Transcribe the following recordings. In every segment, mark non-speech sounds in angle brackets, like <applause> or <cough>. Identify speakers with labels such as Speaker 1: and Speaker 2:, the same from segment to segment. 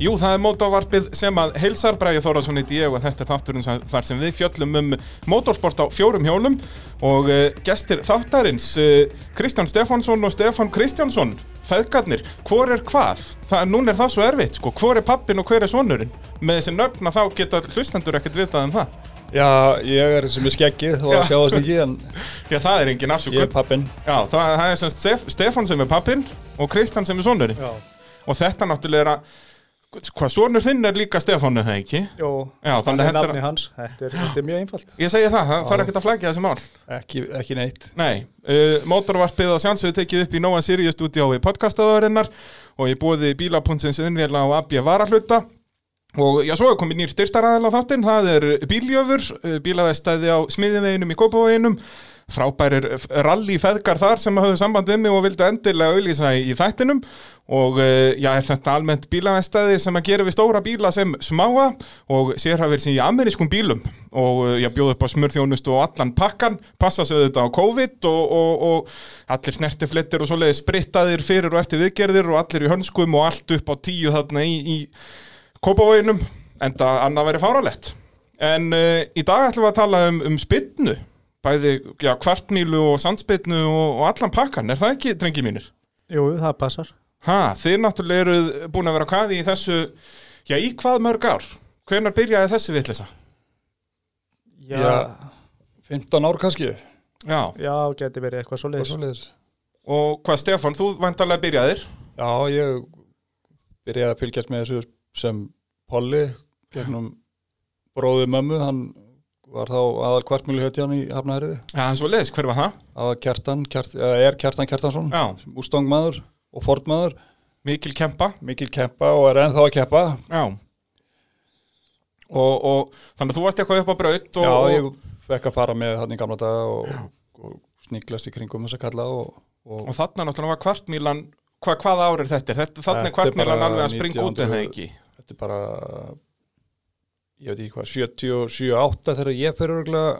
Speaker 1: Jú, það er mótorvarpið sem að heilsar Bræði Þóraldsson í ég og þetta er þátturinn sem- þar sem við fjöllum um mótorsport á fjórum hjólum og uh, gestir þáttarins uh, Kristján Stefánsson og Stefán Kristjánsson feðgarnir, hvor er hvað? Það, núna er það svo erfitt, sko, hvor er pappin og hver er sonurinn? Með þessi nöfna þá geta hlustendur ekkert vitað um það
Speaker 2: Já, ég er sem er skeggið og
Speaker 1: Já.
Speaker 2: sjáast ekki en
Speaker 1: Já, það er engin
Speaker 2: ég er
Speaker 1: afsökun
Speaker 2: pappinn
Speaker 1: Já, það, það er sem Stef, Stefán sem er pappin og Kristján sem er sonurinn
Speaker 3: Já,
Speaker 1: og þetta náttúrulega er að hvað sonur þinn er líka Stefánu það ekki?
Speaker 3: Jó,
Speaker 1: Já, þannig
Speaker 3: það er
Speaker 1: þetta er-
Speaker 3: nafni hans, þetta er, þetta er mjög einfalt
Speaker 1: Ég segi það, það þarf ekkert að flækja þessi mál
Speaker 2: ekki, ekki neitt
Speaker 1: Nei, uh, mótorvarpið að sjálfsögðu tekið upp í Nóa Sirius stúdíói podcastaðarinnar og ég bóði bíla.sins innvélna á AB varahluta og já, svo er komið nýr styrtaraðal á þáttinn, það er bíljöfur, eh, bílavestæði á smiðinveginum í Kópavoginum frábærir rally feðgar þar sem hafðu samband við mig og vildu endilega auðlýsa í, í þættinum og eh, já, er þetta almennt bílavestæði sem að gera við stóra bíla sem smáa og sérhafir sem í amerískum bílum og eh, ég bjóð upp á smurþjónustu og allan pakkan, passa sig þetta á COVID og, og, og allir snertiflettir og svoleiði sprittaðir fyrir og eftir viðgerðir og allir í hönskum og allt upp á tíu þarna í, í Kópavoginum, en það annað væri fáralett. En uh, í dag ætlum við að tala um, um spynnu, bæði já, kvartmílu og sandspynnu og, og allan pakkan, er það ekki, drengi mínir?
Speaker 3: Jú, það passar
Speaker 1: Ha, þið náttúrulega eruð búin að vera á kafi í þessu, já, í hvað mörg ár? Hvenær byrjaði þessi vitleysa?
Speaker 3: Já, já,
Speaker 2: Já. 15 ár kannski
Speaker 1: Já,
Speaker 3: geti verið eitthvað svo
Speaker 2: og
Speaker 3: leiðis
Speaker 2: svoleiðis.
Speaker 1: og hvað Stefán, þú vantarlega byrjaðir?
Speaker 2: Já, ég byrjaði að fylgjast með þessu sem Polly gegnum bróði mömmu hann var þá aðal kvartmjölu hötjan í Hafnahæriði
Speaker 1: Já, svo leis, hver var það?
Speaker 2: aðal Kjartan, Kjart, eða er Kjartan Kjartansson
Speaker 1: Já,
Speaker 2: Mustang maður og Ford maður
Speaker 1: mikil kempa.
Speaker 2: mikil keppa og er ennþá að keppa
Speaker 1: Já. Og, og þannig að þú varst eitthvað upp á braut og...
Speaker 2: Já, ég fekk að fara með hann í gamla daga og, og sníklast í kringum þess að kalla og, og
Speaker 1: Og þarna náttúrulega var kvartmílan hva, Hvað ár er þetta? þetta þarna er
Speaker 2: Þetta er
Speaker 1: kvartmílan
Speaker 2: bara
Speaker 1: alveg að springa út en það ekki
Speaker 2: þetta er bara ég veit ekki hvað, 77, 8 þegar ég fyrir örgulega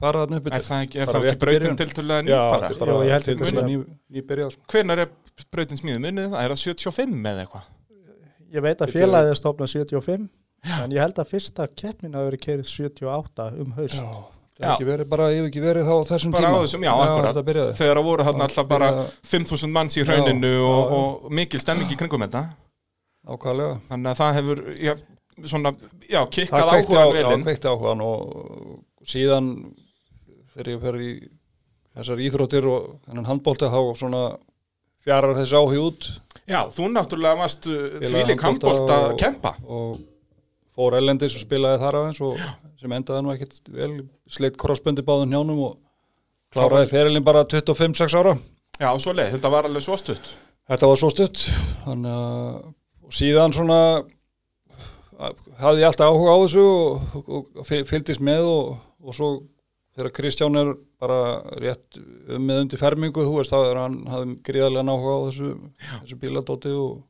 Speaker 2: fara þarna upp
Speaker 1: Er það ekki, er
Speaker 2: Bara
Speaker 1: það ekki
Speaker 2: rétt í
Speaker 1: brautin
Speaker 2: byrjun.
Speaker 1: til til að
Speaker 2: Já,
Speaker 1: nýja
Speaker 2: þetta er
Speaker 1: bara?
Speaker 2: bara
Speaker 3: Jú, ég held
Speaker 2: til
Speaker 3: þetta
Speaker 2: þess
Speaker 3: sé
Speaker 2: að
Speaker 3: það.
Speaker 2: ný, nýbyrja sko.
Speaker 1: Hvenær er brautin smíðið minnið það? Er það 75 eða eitthvað?
Speaker 3: Ég veit að félagið er stofnað 75 En ég held að fyrsta keppnin hafi verið kerið 78 um haust
Speaker 2: Já,
Speaker 3: Já,
Speaker 2: það er ekki verið bara, ég hef ekki verið þá á þessum
Speaker 1: Bara á
Speaker 2: tíma
Speaker 1: þessum, já, akkurat
Speaker 2: þetta byrjaði
Speaker 1: Þegar það voru þarna
Speaker 2: Já,
Speaker 1: alltaf bara
Speaker 2: byrjaði-
Speaker 1: 5000 manns í
Speaker 2: Já,
Speaker 1: hrauninu
Speaker 2: já,
Speaker 1: og,
Speaker 2: já.
Speaker 1: og mikil stemming í kringum þetta
Speaker 2: ákvæðlega
Speaker 1: Þannig að það hefur, já, svona, já,
Speaker 2: það
Speaker 1: kikkað
Speaker 2: kveikti, á,
Speaker 1: áhugan
Speaker 2: já,
Speaker 1: velinn
Speaker 2: kveikti áhugan og síðan þegar ég fer í þessar íþróttir og þennan handbólta þá svona fjarar þessi áhug út
Speaker 1: Já, þú náttúrulega varst uh,
Speaker 2: Félag
Speaker 1: þvílík handbólt
Speaker 2: handbolta
Speaker 1: að
Speaker 2: og-
Speaker 1: kempa
Speaker 2: og fór ellendis og spilaði þar aðeins og sem endaði nú ekkert vel sleitt krossböndi báðum hjánum og kláraði ferilinn bara 25-6 ára
Speaker 1: Já, svo leið, þetta var alveg svo stutt
Speaker 2: þetta var svo stutt þannig að og síðan svona að- hafði ég alltaf áhuga á þessu og, og, og fy- fylgdist með og, og svo þegar Kristján er bara rétt um með undir fermingu þú veist þá er hann hafði gríðarlega áhuga á þessu, þessu bíladóti og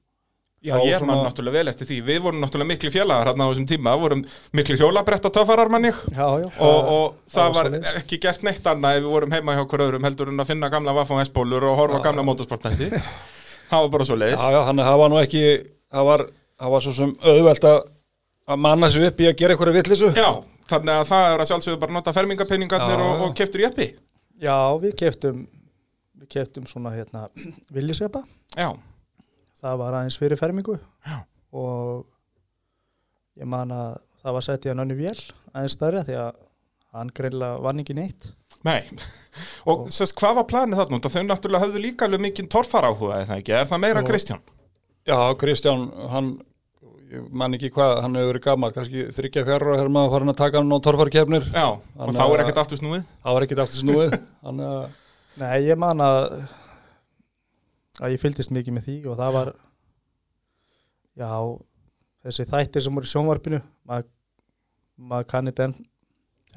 Speaker 1: Já,
Speaker 2: Þá
Speaker 1: ég
Speaker 2: svona-
Speaker 1: man náttúrulega vel eftir því. Við vorum náttúrulega mikli félagar hérna á þessum tíma. Við vorum mikli hjólabretta töffarar manni og,
Speaker 3: já, það-
Speaker 1: og það
Speaker 3: var
Speaker 1: var
Speaker 3: svoleiðis.
Speaker 1: ekki gert neitt annað ef við vorum heima hjá okkur öðrum heldur en að finna gamla Vaffan S-bólur og horfa á gamla motorsportnætti. Það var bara svo leiðis.
Speaker 2: Já, já, hann það var nú ekki, það var, það var svo sem auðvelt að, að manna sig upp í að gera eitthvað villisu.
Speaker 1: Já, þannig að það er að sjálfsögðu bara að nota fermingapenningarnir
Speaker 2: Já,
Speaker 1: og,
Speaker 2: já.
Speaker 1: og keftur jeppi.
Speaker 3: já, við keftum Við keftum svona hérna Viljisepa,
Speaker 1: Já,
Speaker 3: það var aðeins fyrir fermingu
Speaker 1: Já.
Speaker 3: Og ég man að það var sett í hann önni vél aðeins stærja því að hann greinlega vann ekki neitt
Speaker 1: nei. Og sérst, hvað var planið þarna? út? Þau náttúrulega höfðu líka alveg mikinn torfar áhuga, eða ekki? Er það meira
Speaker 2: Jú.
Speaker 1: Kristján?
Speaker 2: Já, Kristján, hann, ég man ekki hvað, hann hefur verið gammal, kannski þryggja fjárra þegar maður farin að taka hann á torfarkefnir.
Speaker 1: Já, og
Speaker 2: Þannig
Speaker 1: þá er
Speaker 2: að-
Speaker 1: ekkert aftur snúið.
Speaker 2: Það var ekkit aftur snúið, þannig að,
Speaker 3: Nei, ég man að að ég fylgdist mikið með því og það var já, þessi þættir sem voru í sjónvarpinu maður mað kanni þetta enn,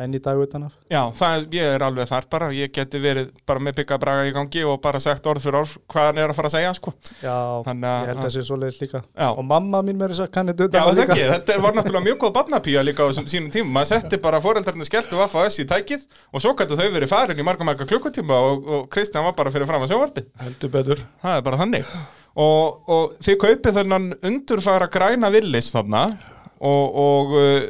Speaker 3: enn í dag utan af
Speaker 1: Já, það, er- ég er alveg þar bara, ég geti verið bara með byggabraga í gangi og bara sagt orð fyrir orð hvað hann er að fara að segja, sko.
Speaker 3: Já,
Speaker 1: Þannig
Speaker 3: ég held
Speaker 1: að,
Speaker 3: að sé svoleiðis líka
Speaker 1: já,
Speaker 3: og mamma mín meira þess að kanni þetta
Speaker 1: já
Speaker 3: utan
Speaker 1: það
Speaker 3: líka
Speaker 1: ekki, þetta var náttúrulega mjög góð barnapía líka á þessum sínum tímum, maður setti bara foreldrarnir skelltu vaff á S í tækið og svo gætu þau verið farin í marga marga klukkutíma og, og Kristján var bara fyrir fram að sjóvarpið,
Speaker 2: heldur betur.
Speaker 1: það er bara þannig. og, og þið kaupið þennan undurfara græna villis þarna og, og uh,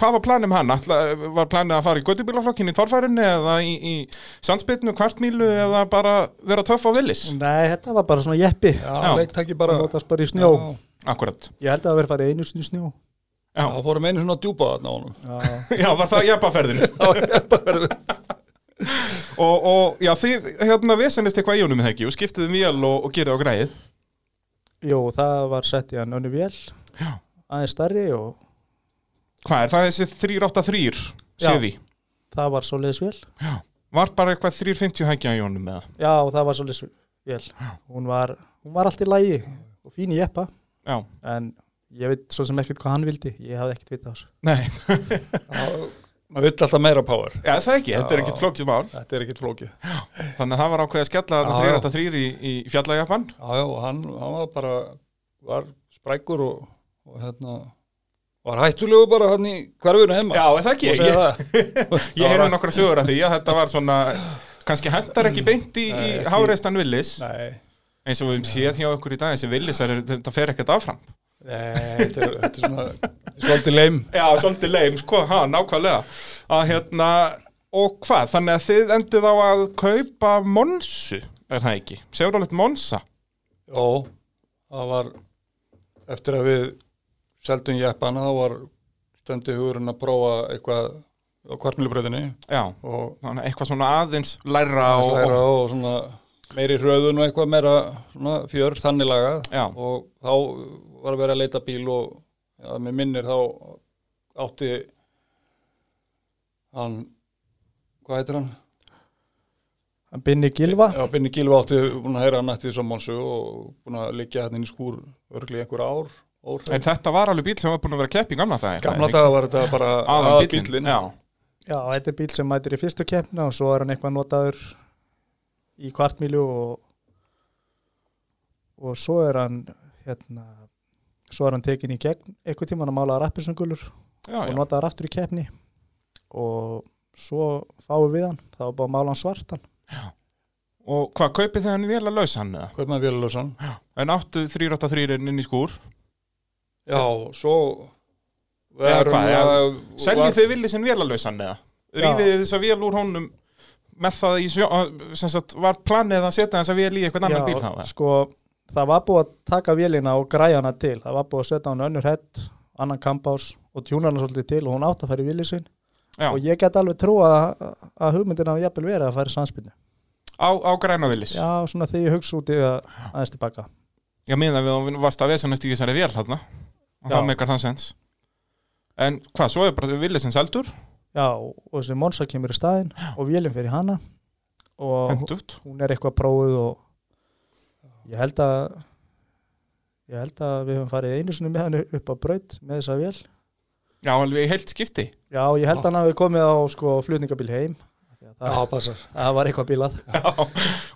Speaker 1: hvað var planið með hann? Ætla, var planið að fara í göttubílaflokkin í torfærunni eða í, í sandsbytnu, kvartmílu eða bara vera töff á villis?
Speaker 3: Nei, þetta var bara svona jeppi
Speaker 1: Já.
Speaker 2: Já, leiktæki bara
Speaker 3: Notast bara í snjó
Speaker 2: Já,
Speaker 1: Akkurat
Speaker 3: Ég held að það verið farið einu sinni í snjó
Speaker 1: Já.
Speaker 2: það fórum einu svona djúpa þarna á honum
Speaker 3: Já,
Speaker 1: <laughs> Já, var það jeppaferðin <laughs> og, og já, þið hérna vesennist eitthvað í honum er það ekki og skiptiðu mjöl og, og gerðu á græðið
Speaker 3: Jú, það var sett í hann önnu vél
Speaker 1: Já.
Speaker 3: Aðeins starri og
Speaker 1: Hvað er það þessi 383
Speaker 3: Já.
Speaker 1: séði?
Speaker 3: það var svo leiðis vél
Speaker 1: Var bara eitthvað 350 hækja í honum með
Speaker 3: Já, það var svo leiðis vél Hún var, hún var allt í lagi og fín í jeppa
Speaker 1: Já,
Speaker 3: En ég veit svo sem ekkert hvað hann vildi Ég hafði ekkert vitað á þessu
Speaker 1: nei,
Speaker 2: Já, maður vill alltaf meira power
Speaker 1: já, það ekki, þetta er
Speaker 2: Já.
Speaker 1: ekkit flókið mál
Speaker 2: þetta er ekkit flókið já,
Speaker 1: Þannig að það var ákveðið að skella þarna
Speaker 2: Já, já.
Speaker 1: 383 í, í fjallajappan
Speaker 2: já, og hann, hann var bara var sprækur og, og hérna var hættulegu bara hann í hverfinu heima
Speaker 1: Já, er það ekki,
Speaker 2: Má
Speaker 1: ég,
Speaker 2: segja það.
Speaker 1: <laughs> ég heyrði nokkra sögur að því að þetta var svona kannski hendar ekki beint í, í
Speaker 2: Nei, ekki.
Speaker 1: háreistan Willis
Speaker 2: nei,
Speaker 1: eins og við höfum séð hjá okkur í dag þessi Willis, þetta fer ekkert affram
Speaker 2: nei þetta, er, þetta er svona þetta er svolítið leim
Speaker 1: Já, svolítið leim, sko, ha, nákvæmlega að hérna, og hvað þannig að þið endið á að kaupa Monsu, er það ekki? Sjálfrálegt Monsa,
Speaker 2: já, það var eftir að við seldum jeppana þá var stöndi hugurinn að prófa eitthvað á kvartmjölubröðinni
Speaker 1: já
Speaker 2: og
Speaker 1: þannig að eitthvað svona aðeins læra
Speaker 2: og,
Speaker 1: og,
Speaker 2: og, og svona meiri hröðun og eitthvað meira svona fjör þannig lagað
Speaker 1: Já.
Speaker 2: og þá var að vera að leita bíl og að mér minnir þá átti hann hvað heitir hann?
Speaker 3: Hann binni gilva
Speaker 2: Já, Binni Gilvi átti búin að heyra hann eftir þessum monsu og búin að liggja hérna inn í skúr örgli einhver ár
Speaker 1: En
Speaker 2: óhrein.
Speaker 1: þetta var alveg bíl sem var búin að vera keppi í gamla dag
Speaker 2: Gamla daga var þetta bara
Speaker 1: Aðan bílinn
Speaker 2: bíllinn.
Speaker 1: Já,
Speaker 3: Já, þetta er bíl sem mætir í fyrstu keppna og svo er hann eitthvað notaður í kvartmílu og, og svo er hann hérna, svo er hann tekin í gegn eitthvað tíma hann að mála rappinsungulur
Speaker 1: já,
Speaker 3: og
Speaker 1: Ah, já,
Speaker 3: notaður aftur í keppni og svo fáum við hann þá er bara að mála hann svartan
Speaker 1: Og hvað, kaupið þið hann vel að lausa hann eða?
Speaker 2: Hvað maður Vélalöfsson?
Speaker 1: En áttu 383 inn í skúr
Speaker 2: Já, svo
Speaker 1: Eða
Speaker 2: verum
Speaker 1: hvað,
Speaker 2: að-
Speaker 1: Seljið
Speaker 2: var-
Speaker 1: þið villið sinn vel að lausa hann eða? Rífið þið þess að vél úr honum með það í sjó að- sem sagt, var planið að setja þess að vél í eitthvað annan bíl þá eða?
Speaker 3: sko, það var búið að taka vélina og græja hana til það var búið að setja hann önnur hett annan kampás og tjúna hana svolítið til og hún átt að fara í vilið sinn
Speaker 1: Já,
Speaker 3: og ég get alveg trúa að- að hugmyndina á jafnvel verið að fara í samspilni
Speaker 1: á, á græna villis Já,
Speaker 3: Já, svona þegar ég hugsa út í það aðeins tilbaka.
Speaker 1: já minna við að varst að vesanast í þessari vél þarna og
Speaker 3: Já.
Speaker 1: það meikar þann sens En hvað, svo er bara villið sinn seldur
Speaker 3: Já, og þessi Monsa kemur í staðinn og vélum fyrir hana og
Speaker 1: Hendut
Speaker 3: hún er eitthvað prófuð og ég held að ég held að við höfum farið einu sinni með hann upp á braut með þessa vél.
Speaker 1: Já, alveg í heilt skipti
Speaker 3: Já, ég held að hann hafi komið á sko flutningabíl heim. Því
Speaker 2: Já,
Speaker 3: að Það,
Speaker 2: passar.
Speaker 3: það var eitthvað bílað
Speaker 1: <laughs> Já,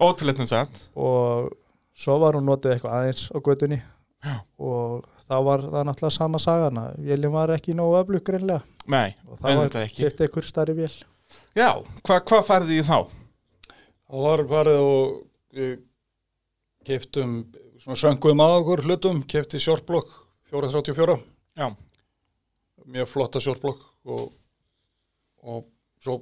Speaker 1: ótrúleitin sent
Speaker 3: og svo var hún notið eitthvað aðeins á götunni
Speaker 1: Já.
Speaker 3: og þá var það náttúrulega sama sagan að vélum var ekki nógu öflug greinlega
Speaker 1: Nei,
Speaker 3: og það var
Speaker 1: auðvitað ekki
Speaker 3: kiptið ykkur starri vél.
Speaker 1: Já, hvað hva farið þið í þá?
Speaker 2: Það var farið og eh, keyptum, svona sönguðum að okkur hlutum, kefti shortblock 434,
Speaker 1: Já,
Speaker 2: mjög flotta shortblock og, og svo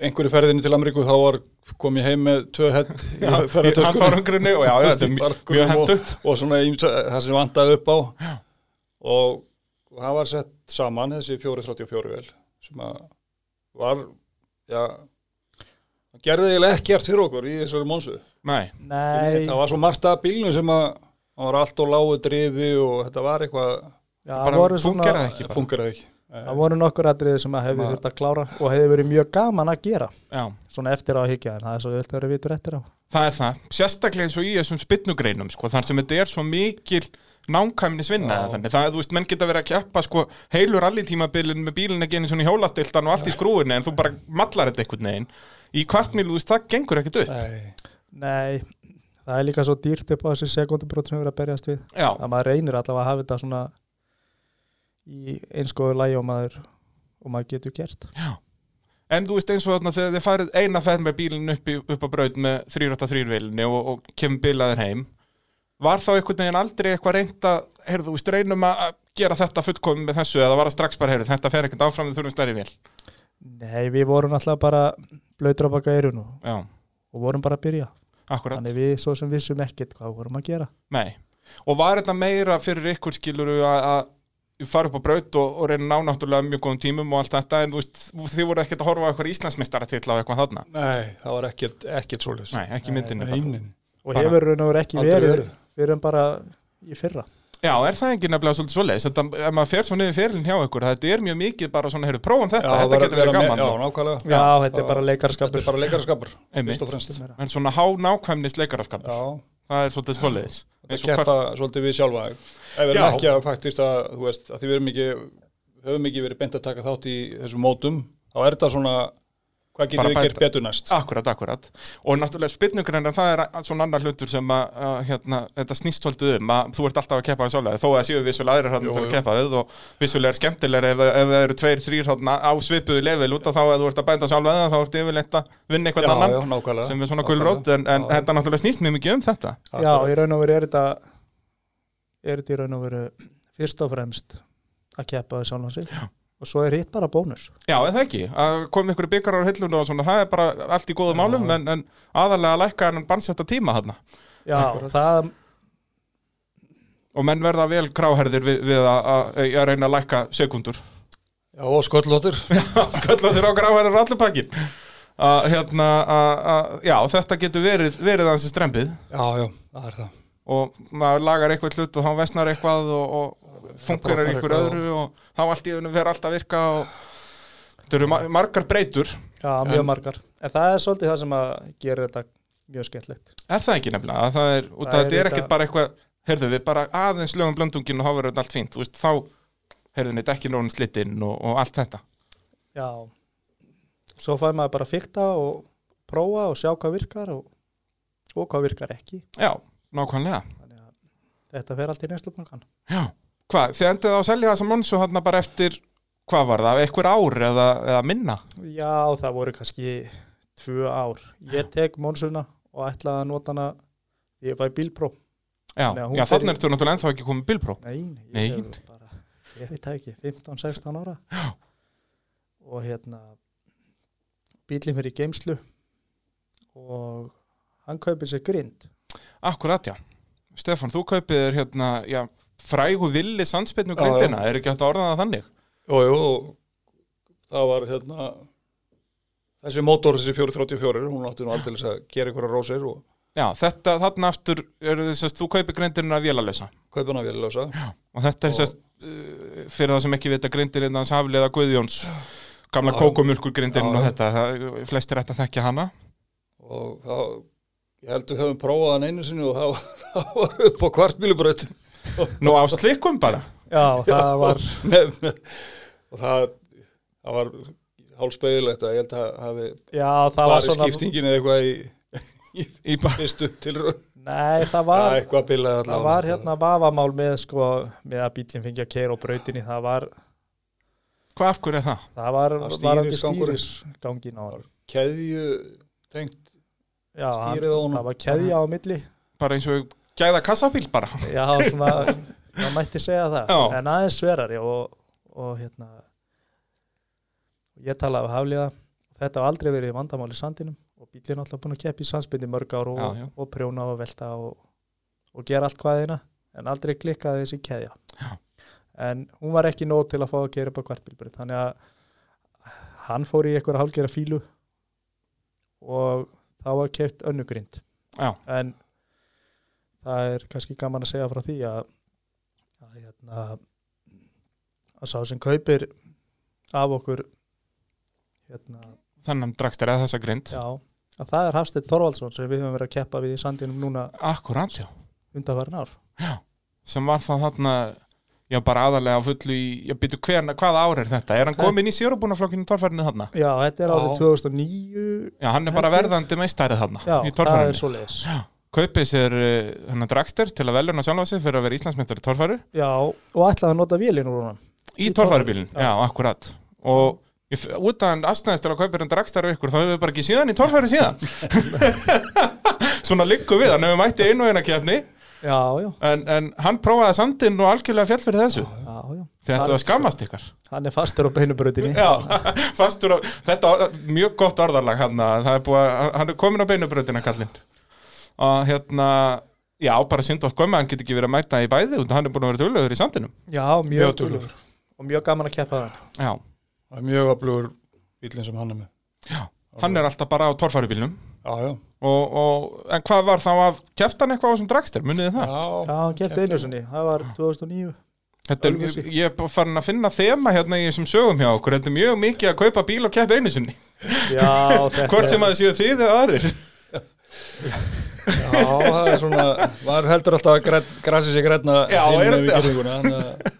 Speaker 2: einhverju ferðinni til Ameríku þá var kom ég heim með tvö hett í
Speaker 1: ég- hann fór
Speaker 2: ferðartöskunni.
Speaker 1: um grunni og já, já, þetta er mjög-
Speaker 2: Bara
Speaker 1: mjög
Speaker 2: og,
Speaker 1: hendugt
Speaker 2: og svona ýmsa, það sem vantaði upp á og það var sett saman þessi 434 vel sem að var já það gerði eiginlega ekkert fyrir okkur í þessari monsu
Speaker 1: Nei,
Speaker 3: Nei,
Speaker 2: það var svo margt að bílnum sem að það var allt og lágu drifi og þetta var eitthvað
Speaker 3: Já, það
Speaker 1: bara fungerar
Speaker 3: voru, svona,
Speaker 1: það ekki
Speaker 2: það
Speaker 1: bara
Speaker 2: fungerði ekki
Speaker 3: það voru nokkur atriði sem að hefði
Speaker 2: Ma-
Speaker 3: þurft að klára og hefði verið mjög gaman að gera
Speaker 1: Já,
Speaker 3: svona eftir á að higgja en það er svo vilt að vera vitur eftir á
Speaker 1: það er það Sérstaklega eins og í þessum spytnugreinum sko, þar sem þetta er svo mikil námkæmnisvinna
Speaker 2: Já.
Speaker 1: þannig það er, þú veist, menn geta verið að keppa sko, heilur allítímabilin með bílinn ekki einu svona í hjólastiltan og allt í skrúinni en þú bara mallar þetta einhvern veginn í kvartmílu, þú veist, það gengur ekkert upp
Speaker 2: Nei.
Speaker 3: Nei, það er líka svo dýrt upp á þessi sekundubrót sem við erum að berjast við
Speaker 1: Já,
Speaker 3: að maður reynir allavega að hafa þetta svona í einskoðu lægi og maður og maður getur gert
Speaker 1: En þú veist eins og þarna þegar þið farið eina ferð með bílinn upp, í- upp á braut með 383 vilinni og, og kemur bilaðir heim var þá einhvern veginn aldrei eitthvað reynd að, heyrðu, þú veist, reynum að að gera þetta fullkomum með þessu eða var það strax bara, heyrðu, þetta fer ekkert áfram, við þurfum stærri vél.
Speaker 3: Nei, við vorum alltaf bara blöytur á baka eirun og,
Speaker 1: Já,
Speaker 3: og vorum bara að byrja
Speaker 1: akkurat.
Speaker 3: Þannig við svo sem vissum ekkert hvað vorum að gera
Speaker 1: Nei, og var þetta meira fyrir ykkur skilur að að fara upp á braut og, og reyna að ná náttúrulega mjög góðum tímum og allt þetta en þú veist, þið voru ekkert að horfa á eitthvað Íslandsmeistara til á eitthvað þarna
Speaker 2: Nei, það var ekkert, ekkert svoleiðis.
Speaker 1: Nei, ekki í myndinni bara.
Speaker 2: Neinin.
Speaker 3: og
Speaker 1: Bara-
Speaker 3: hefur raun og verið ekki
Speaker 2: Aldrei
Speaker 3: verið,
Speaker 2: verið.
Speaker 3: Við erum bara í fyrra
Speaker 1: Já, er það ekki nefnilega svolítið svoleiðis þetta, ef maður fer svo niður fyrirlin hjá ykkur þetta er mjög mikið bara svona, heyrðu, prófum
Speaker 2: Já,
Speaker 1: þetta
Speaker 2: það
Speaker 1: þetta
Speaker 2: var-
Speaker 1: getur verið
Speaker 2: vera með-
Speaker 1: gaman
Speaker 2: Já, nákvæmlega.
Speaker 3: Já, þetta
Speaker 2: já.
Speaker 3: er bara
Speaker 2: Þetta
Speaker 3: leikarskapur
Speaker 2: er bara leikarskapur, fyrst og
Speaker 1: Einmitt.
Speaker 2: fremst.
Speaker 3: Þetta er meira.
Speaker 1: en svona há nákvæmnis leikararskap
Speaker 2: Já,
Speaker 1: það er svolítið svoleiðis Eins
Speaker 2: þetta
Speaker 1: og
Speaker 2: kæta svolítið við sjálfa. Ef við
Speaker 1: Já.
Speaker 2: erum ekki að faktist að, þú veist, að því við erum ekki, höfum ekki verið beint að taka þátt í þessum mótum, þá er þetta svona, hvað
Speaker 1: Bara
Speaker 2: getum við
Speaker 1: bæta. Ah,
Speaker 2: gert betur næst?
Speaker 1: Akkurat, akkurat. Og náttúrulega spinnugreinar, það er a- svona annar hlutur sem að, að hérna, þetta snýst svolítið um að þú ert alltaf að keppa þess álega, þó að séu vissulega aðrir hann
Speaker 2: Jú,
Speaker 1: til að
Speaker 2: jú.
Speaker 1: keppa við og vissulega er skemmtilega ef, það- ef það eru tveir, þrýr hann á svipuðu level út af þá að þú ert að bænda sjálfa eða þá ert yfirleitt að vinna
Speaker 2: Já,
Speaker 1: eitthvað annan
Speaker 2: já, nákvæmlega.
Speaker 1: sem er svona
Speaker 2: Nákvæmlega.
Speaker 1: gulrótt en, en
Speaker 2: Já,
Speaker 1: þetta náttúrulega snýst mjög mikið um þetta.
Speaker 3: Já,
Speaker 2: akkurat.
Speaker 3: í raun og verið er þetta er þetta í raun og verið fyrst og fremst að keppa við sjálfan sig og svo er hitt bara bónus
Speaker 1: Já, eða ekki, að koma ykkur byggarar á hillun og svona, það er bara allt í góðum málum en, en aðalega að lækka en bannsetta tíma hann
Speaker 3: Já, það,
Speaker 1: og menn verða vel kráherðir við, við að, að, að reyna að lækka sekundur <laughs>
Speaker 2: Já, og sköllóttur.
Speaker 1: sköllóttur á gráhærar allupakkin að hérna að, að, já, þetta getur verið, verið hans strempið
Speaker 2: Já, já, það er það.
Speaker 1: og maður lagar eitthvað hlut og þá vesnar eitthvað og, og fungerar
Speaker 2: Poppar
Speaker 1: ykkur
Speaker 2: eitthvað
Speaker 1: öðru og þá allt í önum fer allt að virka og þetta eru ma- margar breytur
Speaker 3: já, mjög margar En það er svolítið það sem að gera þetta mjög skemmtlegt
Speaker 1: er það ekki nefnilega, að það er, út af þetta
Speaker 3: Það er
Speaker 1: er
Speaker 3: þetta-
Speaker 1: ekkert bara eitthvað heyrðu við bara aðeins lögum blöndungin og þá verður þetta allt fínt, þú veist, þá heyrðu neitt ekki nórin slittinn og, og allt þetta
Speaker 3: Já Svo fær maður bara að fykta og prófa og sjá hvað virkar og, og hvað virkar ekki
Speaker 1: já, nákvæmlega
Speaker 3: Þannig að þetta fer allt í neynslubankan
Speaker 1: Já, hvað, þið endið á að selja þessa monsu hann bara eftir, hvað var það, einhver ár eða, eða minna?
Speaker 3: Já, það voru kannski tvö ár. Ég tek Monsuna og ætlaði að nota hana ég var í bílpró.
Speaker 1: Já,
Speaker 3: Nei, hún
Speaker 1: já
Speaker 3: fer
Speaker 1: þannig er þú náttúrulega ennþá ekki komið bílpró.
Speaker 3: Nei, ég
Speaker 1: Nei.
Speaker 3: hef bara, ég veit það ekki, 15-16 ára. Já. Og hérna, bílinn fyrir geimslu og hann kaupir sér grind.
Speaker 1: Akkurat, já. Stefan, þú kaupið er hérna, já, frægu villi sandspennu
Speaker 2: Já, já.
Speaker 1: grindina, er ekki hægt að orða það þannig?
Speaker 2: Jú, jú, og það var hérna, þessi mótor, þessi 434, hún átti nú aldrei að gera einhverja rósir og
Speaker 1: Já, þetta, þarna aftur, er, sest, þú kaupir grindina að vélalösa
Speaker 2: kaupa hana vélalösa. Já,
Speaker 1: og þetta er
Speaker 2: Og-
Speaker 1: sest, uh, fyrir það sem ekki vita grindin hans hafliða Guðjóns, gamla
Speaker 2: Já.
Speaker 1: kókomjölkur grindin
Speaker 2: Já,
Speaker 1: og
Speaker 2: já.
Speaker 1: þetta, það- flestir ættu að þekja hana.
Speaker 2: og þá, ég held við höfum prófað hann einu sinni og það var, <laughs> það var upp á kvartbílubraut
Speaker 1: Nú á slikkum bara.
Speaker 3: Já, það var,
Speaker 2: Með- með- og það, það var hálsbeigilegt að ég held að hafi
Speaker 3: já, það var
Speaker 2: farið
Speaker 3: svona,
Speaker 2: skiptingin eða eitthvað í, í
Speaker 1: Í bara
Speaker 2: fyrstu tilraun
Speaker 3: nei,
Speaker 2: eða
Speaker 3: það var,
Speaker 2: eitthvað bilaði
Speaker 3: það var hérna vafamál með sko, með að bílinn fengi að keira á brautinni, það var,
Speaker 1: Hvað af hverju er það?
Speaker 3: það var,
Speaker 2: Það var
Speaker 3: varandi
Speaker 2: stýrisgangurinn.
Speaker 3: stýrisgangin á hann.
Speaker 2: keðju tengt
Speaker 3: Já, hann,
Speaker 2: Stýrið á honum.
Speaker 3: það var keðja á milli
Speaker 1: Bara eins og gæða kassabíl bara.
Speaker 3: Já, svona, það mætti segja það
Speaker 1: Já.
Speaker 3: En aðeins sverari og, og hérna Ég talaði af hafliða Þetta hafa aldrei verið vandamál í sandinum og bílinn er alltaf búin að keppa í sandsbindi í mörg ár og,
Speaker 1: Já, já.
Speaker 3: og prjóna og velta og, og gera allt hvaðina en aldrei klikkaði þessi keðja
Speaker 1: Já.
Speaker 3: En hún var ekki nóg til að fá að gera upp á kvartbílbrið þannig að hann fór í eitthvað hálgera fílu og þá var keft önnugrind
Speaker 1: Já.
Speaker 3: en það er kannski gaman að segja frá því að að, hérna, að sá sem kaupir af okkur hérna,
Speaker 1: Þannig dragstir eða þessa grind.
Speaker 3: já, að það er Hafsteinn Þorvaldsson sem við höfum verið að keppa við í sandinum núna
Speaker 1: Akkurát, já.
Speaker 3: undanfærin ár
Speaker 1: Sem var þá þarna, já bara aðalega á fullu í, já býtu hvern, hvaða ár er þetta? Er hann
Speaker 3: Það-
Speaker 1: komin í sérubúnaflokkinu torfærinu þarna?
Speaker 3: Já, þetta er
Speaker 2: Já.
Speaker 3: árið 2009
Speaker 1: Já, hann er bara
Speaker 3: Held ég.
Speaker 1: verðandi meistærið þarna
Speaker 3: Já,
Speaker 1: í
Speaker 3: það er
Speaker 1: torfærinu.
Speaker 3: svo leis
Speaker 1: Kaupið sér uh, hennar dragster til að veljuna sjálfa sig fyrir að vera Íslandsmeistari torfæru.
Speaker 3: Já, og ætlaði að nota vélinn úr honum
Speaker 1: Í
Speaker 3: Í
Speaker 1: torfærubílinn,
Speaker 3: torfærubílinn,
Speaker 1: já, akkurát. Og ég f- út af hann aðstæðist til að kaupa hann dragster af ykkur, þá hefur við bara ekki <laughs> síðan í torfæru síðan. Svona liggur við, hann hefur mætti einu og eina kefni
Speaker 3: já, já,
Speaker 1: en, en hann prófaði sandinn og algjörlega fjall fyrir þessu
Speaker 3: já, já.
Speaker 1: þegar þetta
Speaker 3: Hann-
Speaker 1: var skammast ykkar
Speaker 3: hann er fastur á beinubröðinni
Speaker 1: Já, <laughs> fastur á, þetta var mjög gott orðarlag hann að það er búið, að- hann er komin á beinubröðina kallinn og hérna, já, bara synd okkur með hann geti ekki verið að mæta í bæði út, hann er búin að vera tölugur í sandinum
Speaker 3: já,
Speaker 2: Mjög
Speaker 3: mjög
Speaker 2: duglegur.
Speaker 3: duglegur. og mjög gaman að keppa það
Speaker 1: Já,
Speaker 2: Það er mjög aflugur bílinn sem hann er með.
Speaker 1: hann er alltaf bara á torfæribílnum
Speaker 2: Já, já.
Speaker 1: og, og, en hvað var þá að kefta hann eitthvað á þessum dragstir, munið þið það?
Speaker 3: já, hann keppti einu sinni, það var 2009
Speaker 1: Þetta er,
Speaker 3: Ölfusi.
Speaker 1: ég er bara farin að finna þema hérna í þessum sögum hjá okkur, þetta er mjög mikið að kaupa bíl og keppa einu sinni,
Speaker 3: já, þetta
Speaker 1: hvort sem að það séu þið eða aðrir <laughs>
Speaker 2: Já, það er svona, maður heldur alltaf að græn, grasi sér græna
Speaker 1: Já, er
Speaker 2: við eh,
Speaker 1: þetta?
Speaker 2: kyrringuna. þannig að-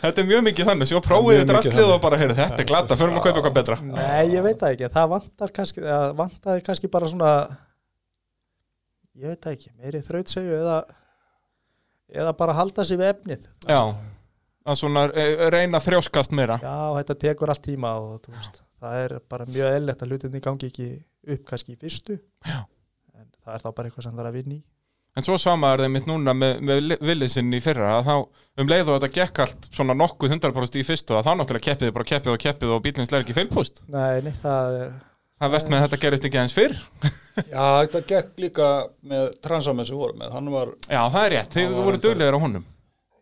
Speaker 1: Þetta er mjög mikið þannig, svo
Speaker 2: mjög
Speaker 1: prófið þið
Speaker 2: mikið
Speaker 1: drastlið
Speaker 2: þannig.
Speaker 1: og bara, heyrðu, þetta er glata, förum að kaupa eitthvað betra
Speaker 3: nei, ég veit það ekki, það vantar kannski það vantaði kannski bara svona ég veit það ekki, meiri þrautsegu eða eða bara halda sér við efnið
Speaker 1: Já, að svona eh, reyna að þrjóskast meira
Speaker 3: já, þetta tekur allt tíma og þú veist, það er bara mjög eðlilegt að hlutinni gangi ekki upp kannski í fyrstu
Speaker 1: Já.
Speaker 3: en það er þá bara eitthvað sem það er að vinna í
Speaker 1: En svo sama er þeim mitt núna með, með villisinn í fyrra að þá um leið og þetta gekk allt svona nokkuð 100% í fyrstu að þá náttúrulega keppið bara keppið og keppið og bílinn slegir ekki feilpúst
Speaker 3: nei, nei, það er
Speaker 1: Það er vest með að þetta gerist ekki aðeins fyrr
Speaker 2: Já, þetta gekk líka með transamen sem við vorum með. Hann var,
Speaker 1: Já, það er rétt, þið
Speaker 2: Það var
Speaker 1: voru
Speaker 2: reyndar-
Speaker 1: duglegir á honum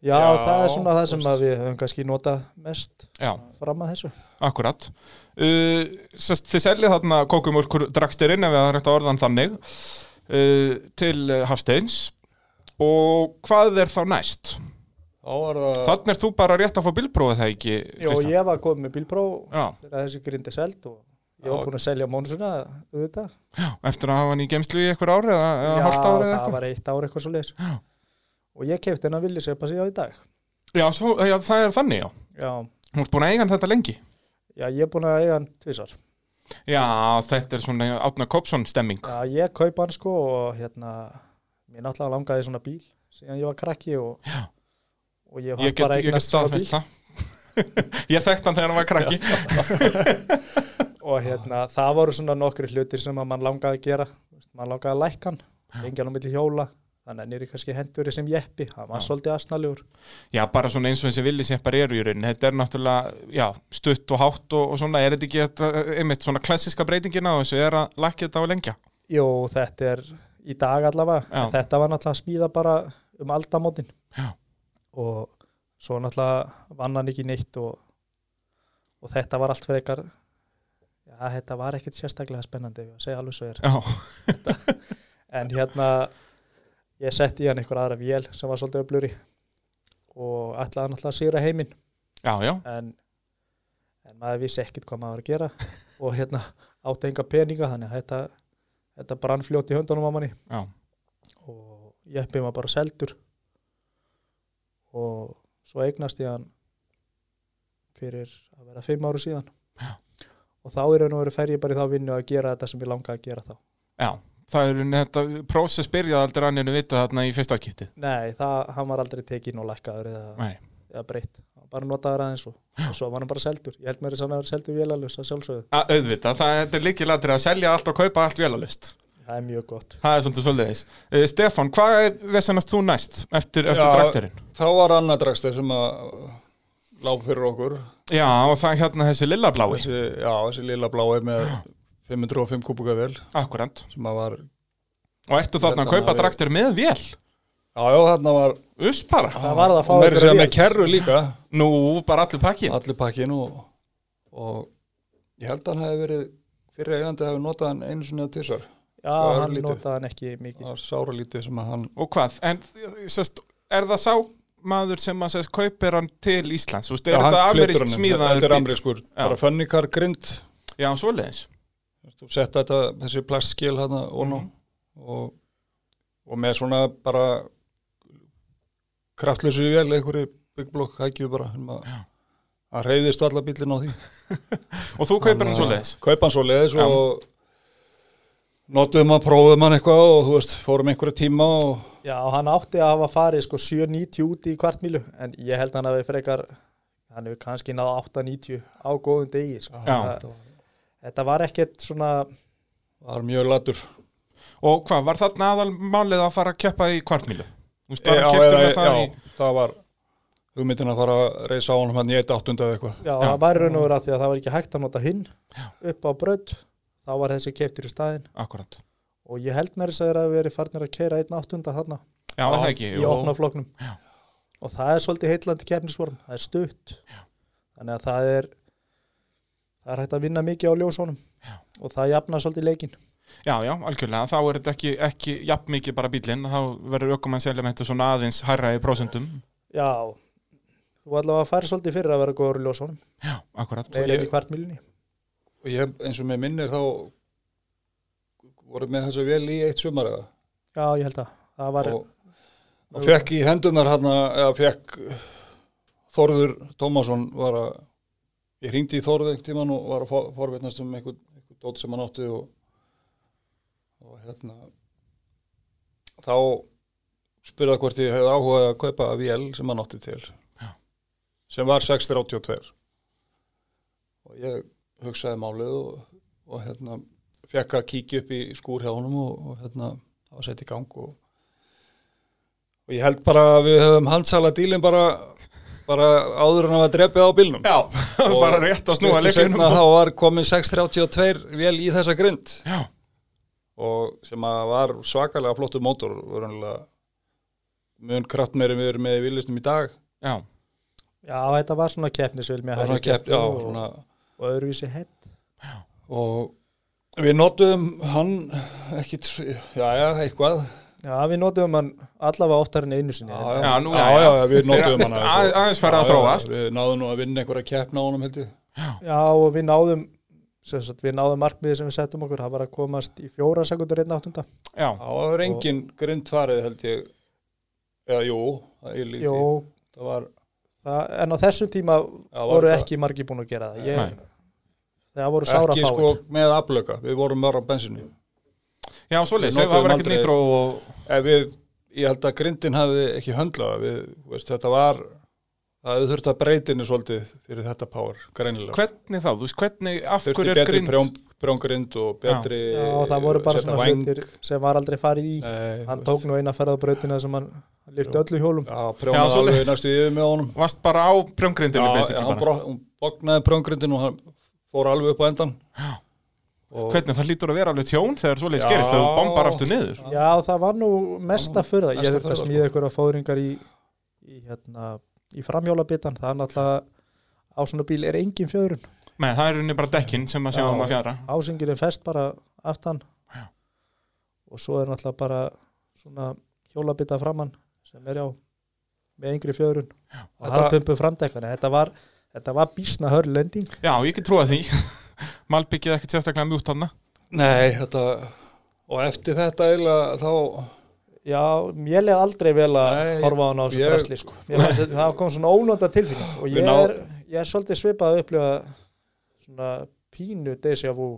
Speaker 3: Já,
Speaker 2: Já,
Speaker 3: það er svona það
Speaker 2: þú
Speaker 3: sem
Speaker 2: veist.
Speaker 3: að við höfum kannski notað mest
Speaker 1: Já,
Speaker 3: fram að þessu.
Speaker 1: akkurat uh, sest, Þið seljið þarna kókumölkur dragstirinn ef það er rétt að orðan þannig uh, til eh, Hafsteins og hvað er þá næst?
Speaker 2: þá var það,
Speaker 1: Þannig er þú bara rétt að fá bílprófið það ekki,
Speaker 3: Jó, ég var komið með bílpróf
Speaker 1: Já,
Speaker 3: þegar þessi grindi seld og ég var
Speaker 2: Já.
Speaker 3: búin að selja mónusuna auðvitað.
Speaker 1: já, eftir að hafa hann í gemslu í einhver ári eða, eða
Speaker 3: Já,
Speaker 1: hálft ári eða
Speaker 3: það
Speaker 1: eitthvað.
Speaker 3: var eitt ár eitthvað svo leiðis.
Speaker 1: Já.
Speaker 3: Og ég kefti hennar villi sepa sig á í dag.
Speaker 1: Já, svo, já, það er þannig, já.
Speaker 3: Já,
Speaker 1: Hún er búin að eiga hann þetta lengi.
Speaker 3: já ég er búin að eiga hann tvisar.
Speaker 1: Já, þetta er svona Átna Kopsson stemming.
Speaker 3: Já, ég kaup hann sko og hérna, mér náttúrulega langaði svona bíl síðan ég var krakki og,
Speaker 1: Já.
Speaker 3: og ég
Speaker 1: ég
Speaker 3: var
Speaker 1: get,
Speaker 3: bara
Speaker 1: ég get
Speaker 3: eignast svona
Speaker 1: staðfest
Speaker 3: bíl.
Speaker 1: það. <laughs> ég þekkt hann þegar hann var krakki.
Speaker 3: og hérna, það voru svona nokkri hlutir sem að mann langaði að gera Vist, mann langaði að lækka hann, lengi hann á milli hjóla þannig að nýri kannski hendur sem jeppi hann var
Speaker 1: Já.
Speaker 3: svolítið asnaljúr
Speaker 1: Já, bara svona eins og þessi villi sem bara eru í rauninni. Þetta er náttúrulega, já, stutt og hátt og, og svona, er þetta ekki, þetta, einmitt, svona klassiska breytingina og þessu er að lækja þetta á lengja.
Speaker 3: Jó, þetta er í dag allavega
Speaker 1: Já.
Speaker 3: en þetta var náttúrulega að smíða bara um aldamótin
Speaker 1: Já.
Speaker 3: og svo náttúrulega vann hann ekki neitt og, og þetta var allt fyrir ekkar já, þetta var ekkit sérstaklega spennandi ef ég á að segja alveg svo er
Speaker 1: Já,
Speaker 3: en hérna ég setti í hann einhver aðra vél sem var svolítið öflur í og ætlaði náttúrulega að sigra heiminn
Speaker 1: já, já.
Speaker 3: en, en maður vissi ekkit hvað maður var að gera
Speaker 1: <laughs>
Speaker 3: og hérna átti enga peninga þannig að þetta, þetta brann fljótt í höndunum á manni
Speaker 1: Já.
Speaker 3: og jeppið var bara seldur og svo eignast ég hann fyrir að vera fimm áru síðan
Speaker 1: Já.
Speaker 3: og þá er hann og veru fer ég bara í þá vinnu að gera þetta sem ég langaði að gera þá
Speaker 1: já. Það er þetta, prósess byrjaði aldrei annir að vita þarna í fyrsta skiptið.
Speaker 3: Nei, það, hann var aldrei tekinn og lækkaður eða,
Speaker 1: Nei.
Speaker 3: eða breytt, hann var bara notaður aðeins og, og svo var hann bara seldur, ég held mér þess að hann var seldur vélalus að sjálfsögðu,
Speaker 1: að auðvita, það þetta er líkilatri að selja allt og kaupa allt velalust
Speaker 3: það er mjög gott
Speaker 1: það er svolítið svolítið uh, Stefan, hvað er vesennast þú næst eftir, eftir
Speaker 2: Já.
Speaker 1: dragsterinn?
Speaker 2: þá var annað dragstir sem að lág fyrir okkur.
Speaker 1: Já, og það er hérna þessi lilla blái
Speaker 2: Þessi, já, þessi lilla blái með 505 kubika vel
Speaker 1: akkurant,
Speaker 2: sem að var,
Speaker 1: og ertu þarna að
Speaker 2: Þetta
Speaker 1: kaupa
Speaker 2: hafi-
Speaker 1: dragster með vél,
Speaker 2: já, já, þarna var
Speaker 1: us bara
Speaker 3: Það var það að fá
Speaker 2: og meira
Speaker 3: einhverja
Speaker 2: segja
Speaker 3: vél.
Speaker 2: með kerru líka,
Speaker 1: nú, bara allir pakkin
Speaker 2: allir pakkin og, og ég held að hann hefði verið fyrir eigandi hefði notað hann einu sinni að tísar
Speaker 3: Já,
Speaker 2: Það var
Speaker 3: hann
Speaker 2: lítið.
Speaker 3: notaði hann ekki mikið
Speaker 2: það var sára lítið sem að hann
Speaker 1: og hvað, en sest, er það sá maður sem að sest, kaupir hann til Íslands, þú veist, er
Speaker 2: Já, hann
Speaker 1: þetta
Speaker 2: flytur
Speaker 1: amerískt
Speaker 2: hann inn. þetta
Speaker 1: smíðaður
Speaker 2: er
Speaker 1: bíll?
Speaker 2: amerískur, bara fönningkar grind
Speaker 1: já, svoleiðis,
Speaker 2: þú setta þetta, þessi plastskil hann og
Speaker 1: Mhm.
Speaker 2: ná og, og með svona bara kraftlösu vel einhverju byggblokk hækjuð bara um að, að reyðist allar bílinn á því
Speaker 1: og þú kaupir
Speaker 2: Þannig
Speaker 1: hann
Speaker 2: að-
Speaker 1: svoleiðis
Speaker 2: kaupa hann eh, svoleiðis
Speaker 1: Já.
Speaker 2: og notuðum að prófuðum hann eitthvað og þú veist, fórum einhverja tíma og
Speaker 3: Já, hann átti að hafa farið sko 7.90 út í kvartmílu en ég held hann að við frekar hann hefur kannski náð 8.90 á góðum degi sko.
Speaker 1: Já.
Speaker 3: Það- Þetta var ekkert svona
Speaker 2: var mjög latur
Speaker 1: og hvað, var þarna aðalmálið að fara að keppa í kvartmílu Þú veist, það keftur með það í
Speaker 2: já, það var hugmyndin að fara að reysa á honum hann í 1.8 eða eitthvað
Speaker 3: Já,
Speaker 1: Já.
Speaker 3: það var í raun og vera því að það var ekki hægt að nota hinn upp á braut þá var þessi keftur í staðinn
Speaker 1: Akkurat
Speaker 3: og ég held mér þess að þeir hafi verið farnir að keira einn áttunda þarna
Speaker 1: Já, er það ekki
Speaker 3: í opna floknum og það er svolítið heitlandi kefnisvorm, það er stutt
Speaker 1: Já.
Speaker 3: þannig að það er það er hægt að vinna mikið á ljósónum
Speaker 1: Já.
Speaker 3: og það jafna svolítið leikin
Speaker 1: Já, já, algjörlega, þá er þetta ekki, ekki jafn mikið bara bílinn, þá verður ökumenn selja með þetta svona aðeins hærra í prósentum
Speaker 3: Já, þú allavega að fara svolítið fyrir að vera góður í ljósónum
Speaker 1: Já, akkurat
Speaker 3: meira
Speaker 2: ég-
Speaker 3: enn í kvart miljunni
Speaker 2: og ég, eins og mér minnir þá voru með þessu vel í eitt sumar eða
Speaker 3: Já, ég held að það var
Speaker 2: og, og fekk í hendunar hann eða fekk Þorður Tómasson var að ég hringdi í Þorður einhvern tímann og var að for- forvitnast um einhvern, einhvern dót sem hann átti og, og hérna þá spurði hvort ég hefði áhugað að kaupa að vél sem hann átti til
Speaker 1: Já.
Speaker 2: sem var 682 og ég hugsaði málið og, og hérna fekk að kíkja upp í skúr hjá honum og, og hérna það var sett í gang og Og ég held bara að við höfum handsala dílinn bara, bara áður en að drepið á bílnum.
Speaker 1: Já, <laughs> bara rétt að snúa leiklinum
Speaker 2: Þá var komin 632 vel í þessa grind
Speaker 1: Já,
Speaker 2: og sem að var svakalega flottur mótor verðanlega mun kraftmeiri við erum með í viljustum í dag.
Speaker 1: já,
Speaker 3: Já, þetta var svona keppnisvel með
Speaker 2: Það var
Speaker 3: hærri
Speaker 2: svona kepp, já,
Speaker 3: og,
Speaker 2: svona,
Speaker 3: og öðruvísi hett
Speaker 2: og við notuðum hann ekki, tr- já, já, eitthvað.
Speaker 3: Já, við notum hann allavega oftar en einu sinni.
Speaker 2: Já,
Speaker 1: Já, nú,
Speaker 2: já,
Speaker 1: já,
Speaker 2: já,
Speaker 1: já.
Speaker 2: við notuðum hann
Speaker 1: Að- aðeins farið að
Speaker 2: Já, já,
Speaker 1: þróast.
Speaker 2: Við náðum nú að vinna einhverja keppna á honum held ég.
Speaker 3: Já, og við náðum, sem sagt, við náðum markmiði sem við settum okkur, það var að komast í fjóra sekundur einn áttunda.
Speaker 1: já,
Speaker 2: Já, það var engin grind farið held ég Já, jú, það er lífið
Speaker 3: Jó,
Speaker 2: Það var,
Speaker 3: það, en á þessum tíma
Speaker 2: já, var
Speaker 3: voru
Speaker 2: það-
Speaker 3: ekki margi búin að gera það.
Speaker 1: Nei.
Speaker 3: Ég, það voru sára
Speaker 2: ekki
Speaker 3: fáir.
Speaker 2: sko með aflöka, við vorum bara á bensinu
Speaker 1: já, svoleiðis,
Speaker 2: Við
Speaker 1: það var
Speaker 2: notuðum
Speaker 1: ekkert
Speaker 2: aldrei-
Speaker 1: nýtró og
Speaker 2: Ef við, ég held að grindin hafði ekki höndlað það. við, þú veist, þetta var það hefði þurft að breytinu svolítið fyrir þetta power, greinilega
Speaker 1: hvernig þá, þú veist, hvernig, af
Speaker 2: Þurfti
Speaker 1: hverju er
Speaker 2: betri
Speaker 1: grind
Speaker 2: prjón, prjóngrind og betri
Speaker 3: Já, það voru bara
Speaker 2: eh, setja
Speaker 3: svona
Speaker 2: væng.
Speaker 3: hlutir sem var aldrei farið í.
Speaker 2: Nei,
Speaker 3: Hann tók nú eina ferð á brautina sem hann lyfti öllu hjólum.
Speaker 2: Já,
Speaker 1: Já,
Speaker 2: prjónaði
Speaker 1: svoleiðis.
Speaker 2: alveg næstu yfir með honum
Speaker 1: Vast bara á prjóngrindinu,
Speaker 2: Já,
Speaker 1: basically
Speaker 2: hann
Speaker 1: bara
Speaker 2: bro- hún bognaði prjóngrindin og hann fór alveg upp á endan og
Speaker 1: Hvernig það lítur að vera alveg tjón þegar svoleiðis
Speaker 2: Já.
Speaker 1: gerist, þegar þú bombar aftur niður
Speaker 3: Já, það var nú mesta fyrða. Ég
Speaker 2: mesta
Speaker 3: þurfti að
Speaker 2: furða, sko.
Speaker 3: smíða ykkur að fóðringar í, í, hérna, í framhjólabitan. Það er náttúrulega, á svona bíl er engin fjöðrun.
Speaker 1: Nei, það er unni bara dekkin sem að sjá
Speaker 3: Já.
Speaker 1: um að fjara
Speaker 3: ásingir er fest bara aftan
Speaker 1: Já.
Speaker 3: og svo er náttúrulega bara svona hjólabita framann sem er já með yngri fjörun og
Speaker 2: Þetta-
Speaker 3: harpumpu framdekkana þetta var, þetta var bísna hörlending
Speaker 1: Já, ég get trúa því <laughs> Malbyggið ekkert sérstaklega mjútt hana
Speaker 2: Nei, þetta og eftir þetta eiginlega þá
Speaker 3: já, mér leið aldrei vel að
Speaker 2: Nei,
Speaker 3: horfa á hana á þessu
Speaker 2: ég-
Speaker 3: drasli sko. Mér fannst þetta- það kom svona ónönda tilfinning og
Speaker 2: Við
Speaker 3: ég
Speaker 2: ná-
Speaker 3: er, ég er svolítið svipað að upplifa svona pínu deja vu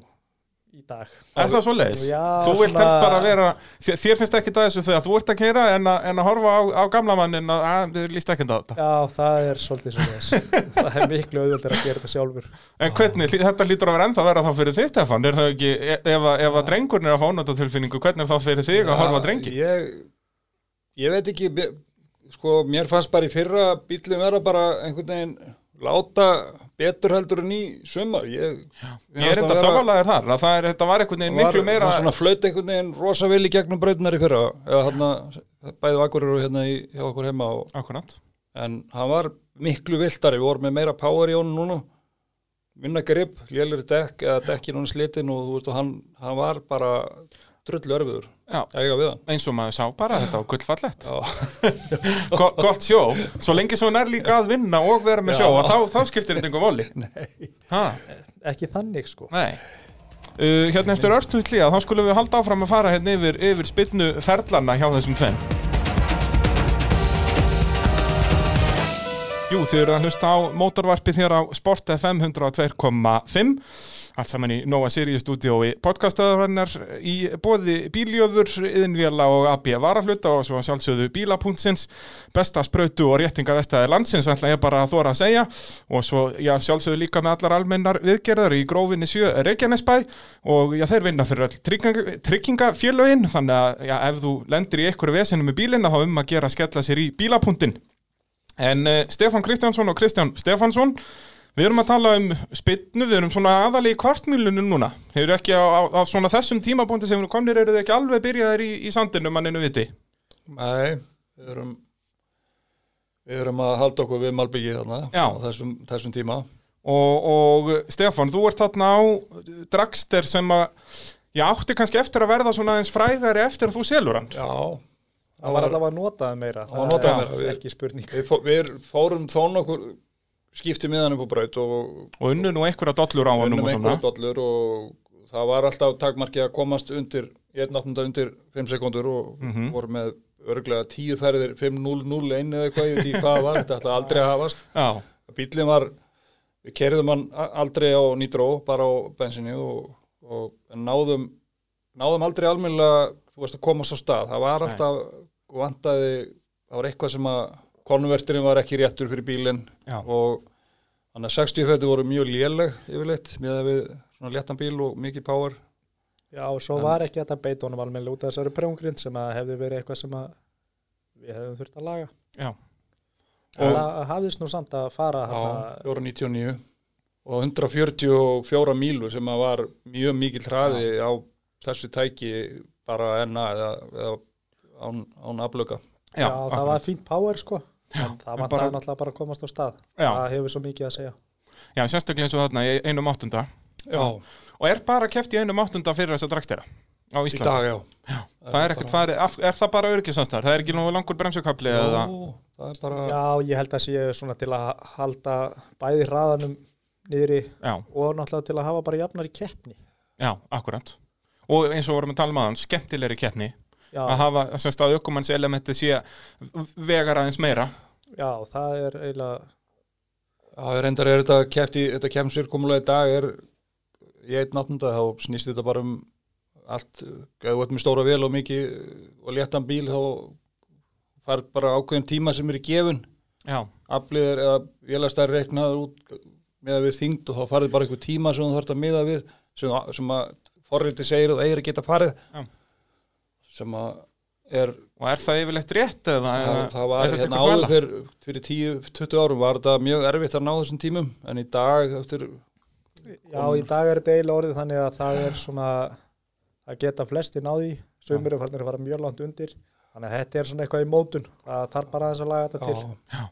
Speaker 3: í dag
Speaker 1: Er það svoleiðis?
Speaker 3: Já,
Speaker 1: þú vilt
Speaker 3: svona-
Speaker 1: helst bara vera þér, þér finnst ekki það þessu þegar þú ert að keira en, að- en að horfa á, á gamla mannin að, að þið líst ekki á þetta
Speaker 3: já, það er svolítið svona
Speaker 2: <laughs>
Speaker 3: þess það er miklu auðvöldir að gera þetta sjálfur
Speaker 1: En hvernig, hlý- þetta lítur að vera ennþá vera þá fyrir þig Stefan er það ekki, e- ef, að- ef að drengurinn er að fá ónöndatilfinningu hvernig er þá fyrir þig að horfa á drengi?
Speaker 2: ég, ég veit ekki mér- sko, mér fannst bara í fyrra bílum vera bara einhvern veginn láta betur heldur en í sumar ég,
Speaker 1: Ég er þetta samanlegaður þar að það er, þetta var einhvern veginn miklu meira
Speaker 2: var svona flaut einhvern veginn rosa vel í gegnum brautunar í fyrra eða hérna, bæði vakurir og hérna í, hjá okkur heima og,
Speaker 1: Akkurat
Speaker 2: en hann var miklu viltari, við vorum með meira power í honum núna minna grip, lélir dekk eða dekkin hún slitin og þú veist og hann, hann var bara drullu örfiður
Speaker 1: Já,
Speaker 2: eiga við hann
Speaker 1: eins og maður sá bara þetta á gullfallett
Speaker 2: Já,
Speaker 1: Go, Gott sjó, svo lengi svo nær líka að vinna og vera með
Speaker 2: Já.
Speaker 1: sjó að þá, þá skiptir þetta einhver voli Nei
Speaker 3: ekki þannig sko
Speaker 1: Nei uh, Hérna eftir örtutli að þá skulum við halda áfram að fara hérna yfir, yfir spilnu ferlana hjá þessum tvenn Jú, þið eru að hlusta á mótorvarpi þér á Sport FM 102.5 á Allt saman í Nóa Sirius stúdíói podcastaðarinnar í bóði bíljöfur, yðinvjala og AB varahluta og svo að sjálfsögðu bíla.sins besta sprautu og réttinga vestæði landsins ætla ég bara að þóra að segja og svo já, sjálfsögðu líka með allar almennar viðgerðar í grófinni sjö Reykjanesbæ og já, þeir vinna fyrir öll trygging- tryggingafélögin þannig að já, ef þú lendir í einhverju vesinu með bílinna þá um að gera að skella sér í bílapunktin En uh, Stefán Kristjánsson og Kristján Stefánsson Við erum að tala um spynnu, við erum svona aðalegi kvartmýlunum núna Þeir eru ekki á, á, á svona þessum tímabóndi sem eru komnir eru þið ekki alveg byrjaðir í, í sandinu manninu viti
Speaker 2: Nei, við erum við erum að halda okkur við malbyggið þarna
Speaker 1: Já.
Speaker 2: á þessum, þessum tíma
Speaker 1: og, og Stefán, þú ert þarna á Dragster sem að ég átti kannski eftir að verða svona aðeins frægari eftir að þú selur hann
Speaker 2: Já,
Speaker 3: Það var allavega notað meira
Speaker 2: Það var notað
Speaker 3: er
Speaker 2: meira, við-
Speaker 3: Ekki spurning
Speaker 2: við, fó- við fórum þó nokkur skipti miðan upp á braut og
Speaker 1: og unnu nú einhverja dollur á hann
Speaker 2: unnum
Speaker 1: og svona
Speaker 2: einhverjum dollur og það var alltaf takmarkið að komast undir í 1.8. undir 5 sekundur og
Speaker 1: Mhm.
Speaker 2: voru með örglega 10 ferðir 5.0.0.1 eða eitthvað, ég veit ekki hvað það var þetta ætlaði aldrei að hafast
Speaker 1: Já,
Speaker 2: bílinn var, við kerðum hann a- aldrei á nýtró, bara á bensinni og, og en náðum náðum aldrei almennilega þú veist að komast á stað, það var alltaf vantaði, það var eitthvað sem að konvertirinn var ekki réttur fyrir bílinn
Speaker 1: Já.
Speaker 2: og þannig að 60 fæti voru mjög léleg yfirleitt með að við svona léttan bíl og mikið power
Speaker 3: Já, og svo var ekki þetta beit honum almennilega út af þessari prjóngrind sem að hefði verið eitthvað sem að við hefðum þurft að laga.
Speaker 1: já,
Speaker 3: Og það hafðist nú samt að fara
Speaker 2: á
Speaker 3: hana,
Speaker 2: 499 og 144 mílu sem að var mjög mikill hraði á þessu tæki bara enna eða, eða án, án aflöka
Speaker 3: já, það var fínt power sko, en það
Speaker 1: en
Speaker 3: var
Speaker 1: bara-
Speaker 3: það náttúrulega bara að komast á stað.
Speaker 1: Já.
Speaker 3: Það hefur svo mikið að segja.
Speaker 1: já, sérstaklega eins og þarna í einum áttunda
Speaker 2: Já,
Speaker 1: og er bara keft í einum áttunda fyrir þess að Dragstera á
Speaker 2: í
Speaker 1: Íslandi
Speaker 2: dag já
Speaker 1: Það er ekkert farið, af- er það bara örgisanstæðar? Það er ekki nú langur bremsukabli eða
Speaker 2: Jó, það er bara
Speaker 3: Já, ég held að sé svona til að halda bæði hraðanum niðri
Speaker 1: Já,
Speaker 3: og náttúrulega til að hafa bara jafnari keppni.
Speaker 1: já, akkurat Og eins og vorum að tala maður, skemmtilegri keppni
Speaker 3: Já,
Speaker 1: Að hafa, sem stað ökumanns elementi sé vegar aðeins meira
Speaker 3: já, það er eiginlega,
Speaker 2: Já, ég reyndar er þetta keppt í, þetta kemsirkomulega í dag er í einn náttunda, þá snýst þetta bara um allt, ef þú ert með stóra vél og mikið og léttan bíl þá farið bara ákveðin tíma sem er í gefun
Speaker 1: Já,
Speaker 2: aflið er eða vélastæri reiknaður út með að við þyngd og þá farið bara einhver tíma sem þú þarft að miða við sem, sem að forriti segir að þú eigir að geta farið
Speaker 1: Já.
Speaker 2: sem að er
Speaker 1: og er það yfirleitt rétt eða
Speaker 2: það,
Speaker 1: eða-
Speaker 2: það
Speaker 1: er
Speaker 2: var
Speaker 1: þetta
Speaker 2: hérna
Speaker 1: einhver
Speaker 2: áður
Speaker 1: þvæla?
Speaker 2: fyrir, fyrir 10-20 árum var þetta mjög erfitt að ná þessum tímum en í dag eftir
Speaker 3: já, í dag er þetta eiginlega orðið þannig að það er svona að geta flesti náði, sumir er farnir að fara mjög langt undir, þannig að þetta er svona eitthvað í mótun, það þarf bara aðeins að laga þetta til.
Speaker 2: Já,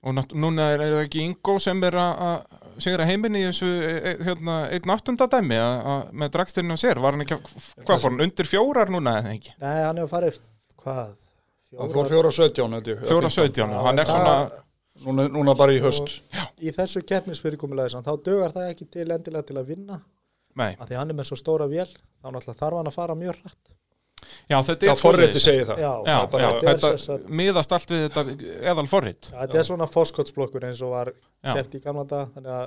Speaker 1: Og nátt- núna er, er það ekki Ingo sem er að- að sigra heiminni í þessu e, e- hérna, einn áttunda dæmi að, að, með dragstirinn á sér, var hann ekki að- hvað fór hann, undir fjórar núna eða ekki?
Speaker 3: Nei, hann hefur farið, hvað,
Speaker 2: hann fór 4.17 held ég
Speaker 1: Fjóra 17, hann er svona
Speaker 2: núna, núna bara í höst
Speaker 3: Í þessu keppnisfyrirkomulega, þá dögar það ekki til endilega til að vinna,
Speaker 1: Nei,
Speaker 3: að því hann er með svo stóra vél þá náttúrulega þarf hann að fara mjög hratt
Speaker 1: já þetta er
Speaker 2: Já, forriti
Speaker 1: svoleiðis.
Speaker 2: segir það
Speaker 3: já,
Speaker 1: Já,
Speaker 3: þetta,
Speaker 1: já,
Speaker 3: er
Speaker 1: þetta
Speaker 3: sem sagt-
Speaker 1: miðast allt við þetta eðal forrit
Speaker 3: já, þetta er svona fórskotsblokkur eins og var
Speaker 1: Já.
Speaker 3: keft í gamla dag þannig að,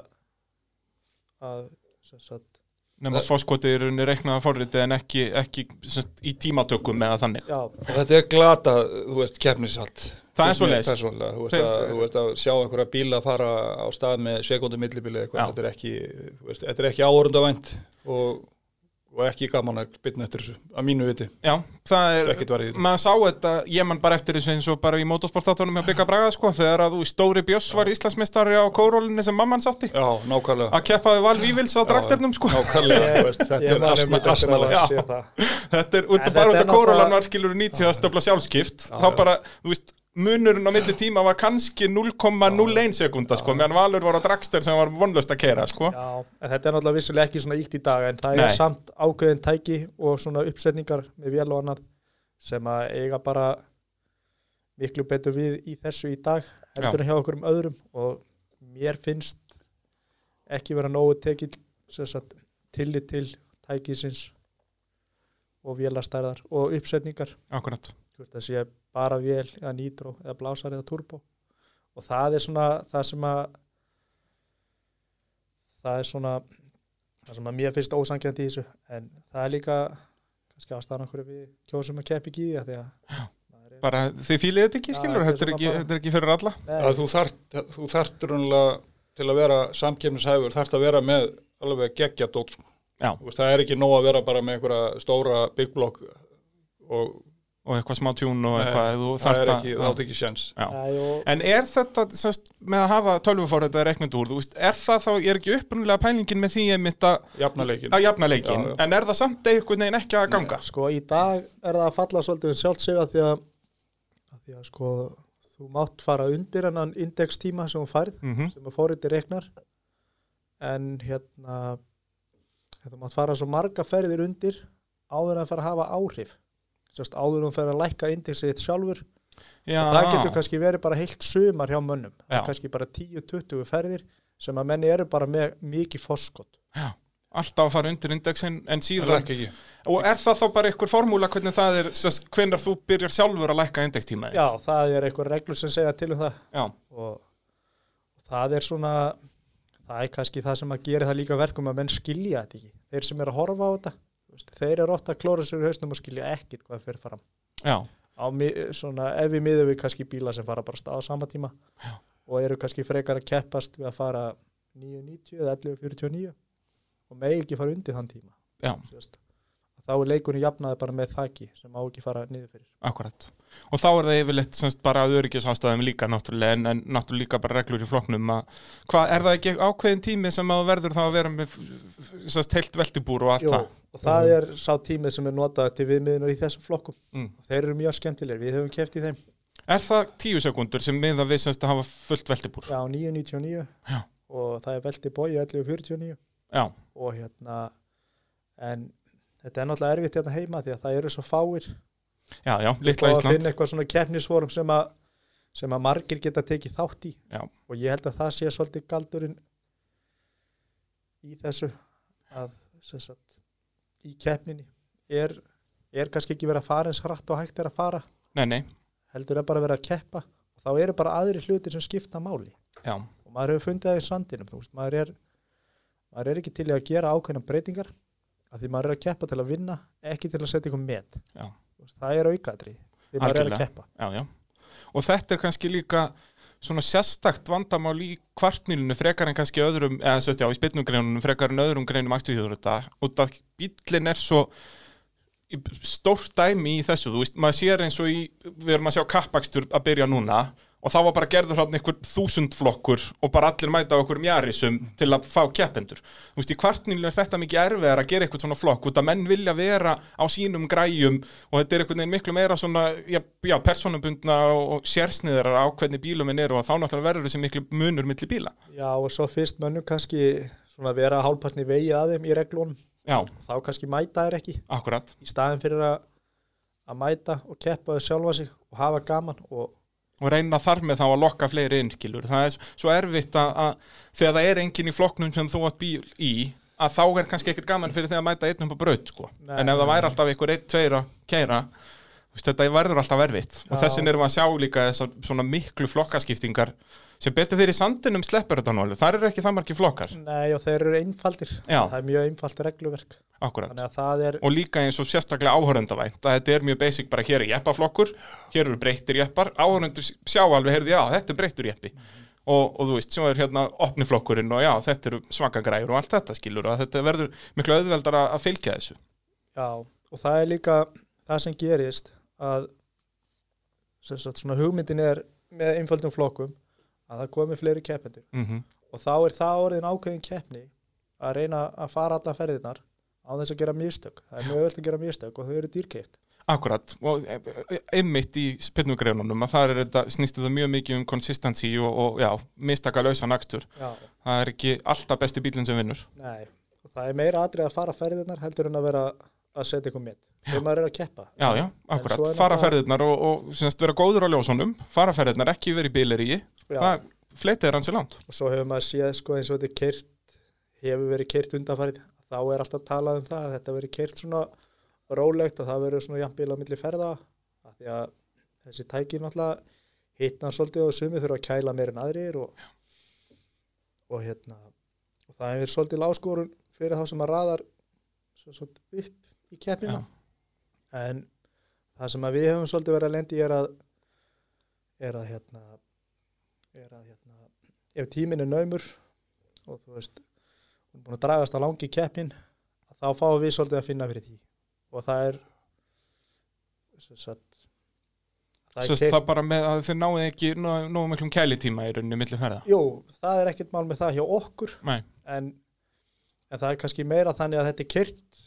Speaker 3: að sem sagt,
Speaker 1: nema að fórskotið er unni reiknaða forrit en ekki, ekki semst, í tímatökum eða þannig
Speaker 3: já,
Speaker 2: og þetta er glata, þú veist, keppnishald
Speaker 1: Það er svoleiðis.
Speaker 2: persónulega, þú veist,
Speaker 1: Þeir-
Speaker 2: að, þú veist að sjá einhverja bíla fara á stað með sekundum millibili eða
Speaker 1: Já.
Speaker 2: eitthvað, þetta er ekki þú veist, þetta er ekki áhörundavænt og, og ekki gaman að byrna eftir þessu að mínu viti,
Speaker 1: Já, það
Speaker 2: þetta
Speaker 1: er,
Speaker 2: er ekkit varðið
Speaker 1: maður sá þetta ég man bara eftir þessu eins og bara í motorsportáttunum hjá Bygga Braga sko, þegar að þú í stóri bjöss var Íslandsmeistari á kórólinni sem mamman sátti
Speaker 2: Já, nákvæmlega
Speaker 1: að keppaði Val Vífils á drakternum sko
Speaker 2: Nákvæmlega, þú veist, þetta
Speaker 3: ég
Speaker 2: er
Speaker 3: man
Speaker 2: asna,
Speaker 3: einmitt eftir að
Speaker 2: asnalega
Speaker 3: sé það.
Speaker 1: <laughs> þetta er út
Speaker 3: En
Speaker 1: að bara
Speaker 3: þetta
Speaker 1: út
Speaker 3: er
Speaker 1: að kórólan
Speaker 3: náttúrulega-
Speaker 1: var skilur 90 að stöfla sjálfskipt þá bara, þú veist, munurinn á milli tíma var kannski 0,01 sekunda sko, meðan Valur var á drakster sem var vonlöst að keira sko,
Speaker 3: já, en þetta er náttúrulega vissulega ekki svona íkt í dag en það
Speaker 1: Nei.
Speaker 3: er samt ákveðin tæki og svona uppsetningar með vél og annað sem að eiga bara miklu betur við í þessu í dag heldur en hjá okkur um öðrum og mér finnst ekki vera nógu tekið sem sagt, tillit til tækisins og vélastærðar og uppsetningar
Speaker 1: akkurat
Speaker 3: Þú veist, það sé bara vél eða nýtró eða blásar eða turbo og það er svona það sem að það er svona það sem að mér finnst ósangjandi í þessu en það er líka kannski ástæðan okkur við kjósum að keppi ekki í því að því að maður er-
Speaker 1: bara þið fílið þetta ekki
Speaker 3: Já,
Speaker 1: skilur,
Speaker 3: þetta
Speaker 1: þetta
Speaker 3: er
Speaker 1: er
Speaker 3: svona
Speaker 1: ekki,
Speaker 3: bara-
Speaker 1: þetta er ekki fyrir alla
Speaker 3: Nei,
Speaker 2: að þú þart, þú þart raunlega til að vera samkefnishæfur þart að vera með alveg geggja dót sko.
Speaker 1: Já.
Speaker 2: Þú veist, það er ekki nóg að vera bara með einhverja stóra big block og
Speaker 1: og eitthvað smá tjún og
Speaker 2: Nei,
Speaker 1: eitthvað þú
Speaker 2: það
Speaker 1: þarft
Speaker 2: er
Speaker 1: að-
Speaker 2: ekki,
Speaker 1: já.
Speaker 2: það átt ekki sjens
Speaker 1: Já.
Speaker 3: nei, og-
Speaker 1: En er þetta semst, með að hafa tölvuforrætt eða reiknendúr, þú veist, er það þá, ég er ekki upprunulega pælingin með því einmitt að
Speaker 2: jafnaleikin,
Speaker 1: að jafna leikin,
Speaker 2: Já, já.
Speaker 1: en er það samt einhvern veginn ekki að ganga?
Speaker 3: sko í dag er það að falla svolítið um sjálft sig að því að, að því að sko þú mátt fara undir hennan indextíma sem hún færð
Speaker 1: Mm
Speaker 3: sem að fórið reiknar en hérna þú mátt fara svo marga ferðir undir áður en að fara að hafa áhrif Sérst, áður en hún fer að lækka indexið þitt sjálfur
Speaker 1: Já,
Speaker 3: og það getur kannski verið bara heilt sumar hjá mönnum Það
Speaker 1: Já.
Speaker 3: er kannski bara 10-20 ferðir sem að menni eru bara með mikið forskot
Speaker 1: alltaf að fara undir indexin en
Speaker 2: það
Speaker 1: síðan,
Speaker 2: er ekki
Speaker 1: og er það þá bara einhver formúla hvernig það er, semst, hvenar þú byrjar sjálfur að lækka indextíma? þinn?
Speaker 3: já, það er eitthvað reglur sem segja til um það
Speaker 1: já,
Speaker 3: og, og það er svona það er kannski það sem að gera það líka verkum að menn skilja þetta ekki þeir sem eru að horfa á þetta þú veist, þeir eru ofta að klóra sér í hausnum og skilja ekkit hvað fyrir fram
Speaker 1: já,
Speaker 3: á, mi- svona, ef við miðum við kannski bíla sem fara bara stað á sama tíma
Speaker 1: Já.
Speaker 3: og eru kannski frekar að keppast við að fara 9.90 eða 11.49 og megi ekki fara undir þann tíma
Speaker 1: Já.
Speaker 3: Sérst, þá er leikunni jafnaði bara með þaki sem á ekki fara niður fyrir
Speaker 1: akkurat. Og þá er það yfirleitt semst, bara að öryggisástæðum líka náttúrulega, en, en náttúrulega líka bara reglur í flokknum að, hvað, er það ekki ákveðin tími sem að þú verður þá að vera með semst, heilt veltibúr og allt
Speaker 3: Jú,
Speaker 1: það?
Speaker 3: og það er sá tímið sem er notað til viðmiðunar í þessum flokkum
Speaker 1: Mm.
Speaker 3: og þeir eru mjög skemmtilegir, við höfum keft í þeim
Speaker 1: Er það tíu sekundur sem miða við semst að hafa fullt veltibúr?
Speaker 3: já, 9.99
Speaker 1: Já.
Speaker 3: og það er velti bói 11.49
Speaker 1: Já,
Speaker 3: og hérna en þetta er náttúrulega erfitt hérna heima því að það eru svo fáir
Speaker 1: já, já,
Speaker 3: og
Speaker 1: litla
Speaker 3: að
Speaker 1: Ísland
Speaker 3: finna eitthvað svona keppnisforum sem að sem að margir geta tekið þátt í
Speaker 1: Já.
Speaker 3: og ég held að það sé svolítið galdurinn í þessu að sem sagt, í keppninni er, er kannski ekki verið að fara eins hratt og hægt er að fara
Speaker 1: Nei, nei,
Speaker 3: heldur er bara verið að keppa og þá eru bara aðri hlutir sem skipta máli
Speaker 1: já,
Speaker 3: og maður hefur fundið það í sandinum þú veist, maður er, maður er ekki til í að gera ákveðna breytingar af því maður er að keppa til að vinna ekki til að setja ykkur met
Speaker 1: Já.
Speaker 3: Þú veist, það er aukadri því maður er
Speaker 1: Algjörlega.
Speaker 3: að keppa
Speaker 1: já, já Og þetta er kannski líka svona sérstakt vandamál í kvartmýlinu frekar en kannski öðrum, eða sérst já, í spilnugreinunum frekar en öðrum greinum aktuðjóður þetta og það bíllinn er svo stórt dæmi í þessu, þú veist, maður sér eins og í við erum að sjá kappakstur að byrja núna og þá var bara gerður hann einhver þúsund flokkur og bara allir mæta á einhverjum jarisum til að fá keppendur þú veist, í kvartnýlinu er þetta mikið erfiðar að gera eitthvað svona flokk, út að menn vilja vera á sínum græjum og þetta er einhvern veginn miklu meira svona, já, já persónubundna og sérsniðar á hvernig bílum en eru og þá náttúrulega verður þessi miklu munur milli bíla,
Speaker 3: Já, og svo fyrst mönnum kannski svona vera hálpassni vegi að þeim í reglunum
Speaker 1: já,
Speaker 3: þá kannski mæta þeir ekki
Speaker 1: akkurat
Speaker 3: í staðin fyrir að, að mæta og keppa þau sjálfa sig og hafa gaman og
Speaker 1: og reyna þar með þá að lokka fleiri innskilur það er s- svo erfitt að, að þegar það er enginn í flokknum sem þú átt bíl í að þá er kannski ekkert gaman fyrir þegar að mæta einn upp á braut sko.
Speaker 3: Nei,
Speaker 1: en ef það
Speaker 3: nei,
Speaker 1: væri
Speaker 3: nei.
Speaker 1: alltaf einhver einn, tveir að keira þú veist, þetta verður alltaf erfitt og
Speaker 3: Já.
Speaker 1: þessin erum við að sjá líka þessar svona miklu flokkaskiptingar sem betur fyrir í sandinum sleppur þetta náli þar eru ekki það margir flokkar
Speaker 3: Nei, og þeir eru einfaldir.
Speaker 1: Já.
Speaker 3: Það er mjög einfalt regluverk.
Speaker 1: akkurat
Speaker 3: Þannig að það er,
Speaker 1: og líka eins og sérstaklega áhörundavænt að þetta er mjög basic bara hér er jeppaflokkur hér eru breyttir jeppar, áhörundur sjá alveg heyrðu já, þetta er breyttur jeppi og, og þú veist, svo er hérna opniflokkurinn og já, þetta eru svaka græjur og allt þetta skilur og þetta verður miklu auðveldar að, að fylgja þessu
Speaker 3: já, og það er líka það sem gerist að sem sagt, svona hugmyndin er með einföldum flokkum að það komi fleiri keppendur
Speaker 1: mm -hmm.
Speaker 3: og þá er það orðin ákveðin keppni að reyna að fara alla ferðirnar á þess að gera mistök. Það er mjög öll að gera mistök og þau eru dýrkeift.
Speaker 1: Akkurat, og e- e- einmitt í spilnugreinunum að það er þetta, snýst þetta mjög mikið um konsistensi og, og já, mistaka lausan akstur,
Speaker 3: Já,
Speaker 1: það er ekki alltaf besti bílinn sem vinnur
Speaker 3: nei. Og það er meira atrið að fara ferðirnar heldur en að vera að setja ykkur mitt. Þegar maður er að keppa.
Speaker 1: Já, já,
Speaker 3: En svo
Speaker 1: akkurat,
Speaker 3: er
Speaker 1: fara
Speaker 3: náttúrulega-
Speaker 1: ferðirnar og, og semst, vera góður á ljósunum, fara ferðirnar ekki verið í bíleríi,
Speaker 3: Já.
Speaker 1: það fleitið er hansi langt
Speaker 3: og svo hefur maður séð sko eins og þetta er kert hefur verið kert undanfarið þá er alltaf talað um það að þetta verið kert svona rólegt og það verið svona jafnbíl á milli ferða af því að þessi tæki náttúrulega hitna svolítið og sumi þurfa að kæla meir en aðrir og, og hérna og það hefur verið svolítið láskorun fyrir þá sem að raðar svo, svo, upp í keppnina en það sem að við höfum svolítið verið að lendi er að er að hérna er að hérna ef tíminn er naumur og þú veist hún er búin að dragast á langi keppnin þá fáum við svolítið að finna fyrir því og það er sem sagt það
Speaker 1: Svo
Speaker 3: er
Speaker 1: það
Speaker 3: keyrt-
Speaker 1: er bara með að þið náðu ekki nógu nógu miklum kælitíma í rauninni milli ferða.
Speaker 3: jú, það er ekkert mál með það hjá okkur
Speaker 1: Nei,
Speaker 3: en, en það er kannski meira þannig að þetta er kyrt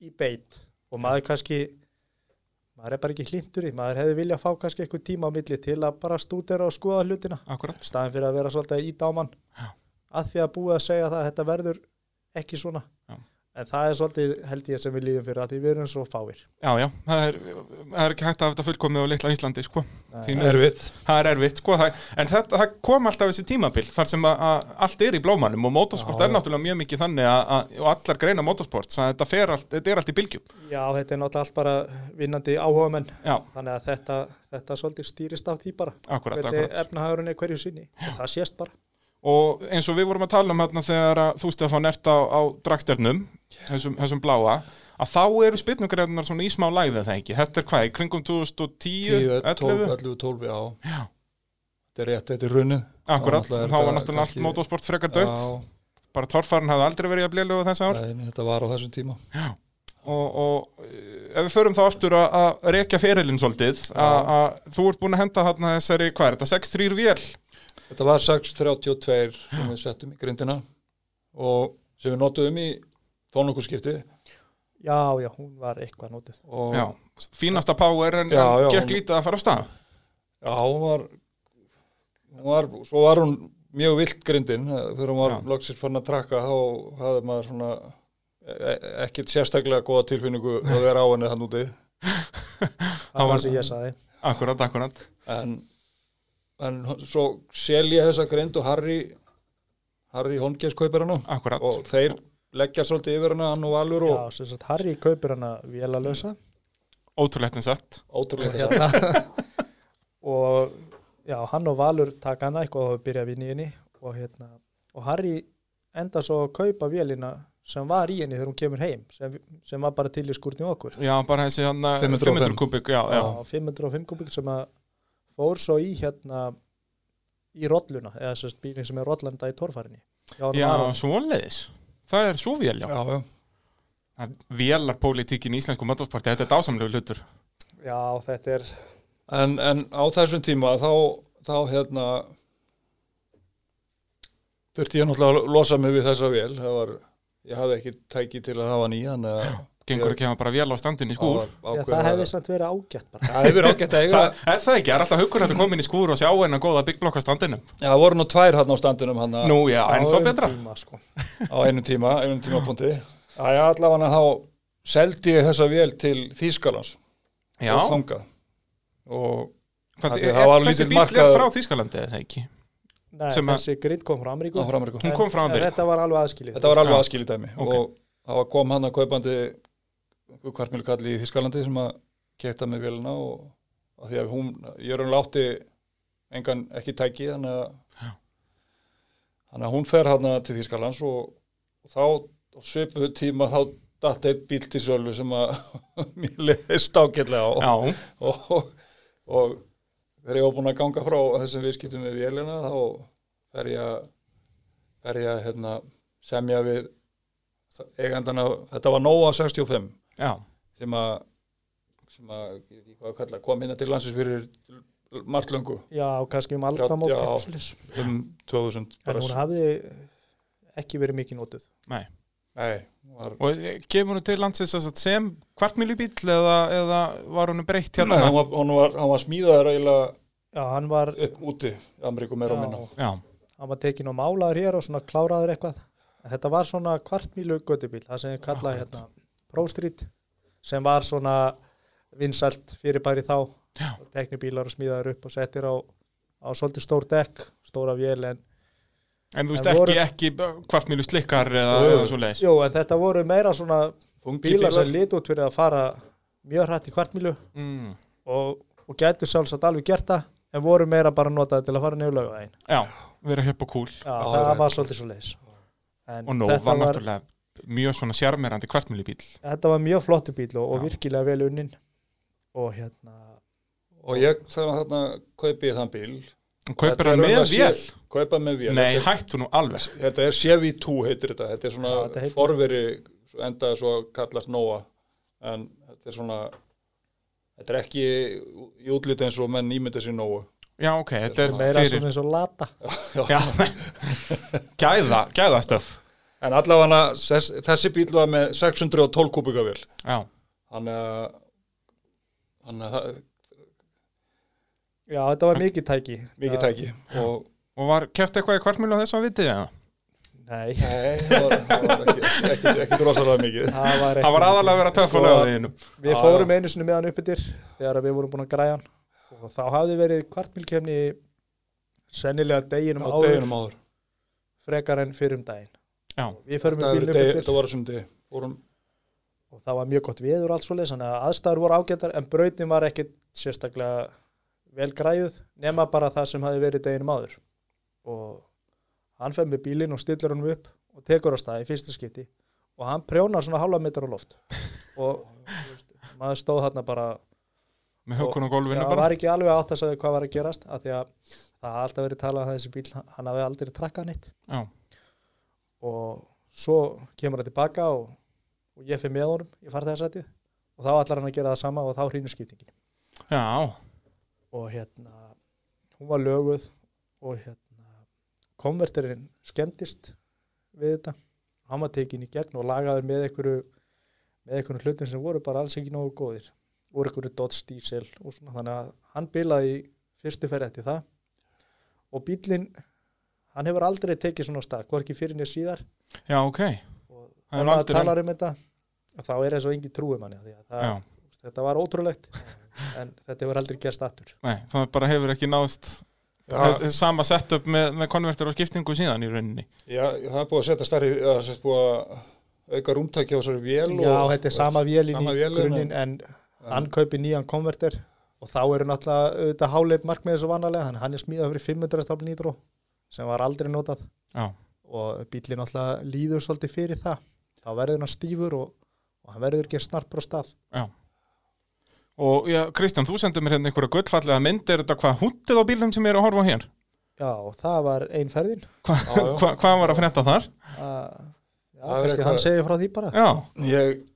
Speaker 3: í beit og maður kannski maður er bara ekki hlindur í, maður hefði viljað fá kannski eitthvað tíma á milli til að bara stúdera og skoða hlutina,
Speaker 1: akkurat.
Speaker 3: staðin fyrir að vera svolítið í dáman,
Speaker 1: Já.
Speaker 3: að því að búið að segja það að þetta verður ekki svona
Speaker 1: Já.
Speaker 3: en það er svolítið held ég sem við líðum fyrir að því við erum svo fáir
Speaker 1: Já, já, það er, það er ekki hægt að hafa þetta fullkomið á litla Íslandi, sko. Því miður.
Speaker 2: Erfitt.
Speaker 1: Það er erfitt, sko, það, en þetta, það kom alltaf þessi tímabil þar sem að, að allt er í blómanum og motorsport
Speaker 2: Já,
Speaker 1: er
Speaker 2: já.
Speaker 1: náttúrulega mjög mikið þannig að, að, og allar greina motorsport, þannig að þetta, fer allt, þetta er allt í bylgjum.
Speaker 3: Já, þetta er náttúrulega allt bara vinnandi áhugamenn
Speaker 1: Já,
Speaker 3: þannig að þetta, þetta svolítið stýrist af því bara
Speaker 1: akkurat,
Speaker 3: þetta
Speaker 1: akkurat.
Speaker 3: er efnahagurinn er hverju sinni og það sést bara
Speaker 1: Og eins og við vorum að tala um hérna þegar að, þú stefán ert á, á dragsternum, þessum, þessum bláa, að þá eru spilnugreinar svona í smá læðið það ekki. Þetta er hvað, í kringum 2010,
Speaker 2: 10, 12,
Speaker 1: 11?
Speaker 2: 11, 12, já.
Speaker 1: Já.
Speaker 2: Þetta er rétt, þetta er runnið.
Speaker 1: Akkurat,
Speaker 2: Þá náttúrulega er
Speaker 1: þá var
Speaker 2: þetta
Speaker 1: náttúrulega allt
Speaker 2: kannski-
Speaker 1: motorsport frekar dött,
Speaker 2: Já,
Speaker 1: bara torfarinn hafði aldrei verið að bléluga þess ár.
Speaker 2: nei, nei, þetta var á þessum tíma.
Speaker 1: og, og eh, ef við förum þá aftur að- að rekja ferilinn svolítið að að þú ert búin að henda þarna þessari, hvað er þetta, 6-3 vél
Speaker 2: Þetta var 6.32 sem við settum í grindina og sem við notuðum í tónlokurskipti
Speaker 3: Já, já, hún var eitthvað nótið.
Speaker 2: og
Speaker 1: já, fínasta power en,
Speaker 2: Já, já,
Speaker 1: en gekk
Speaker 2: hún-
Speaker 1: lítið að fara af stað
Speaker 2: Já, hún var, hún var, svo var hún mjög vilt grindin eh, þegar hún var
Speaker 1: Já.
Speaker 2: loksins fann að trakka þá hafði maður svona e- e- ekkert sérstaklega góða tilfinningu að vera á henni þann úti
Speaker 1: var-
Speaker 3: Það var sem ég sagði.
Speaker 1: akkurat, akkurat
Speaker 2: en, en hún- svo sel ég þessa grind og Harry Harry Holmgeis kaupir hana
Speaker 1: Akkurat,
Speaker 2: og þeir leggja svolítið yfir hana hann og Valur
Speaker 3: Já,
Speaker 2: og
Speaker 3: sem sagt, Harry kaupir hana vélalösa
Speaker 1: ótrúlegt en satt
Speaker 2: ótrúlega
Speaker 3: og já, hann og Valur taka hana eitthvað og byrja að vinna í henni og hérna, og Harry enda svo að kaupa vélina sem var í henni þegar hún kemur heim, sem, sem var bara til í skúrni okkur.
Speaker 1: Já, bara þessi hann
Speaker 2: 505.
Speaker 1: 500 kubik já, já.
Speaker 3: Á 505 kubik sem að fór svo í hérna í rolluna, eða sem sagt bílinn sem er rollanda í torfarinni. Já,
Speaker 1: já, svoleiðis Það er svo vél, já
Speaker 2: já, já.
Speaker 1: Vélarpólitíkin í íslensku motorsporti, þetta er dásamlegu hlutur
Speaker 3: já, þetta er
Speaker 2: En, en á þessum tíma þá, þá hérna þurfti ég náttúrulega að losa mig við þessa vél það var, ég hafði ekki tæki til að hafa hann í þannig að
Speaker 1: Gengur
Speaker 2: Ég-
Speaker 1: ekki að hafa bara vél á standin í
Speaker 2: það
Speaker 1: skúr
Speaker 2: var
Speaker 3: Já,
Speaker 2: ákveðið
Speaker 3: það
Speaker 2: að-
Speaker 3: hefði samt verið ágætt bara.
Speaker 2: Það hefur ágætt að eiga
Speaker 1: Það er það ekki, það er alltaf haukur hættu komin í skúr og sjá hennar góða byggblokka standinum
Speaker 2: Já, það voru nú tvær hann á standinum hann
Speaker 1: Nú já,
Speaker 3: Á
Speaker 1: en
Speaker 3: þeim
Speaker 1: þó betra
Speaker 3: tíma, sko.
Speaker 2: á einum tíma, einum tíma púnti Það er allavega þá seldi ég þessa vél til Þýskalans
Speaker 1: Já,
Speaker 2: og þangað og
Speaker 1: Hvað,
Speaker 2: Af því
Speaker 1: er,
Speaker 2: það var
Speaker 1: þessi
Speaker 2: lítill
Speaker 1: bíl er
Speaker 2: markaður.
Speaker 1: frá Þýskalandi eða ekki?
Speaker 3: Nei,
Speaker 1: sem að-
Speaker 3: þessi grind kom frá Ameríku
Speaker 2: á frá Ameríku
Speaker 1: Hún kom frá
Speaker 3: En
Speaker 1: Ameríku
Speaker 3: Þetta var alveg aðskilið
Speaker 2: Þetta var alveg
Speaker 1: Já.
Speaker 2: aðskilið dæmi
Speaker 1: Ok.
Speaker 2: og það var kom hann að kaupandi kvartmjölkall í Þískalandi sem að kefta með vélina og að því að hún, ég er hún látti engan ekki tæki þannig að, þannig að hún fer hann til Þískalands og, og þá á svipuðu tíma þá datt eitt bíl til sölu sem að <laughs> mér leðist ágætlega á
Speaker 1: Já,
Speaker 2: og, og þegar ég var búinn að ganga frá þessum viðskiptum við vélina þá fer ég að fer ég að hérna, semja við eigandana, þetta var Nóa 65
Speaker 1: já,
Speaker 2: sem að sem að, ég veit ekki hvað að kalla, kom hérna til landsins fyrir margt löngu
Speaker 3: Já, og kannski um aldamót
Speaker 2: Já, já.
Speaker 3: eitthvað svoleiðis.
Speaker 2: um 2000
Speaker 3: En
Speaker 2: bara,
Speaker 3: hún hafði ekki verið mikið nótuð
Speaker 1: nei
Speaker 2: nei, var,
Speaker 1: Og eh, kemur hún til landsins sem sagt sem kvartmýlubíl eða, eða var hún breytt
Speaker 2: hérna,
Speaker 1: hérna?
Speaker 2: hann, var, hann, var, hann var smíðaður eiginlega
Speaker 3: Já, hann var,
Speaker 2: upp úti í Ameríku meira og minna
Speaker 3: já,
Speaker 1: Já,
Speaker 3: hann var tekin og málaður hér og svona kláraður eitthvað En Þetta var svona kvartmílu göttubíl það sem ég kallaði hérna Pro Street sem var svona vinsælt fyrirbæri þá
Speaker 1: Já.
Speaker 3: teknibílar og smíðaður upp og settir á, á svolítið stór dekk, stóra vél en
Speaker 1: en þú veist
Speaker 3: En
Speaker 1: ekki,
Speaker 3: voru-
Speaker 1: ekki kvartmýlu slikkar eða,
Speaker 2: Jú, jú.
Speaker 1: eða svo leiðis
Speaker 3: Jó, en þetta voru meira svona
Speaker 2: þungi
Speaker 3: bílar sem lit út fyrir að fara mjög hrætt í kvartmílu
Speaker 1: mm.
Speaker 3: og, og gætu sjálfsagt alveg gert það en voru meira bara notaði til að fara niður laugavegin
Speaker 1: Já, verið að hjöpa kúl
Speaker 3: Já,
Speaker 2: Já,
Speaker 3: það
Speaker 2: já.
Speaker 3: var svolítið svo leis en
Speaker 1: og Nova
Speaker 3: þetta var,
Speaker 1: náttúrulega mjög svona sjarmerandi kvartmjölubíl
Speaker 3: þetta var mjög flottu bíl og, og
Speaker 1: Já.
Speaker 3: virkilega vel unnin og hérna
Speaker 2: og ég þegar þarna kaupi ég þann bíl
Speaker 1: og kaupir
Speaker 2: Þetta er
Speaker 1: hann með
Speaker 2: örugglega
Speaker 1: vél
Speaker 2: sé- kaupa með vél
Speaker 1: nei,
Speaker 2: þetta,
Speaker 1: hættu nú alveg
Speaker 2: er- þetta er CV2 heitir þetta þetta er svona
Speaker 3: Já, þetta heitir-
Speaker 2: forveri svo endaði svo að kallast Nóa en þetta er svona þetta er ekki í útliti eins og menn ímynda sér Nóa
Speaker 1: já, ok, þetta er
Speaker 3: meira
Speaker 1: fyrir
Speaker 3: svona eins og lata
Speaker 1: já, <laughs> gæða, gæðastöf
Speaker 2: en allavega þess, þessi bíl var með 612 kúbikavél
Speaker 1: já,
Speaker 2: þannig að þannig að það er
Speaker 3: já þetta var mikið tæki
Speaker 2: mikið tæki og
Speaker 1: og var keft eitthvað í kvartmjölu á þess að vitið það
Speaker 3: nei, <laughs>
Speaker 2: nei, það var, það var ekki, ekki, ekki rosalega mikið
Speaker 3: það var, ekki Sko-
Speaker 1: það var aðalega að
Speaker 3: mikið.
Speaker 1: vera töffalega á veginum
Speaker 3: Við
Speaker 2: Já,
Speaker 3: fórum einu sinni með hann uppbyttir þegar við vorum búin að græja hann og þá hafði verið kvartmílkefni sennilega deginum
Speaker 2: á
Speaker 3: áður
Speaker 2: deginum áður
Speaker 3: frekar en fyrir um daginn.
Speaker 1: já,
Speaker 3: Við förum með
Speaker 2: Það
Speaker 3: bílinn
Speaker 2: eru degi-
Speaker 3: uppbyttir
Speaker 2: þetta var þessum degi vorum,
Speaker 3: og það var mjög gott viður og allt svo leys þannig að aðstæður voru ágættar en brautin var ekkit sérstaklega vel græjuð nema bara það sem hafði verið deginum áður og hann fer með bílinn og stillir honum upp og tekur á staði í fyrsta skipti og hann prjónar svona halva metra
Speaker 2: <laughs>
Speaker 3: á loft og þú veist, maður stóð þarna bara
Speaker 1: með hökun og
Speaker 3: Já,
Speaker 1: gólfinu
Speaker 3: það
Speaker 1: bara
Speaker 3: var ekki alveg átt að segja hvað var að gerast af því að það hafði alltaf verið talað að þessi bíl, hann hafi aldrei trakkað nýtt
Speaker 1: já,
Speaker 3: og svo kemur það tilbaka og, og ég fyrir með honum í farþegarsætið og þá ætlar hann að gera það sama og þá hrýnur skiptingin
Speaker 1: já,
Speaker 3: og hérna, hún var löguð og hérna konverterinn skemmtist við þetta, hann var tekin í gegn og lagaður með einhverju með einhverjum hlutum sem voru bara alls ekki nógu góðir voru einhverju Dodge Diesel og svona þannig að hann bilaði í fyrstu ferð eftir það og bílinn hann hefur aldrei tekið svona af stað, hvorki fyrir nýr síðar
Speaker 1: já, ok
Speaker 3: og
Speaker 1: Það er
Speaker 3: ef maður
Speaker 1: aldrei-
Speaker 3: talar um þetta að þá er eins og engin trúi manni af því að það,
Speaker 1: já,
Speaker 3: þetta var ótrúlegt en þetta hefur aldrei gerst aftur
Speaker 1: nei, það bara hefur ekki náðst
Speaker 2: já,
Speaker 1: þess- sama setup með, með konverter og skiptingu síðan í rauninni
Speaker 2: já, það er búið að setja starri eða sem sagt búið að auka rúmtæki á þessari vél
Speaker 3: Já, þetta er sama vélinn
Speaker 2: sama
Speaker 3: í
Speaker 2: vélin,
Speaker 3: grunninn en hann kaupi nýjan konverter og þá eru náttúrulega auðvitað háleit markmiðið svo vanalega, hann, hann er smíðað fyrir 500 stafl nýtró sem var aldrei notað
Speaker 1: já,
Speaker 3: og bílinn náttúrulega líður svolítið fyrir það þá verður hann stífur og, og hann verður ekki snarpur á stað
Speaker 1: já og já, Kristján, þú sendur mér hérna einhverja gullfallega mynd er þetta hvað hundið á bílum sem ég er að horfa á hér
Speaker 3: Já, og það var ein ferðin
Speaker 1: Hva-
Speaker 2: Já, já.
Speaker 1: hva- hvað var að frétta þar
Speaker 3: að,
Speaker 2: Það er
Speaker 3: Já, kannski
Speaker 2: eitthvað-
Speaker 3: hann segir frá því bara
Speaker 1: já,
Speaker 2: ég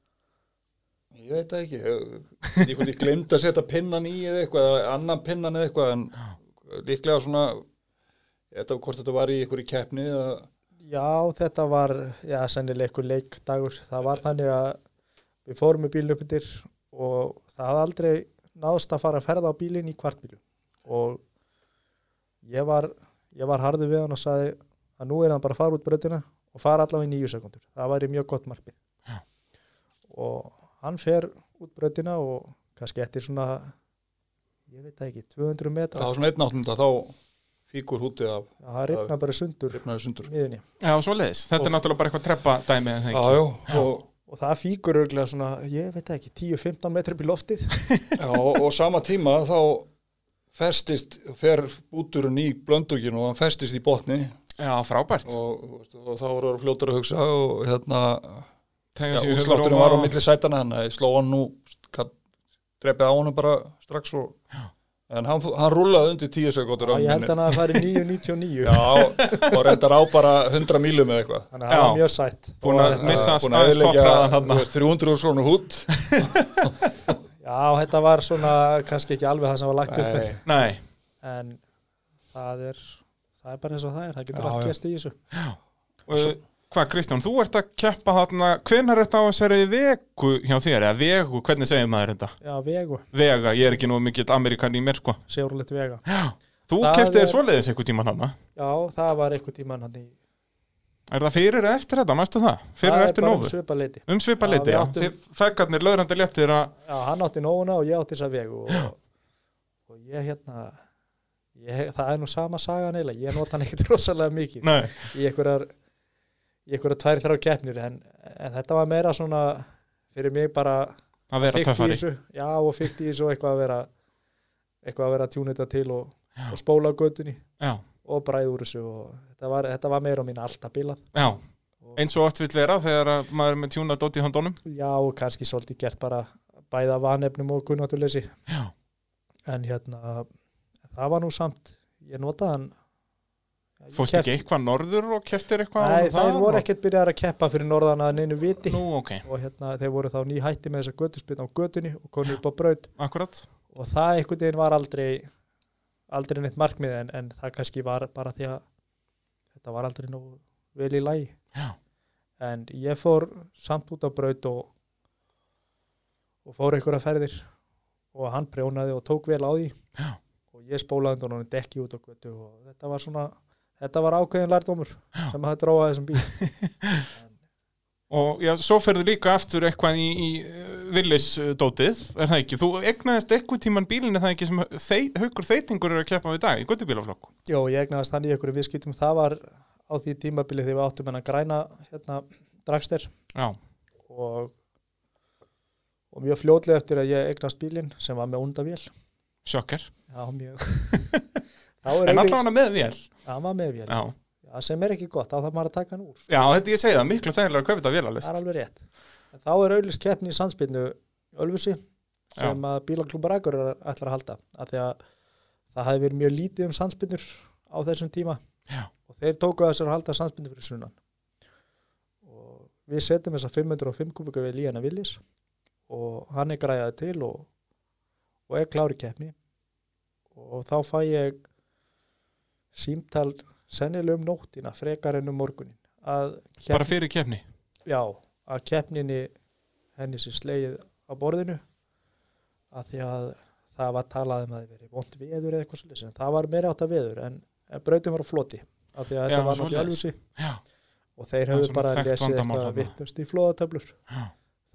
Speaker 2: ég veit það ekki ég, ég, ég glemd að setja pinnan í eða eitthvað eða annan pinnan eða eitthvað en líklega svona þetta, hvort þetta var í einhverju keppni eða,
Speaker 3: Já, þetta var, já, sennilega einhver leikdagur. Það var þannig að við fórum með bílinn uppindir og það hafði aldrei náðst að fara að ferða á bílinn í kvartbílu. Og ég var, ég var harður við hann og sagði að nú er hann bara að fara út brötina og fara allavega í nýju sekundur. Það væri mjög gott markmið. Og hann fer út brötina og kannski eftir svona, ég veit það ekki, 200
Speaker 2: það
Speaker 3: metra.
Speaker 2: var svona einn áttunda þá fíkur hútið af
Speaker 3: Já, það rifna bara sundur
Speaker 2: rifnaði sundur
Speaker 3: miðinni.
Speaker 1: já, svo leiðis þetta er náttúrulega bara eitthvað treppa dæmi
Speaker 2: já, já, og
Speaker 3: og það fíkur örglega svona, ég veit það ekki, 10-15 metri upp í loftið
Speaker 2: Já, og sama tíma þá festist, fer búturinn í blönduginu og hann festist í botni
Speaker 1: já, frábært
Speaker 2: og, og þá voru fljótur að hugsa og hérna, já,
Speaker 1: Tegja sig í höfuð
Speaker 2: útslátturinn
Speaker 1: róma
Speaker 2: var á
Speaker 1: og-
Speaker 2: milli sætana hann, ég sló hann nú, gat- drepið á hann bara strax og, en hann, hann rúlaði undir tíu sekundur
Speaker 3: og ég held hann að það færi 9-99
Speaker 2: Já, og reyndar á bara 100 mílum eða eitthvað.
Speaker 3: þannig að það var
Speaker 1: Já.
Speaker 3: mjög sætt
Speaker 1: Búin að
Speaker 3: Og-
Speaker 1: missa
Speaker 2: Búin að
Speaker 1: aðeins
Speaker 2: eyðileggja,
Speaker 1: toppraðan
Speaker 2: þú
Speaker 1: þarna
Speaker 2: veist, 300 svona hút.
Speaker 3: Já, þetta var svona kannski ekki alveg það sem var lagt upp með
Speaker 2: Nei.
Speaker 1: nei,
Speaker 3: en það er það er bara eins og það er, það getur
Speaker 2: Já,
Speaker 3: allt
Speaker 2: já.
Speaker 3: gerst í þessu
Speaker 1: Og, hvað Kristján, þú ert að keppa þarna hvenær er þetta á þessari veku hjá þér, eða vegu, hvernig segir maður þetta
Speaker 3: Já, vegu,
Speaker 1: vega, ég er ekki nú mikill amerikan í mér sko
Speaker 3: sérúleitt vega
Speaker 1: þú
Speaker 3: Það
Speaker 1: kepptið
Speaker 3: er-
Speaker 1: þér svoleiðis einhvern tímann þarna
Speaker 3: Já, það var einhver tíman hann í
Speaker 1: er það fyrir eða eftir þetta, mæstu það fyrir eða eftir nófu,
Speaker 3: svipa leiti
Speaker 1: um svipaleiti já,
Speaker 3: Já, við áttum-
Speaker 1: Þið fegarnir löðrandi léttir að
Speaker 3: Já, hann átti nóguna og ég átti þessa vegu og, og ég hérna ég, það er nú sama sagan eiginlega, ég nota hann ekkert <laughs> rosalega mikið
Speaker 1: nei,
Speaker 3: í einhverjar í einhverjar tvær þrjá keppnir en, en þetta var meira svona fyrir mig bara
Speaker 1: að vera
Speaker 3: fikk í
Speaker 1: töffari
Speaker 3: þessu já og fikk í þessu og eitthvað að vera eitthvað að vera að tjúna þetta til og, og spóla á götunni
Speaker 1: já,
Speaker 3: og bræð úr þessu og þetta var, þetta var meira á mín alltaf bílað
Speaker 1: já,
Speaker 3: og,
Speaker 1: eins og oft vill vera þegar að maður er með tjúna dótt í handónum
Speaker 3: já, og kannski svolítið gert bara bæða vanefnum og gunnátturleysi
Speaker 1: Já.
Speaker 3: en hérna það var nú samt, ég notaði hann ég
Speaker 1: fórst
Speaker 3: keppti-
Speaker 1: ekki eitthvað norður og keftir eitthvað
Speaker 3: Nei,
Speaker 1: og
Speaker 3: þeir
Speaker 1: það
Speaker 3: voru
Speaker 1: og-
Speaker 3: ekkert byrjaðar að keppa fyrir norðan að neinu viti
Speaker 1: nú ok,
Speaker 3: og hérna, þeir voru þá ný hætti með þessa götuspinn á götunni og konu upp á braut
Speaker 1: akkurat
Speaker 3: og það einhvern veginn var aldrei aldrei neitt markmið en, en það kannski var bara því að þetta var aldrei nógu vel í lagi
Speaker 1: Já.
Speaker 3: en ég fór samt út á braut og, og fór einhverja ferðir og hann prjónaði og tók vel á því
Speaker 1: Já.
Speaker 3: og ég spólaði undan honum dekki út á götu og þetta var svona þetta var ákveðin lærdómur Já. sem að dróa þessum bíl
Speaker 1: og já, svo ferðu líka aftur eitthvað í, í villisdótið er það ekki, þú egnaðist eitthvað tíman bílinn er það ekki sem þeit, haukur þeitingur er að keppa við í dag í guttubílaflokku
Speaker 3: Jó, ég egnaðast hann í ykkur viðskiptum, það var á því tímabili þegar við áttum hennar græna hérna, dragster
Speaker 1: já,
Speaker 3: og, og mjög fljótlega eftir að ég eignast bílinn sem var með undavél
Speaker 1: sjokker
Speaker 3: Já, mjög
Speaker 1: <laughs>
Speaker 3: Þá er
Speaker 1: en
Speaker 3: auglýst-
Speaker 1: allavega með vél
Speaker 3: hann var með vél
Speaker 1: já,
Speaker 3: Já, sem er ekki gott, þá þarf maður að taka hann úr
Speaker 1: já þetta ég segi það, miklu þægilega að kaupa þetta
Speaker 3: Það er
Speaker 1: vélalist
Speaker 3: alveg rétt en Þá er auðlist keppni í sandsbyrnu Ölfusi sem að bílaklúbar Akur ætlar að halda af því að það hefði verið mjög lítið um sandsbyrnur á þessum tíma
Speaker 1: Já.
Speaker 3: og þeir tóku að þessar að halda sandsbyrnu fyrir sunnan og við setjum þessa 505 kubika við Líana Villis og hann er græðað til og, og er klári keppni og þá fæ ég símtal sennilega um nóttina frekar en um morgunin að
Speaker 1: bara fyrir keppni
Speaker 3: já, að keppninni henni sér slegið á borðinu að því að það var talað um að það veri vond veður eða eitthvað svolítið en það var meira átt að veður en, en brautin var á floti af því
Speaker 1: Já,
Speaker 3: að þetta var
Speaker 1: svoleiðis.
Speaker 3: náttúrulega alveg
Speaker 1: já,
Speaker 3: og þeir
Speaker 1: Það er
Speaker 3: höfðu
Speaker 1: svona
Speaker 3: bara
Speaker 1: þekkt
Speaker 3: lesið
Speaker 1: vandamál
Speaker 3: eitthvað
Speaker 1: þarna.
Speaker 3: vittust í flóðatöflur
Speaker 1: Já.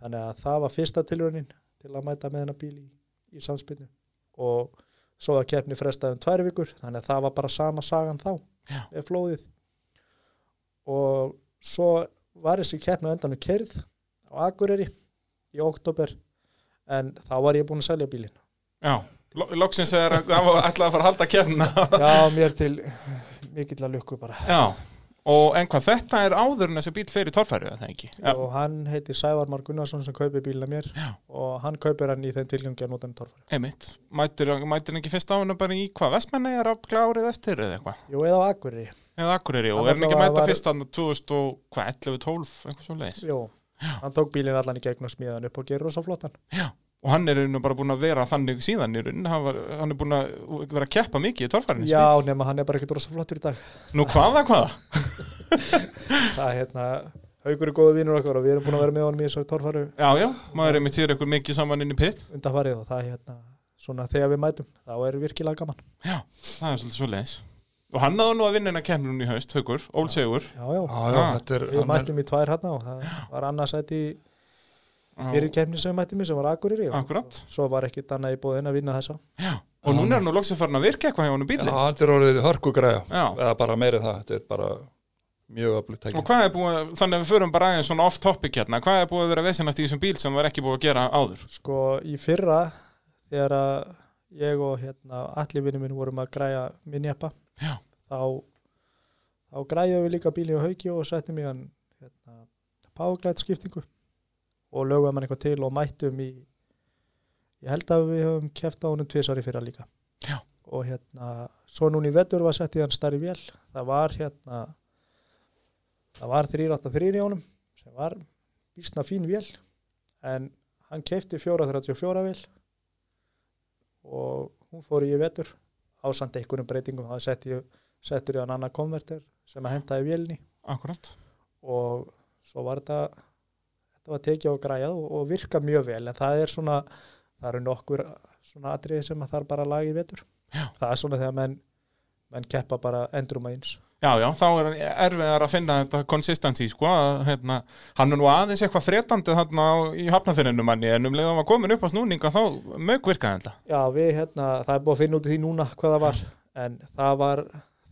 Speaker 3: þannig að það var fyrsta tilraunin til að mæta með hennar bíl í, í samspilnu og svo að keppni frestaði um tvær vikur þannig að það var bara sama sagan þá
Speaker 1: Já.
Speaker 3: með flóðið og svo var þessi keppni á endanum kerð á Akureyri í oktober en þá var ég búin að selja
Speaker 1: <laughs>
Speaker 3: bílinn
Speaker 1: já Lo- loksins er að <laughs> það var alltaf að fara að halda keppna
Speaker 3: já, mér til mikill að lukku bara
Speaker 1: Já, og en hvað þetta er áður en þessi bíl fer í torfæru, er það ekki? Já,
Speaker 3: og hann heitir Sævar Már Gunnarsson sem kaupir bílina mér
Speaker 1: Já.
Speaker 3: og hann kaupir hann í þeim tilgangi að nota hann torfari
Speaker 1: einmitt. Mætir, mætir hann ekki fyrst á hana bara í hvað? Vestmenni er ábyggilega árið eftir eða eitthvað?
Speaker 3: Jú, eða á Akureyri
Speaker 1: Eða Akureyri og er
Speaker 3: Hann
Speaker 1: hann ekki að
Speaker 3: allavega
Speaker 1: mæta
Speaker 3: var-
Speaker 1: fyrst hann 2000 og hvað, 11, 12, eitthvað svo leiðis.
Speaker 3: Jú, hann tók bílinn allan í gegn og smíða hann upp og gerur svo flottan
Speaker 1: Og hann er í rauninni bara búin að vera þannig síðan í rauninni, hann, var, hann er búin að vera að keppa mikið í torfærinu.
Speaker 3: Já, nema hann er bara ekkert rosa flottur í dag
Speaker 1: Nú hvaða, hvaða?
Speaker 3: Það er hérna, haugur er góða vinur okkar og við erum búin að vera með honum í þessu torfaru
Speaker 1: Já, já, maður er einmitt hér eitthvað mikið saman inn í pitt.
Speaker 3: undanfarið og það er hérna svona þegar við mætum, þá er virkilega gaman
Speaker 1: Það er svolítið svo leiðis. Og hann náðu nú að vinna hennar kemur hún í haust, haugur, ólsegur.
Speaker 3: Já, já,
Speaker 2: já, já,
Speaker 1: Ah.
Speaker 2: þetta er,
Speaker 3: við
Speaker 2: hann er
Speaker 3: mættum í tvær hérna og það var annarsæti í fyrir kemni sem við mættum í sem var Akureyri og
Speaker 1: Akkurat.
Speaker 3: svo var ekkert annað í bóðin að vinna þessa
Speaker 1: Og núna er hann nú loksins farin að virka eitthvað hjá hann um
Speaker 2: já,
Speaker 1: bíli.
Speaker 2: þetta er orðið hörkugræja
Speaker 1: Já.
Speaker 2: eða bara meira en það, þetta er bara mjög öflugt tæki
Speaker 1: Og hvað er búið, að- þannig að við förum bara aðeins svona off topic hérna, hvað er búið að vera vesinast í þessum bíl sem var ekki búið að gera áður?
Speaker 3: Sko í fyrra þegar að ég og hérna, allir vinnum minn vorum að græja minnjappa
Speaker 1: Já.
Speaker 3: þá, þá græjaðum við líka bílinn á hauki og settum í hann hérna, páglætt skiptingu og lögum hann eitthvað til og mættum í ég held að við höfum keft á honum tvisar í fyrra líka
Speaker 1: Já.
Speaker 3: og hérna svo núna í vetur var sett í hann starri vél það var hérna það var 383 í honum sem var bísna fín vél en hann keipti 434 vil og hún fór í vetur ásand einhverjum breytingum það setti, settur í hann annað konverter sem að hentaði vélni
Speaker 1: Akkurat.
Speaker 3: og svo var þetta þetta var tekið og græjað og, og virka mjög vel en það er svona það eru nokkur svona atriði sem að þarf bara að laga í vetur Já. það er svona þegar menn, menn keppa bara endrum að eins
Speaker 1: Já, já, þá er erfiðar að finna þetta konsistensi, sko, að hérna, hann er nú aðeins eitthvað fretandi þarna á- í hafnafinninu manni, en um leið og hann var komin upp á snúninga þá mög virkaði þetta.
Speaker 3: Já, við hérna, það er búið að finna út í því núna hvað það var, en það var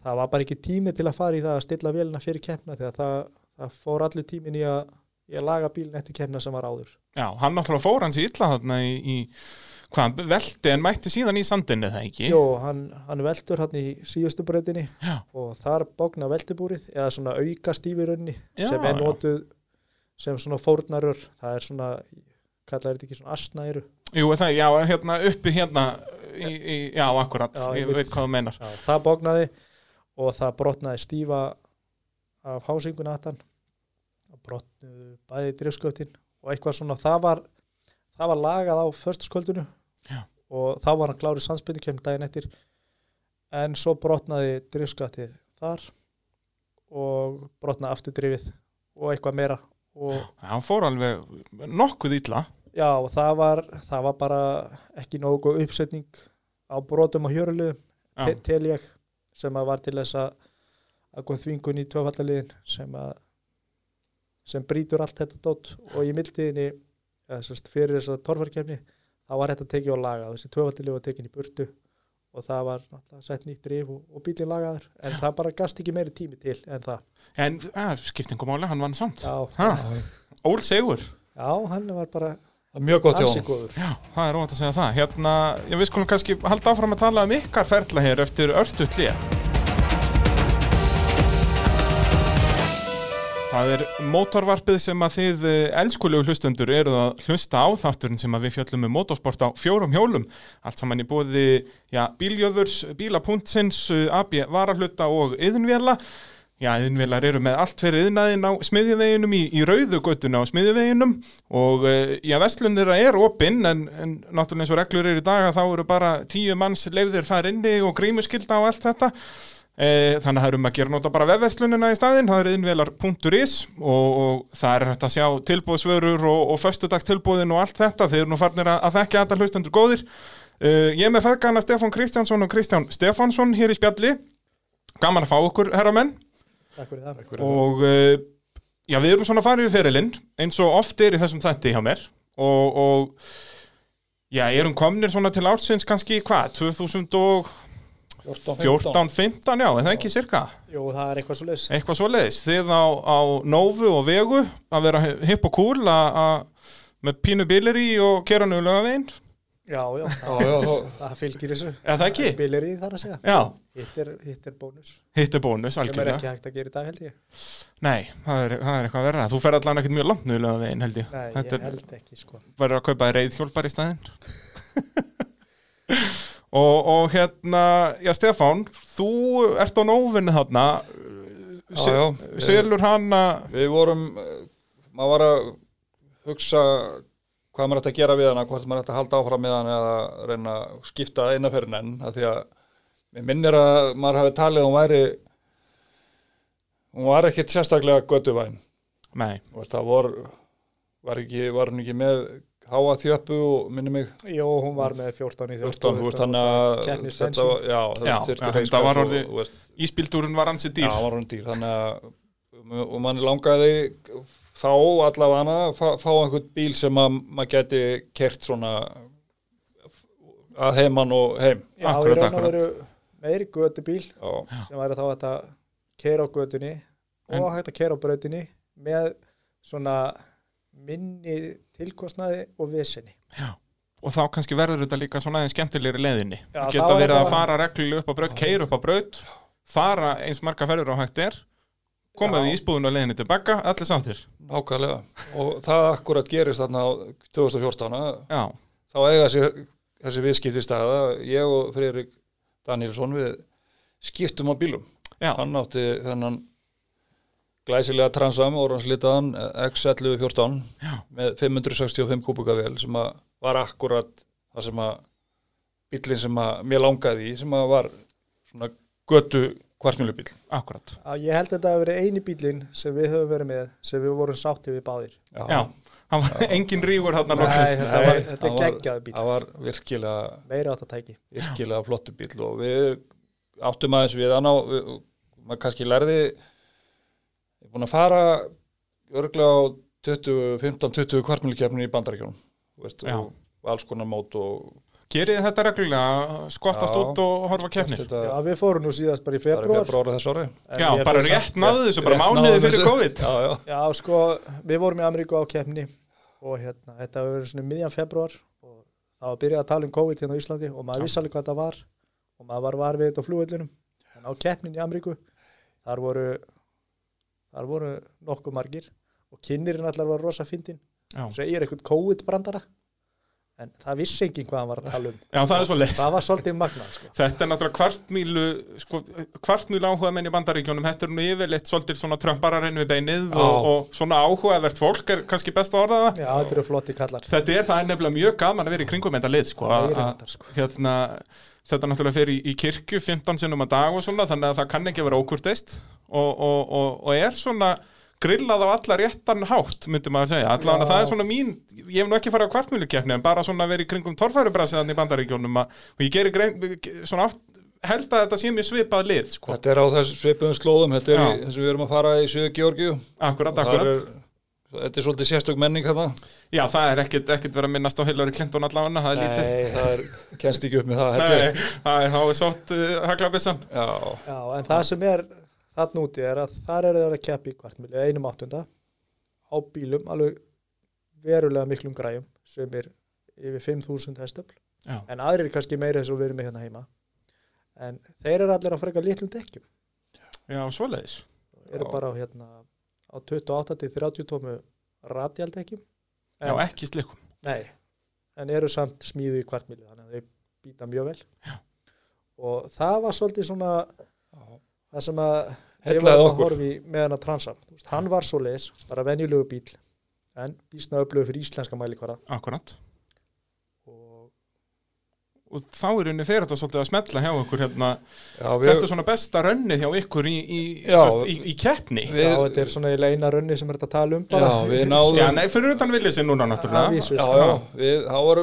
Speaker 3: það var bara ekki tími til að fara í það að stilla vélina fyrir keppna þegar það, það fór allir tímin í að, í að laga bílinn eftir keppna sem var áður.
Speaker 1: Já, hann náttúrulega fór hans í illa þarna í, í hvað hann velti en mætti síðan í sandinni það ekki
Speaker 3: Jó, hann, hann veldur hann í síðustu breytinni
Speaker 1: Já.
Speaker 3: og þar bókna veldibúrið eða svona auka stífirunni
Speaker 1: Já,
Speaker 3: sem er
Speaker 1: já.
Speaker 3: notuð sem svona fórnarur það er svona, kallar þetta ekki svona asnæru
Speaker 1: Jú, það, já, hérna uppi hérna í, í, já, akkurat,
Speaker 3: Já,
Speaker 1: ég
Speaker 3: einmitt.
Speaker 1: veit hvað þú meinar
Speaker 3: Já, það bóknaði og það brotnaði stífa af hásingun aftan og brotnaði bæði drifsköttin og eitthvað svona, það var það var lagað á förstaskvöldinu
Speaker 1: Já.
Speaker 3: og þá var hann klárið sannsbyndikemd daginn eftir en svo brotnaði drifsköttið þar og brotnaði aftur drifið og eitthvað meira og já,
Speaker 1: Já, hann fór alveg nokkuð illa
Speaker 3: og það var, það var bara ekki nógu góð uppsetning á brotum og hjöruliðum
Speaker 1: já,
Speaker 3: te- tel ég sem að var til þess að að kom þvingun í tvöfallaliðin sem að sem brýtur allt þetta dót og í mildiðinni eða sérst fyrir þess að torfarkefni þá var þetta tekið á laga þessi tvöfallalið var tekin í burtu og það var náttúrulega sett nýtt drif og, og bílinn lagaður en það bara gast ekki meiri tími til en það
Speaker 1: En ja, skiptingumáli, hann vann samt
Speaker 3: já,
Speaker 1: ha,
Speaker 2: Já, já.
Speaker 1: Ól Sigur
Speaker 3: já hann var bara
Speaker 2: Það er mjög gott hjá
Speaker 3: ansi
Speaker 2: hann.
Speaker 3: góður
Speaker 1: Já, það er óvænt að segja það. Hérna, ég við skulum kannski halda áfram að tala um ykkar ferla hér eftir örtu hlýja. Það er mótorvarpið sem að þið eh, elskulegu hlustendur eruð að hlusta á þátturinn sem að við fjöllum með motorsport á fjórum hjólum. Allt saman í bóði já, bíljöfurs, bíla.sins, AB varahluta og yðinvjala. Já, yðinvjalar eru með allt fyrir yðnaðin á smiðjuveginum í, í rauðu göttuna á smiðjuveginum og eh, já, vestlun þeirra er opinn en, en náttúrulega eins og reglur eru í dag að þá eru bara tíu manns leifðir þar inni og grímuskylda og allt þetta Eh, Þannig að það er um að gera nota bara vefveslunina í staðinn, það er innvelar.is og, og það er hægt að sjá tilbóðsvörur og, og föstudagstilbóðin og allt þetta, þeir eru nú farnir að, að þekka þetta hlustendur góðir. Uh, ég er með feðgana Stefán Kristjánsson og Kristján Stefánsson hér í spjalli, gaman að fá okkur herramenn
Speaker 3: takk fyrir það
Speaker 1: og uh, já, við erum svona farið við fyrirlinn eins og oft er í þessum þætti hjá mér og, og já, erum komnir svona til ársins kannski hvað, 2014-15 já, er það ekki cirka?
Speaker 3: Jú, það er eitthvað svo leys
Speaker 1: Eitthvað svoleiðis, þið á, á nófu og vegu að vera hipp og cool að að- með pínu bílir í og kera nöðlega veginn,
Speaker 3: já, já,
Speaker 2: Já,
Speaker 3: það,
Speaker 2: já, þá-
Speaker 3: það fylgir þessu
Speaker 1: eða það ekki?
Speaker 3: bílir í þar að segja
Speaker 1: Já,
Speaker 3: hitt er, hitt er bónus
Speaker 1: hitt er bónus
Speaker 3: sem er
Speaker 1: algjörlega
Speaker 3: ekki hægt að gera í dag held ég
Speaker 1: Nei, það er, það er eitthvað verra, þú fer allan ekkert mjög langt nöðlega veginn held ég
Speaker 3: Nei,
Speaker 1: Þetta
Speaker 3: ég
Speaker 1: er-
Speaker 3: held ekki sko
Speaker 1: verður að kaupa reyðhjólpar í staðinn <laughs> og, og hérna já Stefán, þú ert á nóvinni þarna
Speaker 2: Já, já.
Speaker 1: Sérlur hana
Speaker 2: Við vorum, eh, maður var að hugsa hvað maður ætti að gera við hana, hvort maður ætti að halda áfram með hana eða reyna að skipta eina fyrir enn, af því að mér minnir að maður hafi talið að hún væri, hún var ekkit sérstaklega göttuvæn.
Speaker 1: nei,
Speaker 2: Þú veist, Það vor, var, ekki, var hún ekki með háa þjöppu og minni mig
Speaker 3: Jó, hún var með 14 í
Speaker 2: 14, þú veist, þannig að
Speaker 3: Keppnisbensin.
Speaker 2: var, já,
Speaker 1: Já,
Speaker 2: þetta
Speaker 1: já,
Speaker 2: þurfti
Speaker 1: þetta var
Speaker 2: svo,
Speaker 1: orðið
Speaker 2: þú veist,
Speaker 1: íspildúrun var hansi dýr
Speaker 2: Já, hann var hann dýr, þannig að og mann langaði þá allavega að fá, fá einhvern bíl sem að maður geti kert svona að heiman og heim
Speaker 3: Já,
Speaker 1: Akkurat,
Speaker 3: í raun og
Speaker 1: akkurat.
Speaker 3: veru meiri gödubíl
Speaker 2: já,
Speaker 3: sem væri þá hægt að keira á gödunni og
Speaker 1: En-
Speaker 3: hægt að keira á brautinni með svona minni tilkostnaði og vesinni
Speaker 1: og þá kannski verður þetta líka svona aðeins skemmtilegri leðinni
Speaker 3: Já,
Speaker 1: geta
Speaker 3: þá er
Speaker 1: verið
Speaker 3: það-
Speaker 1: að fara reglulega upp á braut keir upp á braut, fara eins marga ferður á hægt er koma
Speaker 3: Já.
Speaker 1: við ísbúðun og leðinni tilbaka, allir sáttir
Speaker 2: nákvæmlega og það akkurat gerist þarna á 2014 að
Speaker 1: já,
Speaker 2: þá eiga þessi, þessi viðskipti staða ég og Friðrik Danielsson við skiptum á bílum
Speaker 1: Já.
Speaker 2: hann átti þennan glæsilega transam oranslitaðan X1114
Speaker 1: Já.
Speaker 2: með 565 kúbukavél sem að var akkurat það sem að bíllinn sem að mér langaði í sem að var svona götu kvartmjölubíll
Speaker 1: akkurat
Speaker 3: að Ég held að þetta hafi verið eini bílinn sem við höfum verið með sem við vorum sátti við báðir
Speaker 1: já, hann var engin rígur þarna
Speaker 3: Nei,
Speaker 1: loksins
Speaker 3: þetta var, þetta
Speaker 2: hann
Speaker 3: er
Speaker 2: var-
Speaker 3: geggjaði bíl
Speaker 2: það var virkilega
Speaker 3: meiri átt að tæki
Speaker 2: virkilega flottu bíl og við áttum aðeins við hann á við- maður kannski lærði ég er búin að fara örglega á 15-20 kvartmjölikefni í bandaríkjónum veist,
Speaker 1: Já.
Speaker 2: og alls konar mót og
Speaker 1: Gerið þetta reglulega, skottast
Speaker 2: Já.
Speaker 1: út og horfa keppnir
Speaker 2: þetta
Speaker 3: Já, við fórum nú síðast bara í
Speaker 2: bara í
Speaker 3: februar
Speaker 2: februar þess ári
Speaker 1: Já, bara rétt náðu þessu, bara mánuði fyrir COVID
Speaker 2: já, já.
Speaker 3: Já, sko, við vorum í Ameríku á keppni og hérna, þetta var verið svona miðjan februar og það var byrjað að tala um COVID hérna á Íslandi og maður vissi alveg hvað það var og maður var var við þetta á flugvöllunum en á keppnin í Ameríku þar voru þar voru nokkuð margir og kynnirinn allar var rosa fyndin
Speaker 1: Já.
Speaker 3: og segir eitthvað COVID brandara en það vissi enginn hvað hann var að tala um
Speaker 1: Já, það er svo leið.
Speaker 3: það var svolítið magnað sko.
Speaker 1: Þetta er náttúrulega kvartmýlu, sko, kvartmýlu áhuga menn í bandaríkjónum. Þetta er nú yfirleitt svolítið svona trömbararinn við beinið
Speaker 2: Já.
Speaker 1: og, og svona áhugavert fólk er kannski best að orða það.
Speaker 3: Já, þetta eru flotti kallar
Speaker 1: Þetta er, það er nefnilega mjög gaman að vera í kringum þetta lið, sko.
Speaker 3: Það er
Speaker 1: að-
Speaker 3: reyndar, sko.
Speaker 1: Hérna, þetta náttúrulega fer í, í kirkju 15 sinnum að dag og svona, þannig að það kann ekki að vera ókurteist og, og, og, og er svona grillað á alla réttan hátt, myndi maður segja. Allan að
Speaker 3: Já.
Speaker 1: það er svona mín, ég hef nú ekki farið á kvartmýlukefni, en bara svona verið í kringum torfærubrassiðan í bandaríkjónum að, og ég gerir grein, svona átt, held að þetta sé mjög svipað lið, sko.
Speaker 2: Þetta er á þessu svipuðum slóðum, þetta er
Speaker 1: Já.
Speaker 2: í- þess að við erum að fara í Suðu Georgiu.
Speaker 1: Akkurat,
Speaker 2: Þar
Speaker 1: akkurat.
Speaker 2: er- Þetta er svolítið sérstök menning hérna.
Speaker 1: Já, það er ekkit, ekkit verið að minnast á Hillary Clinton allavega, það er lítið.
Speaker 3: Nei,
Speaker 2: Það er, kennst ekki upp með það. þetta er-
Speaker 1: Nei, það er, þá er sátt uh, haglabissan.
Speaker 2: Já,
Speaker 3: Já, en það sem er þarna úti er að þar eru þeir að keppa í kvartmili einum áttunda á bílum alveg verulega miklum græjum sem er yfir 5.000 hestöfl
Speaker 1: Já.
Speaker 3: en aðrir kannski meira þess að við erum með hérna heima en þeir eru allir að freka litlum dekkjum
Speaker 1: Já, svoleiðis.
Speaker 3: eru
Speaker 2: Já.
Speaker 3: bara á hérna á 28 til 30 tómu radjaldekkjum
Speaker 1: Já,
Speaker 3: en,
Speaker 1: ekki slikum.
Speaker 3: nei, en eru samt smíðu í kvartmili þannig að þeir býta mjög vel Já. og það var svolítið svona það sem að ég var
Speaker 2: Heillaði
Speaker 3: að
Speaker 2: okkur.
Speaker 3: horfi með hann að transa Þú veist, hann var svo leis, bara venjulegu bíl en bísna upplöfu fyrir íslenska mælikvara
Speaker 1: Akkurat.
Speaker 3: og
Speaker 1: og þá er henni fyrir þetta svolítið að smetla hjá ykkur hérna,
Speaker 2: Já,
Speaker 1: þetta
Speaker 2: við,
Speaker 1: er svona besta rönnið hjá ykkur í, í,
Speaker 2: Já.
Speaker 1: sérst, í, í keppni
Speaker 2: Við-
Speaker 3: já, þetta er svona eiginlega eina rönni sem er þetta að tala um bara
Speaker 2: já, við náðum.
Speaker 1: já, nei, fyrir utan viljið sér núna
Speaker 3: Að
Speaker 1: náttúrulega
Speaker 3: vísu.
Speaker 2: Já, já, við, þá var,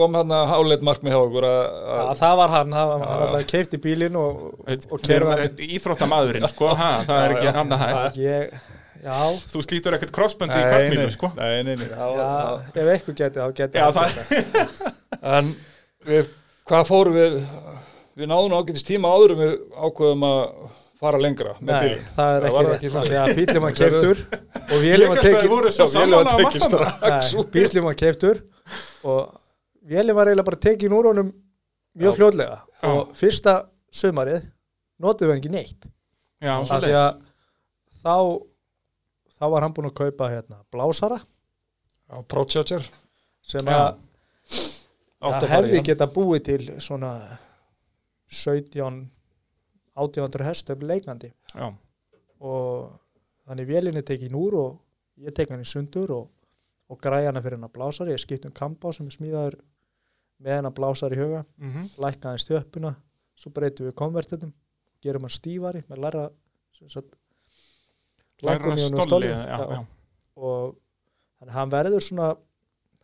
Speaker 2: kom hann að háleit markmið hjá okkur að,
Speaker 3: Já,
Speaker 2: að
Speaker 3: það var hann, hann, hann alltaf keifti bílinn og,
Speaker 1: Veit,
Speaker 3: og
Speaker 1: við erum
Speaker 3: keirði hann
Speaker 1: að- íþróttamadurinn, sko, ha, það er ekki annað hægt
Speaker 3: ég, já,
Speaker 1: þú slítur ekkert crossböndi í
Speaker 2: Nei,
Speaker 1: kvartmílu,
Speaker 2: nei,
Speaker 1: sko
Speaker 2: Nei, nei, nei, það
Speaker 3: já,
Speaker 2: var,
Speaker 3: ef eitthvað geti þá geti
Speaker 1: já,
Speaker 3: hann
Speaker 1: það,
Speaker 3: gert
Speaker 2: það- en við, hvað fórum við, við náðum ágætist tíma áður en við ákveðum að fara lengra með
Speaker 3: Nei,
Speaker 2: bílinn.
Speaker 3: það er
Speaker 2: Það
Speaker 3: ekki
Speaker 2: var
Speaker 3: rétt
Speaker 2: ekki
Speaker 3: Af
Speaker 2: svoleiðis.
Speaker 3: því að bílum hann keiftur og
Speaker 1: ég
Speaker 3: vélum
Speaker 1: held
Speaker 3: hann
Speaker 1: að þið
Speaker 3: tekið
Speaker 1: voru svo
Speaker 2: Já,
Speaker 1: samanlega
Speaker 2: vélum
Speaker 1: að
Speaker 2: að tekið
Speaker 1: margt annað
Speaker 2: strax.
Speaker 3: Nei, bílum var keiftur og vélum var eiginlega bara tekin úr honum mjög
Speaker 2: Já.
Speaker 3: fljótlega
Speaker 1: Já.
Speaker 3: og fyrsta sömarið notuðu hann ekki neitt
Speaker 1: já, svo
Speaker 3: af því að þá þá var hann búinn að kaupa hérna blásara
Speaker 2: Já, Procharger.
Speaker 3: sem
Speaker 1: Já.
Speaker 3: að
Speaker 2: átti að
Speaker 3: það
Speaker 2: fara í
Speaker 3: hefði
Speaker 2: hann.
Speaker 3: geta búið til svona 17 1800 hestöf leikandi
Speaker 1: já,
Speaker 3: og þannig vélinni tekin úr og ég tek hann í sundur og, og græja hana fyrir hennar blásari ég skipt um kamba sem er smíðaður með hennar blásari í huga
Speaker 1: mhm,
Speaker 3: lækka aðeins þjöppuna svo breytum við konvertinum gerum hann stífari með læra
Speaker 1: læra stolli já, já,
Speaker 3: og þannig að hann verður svona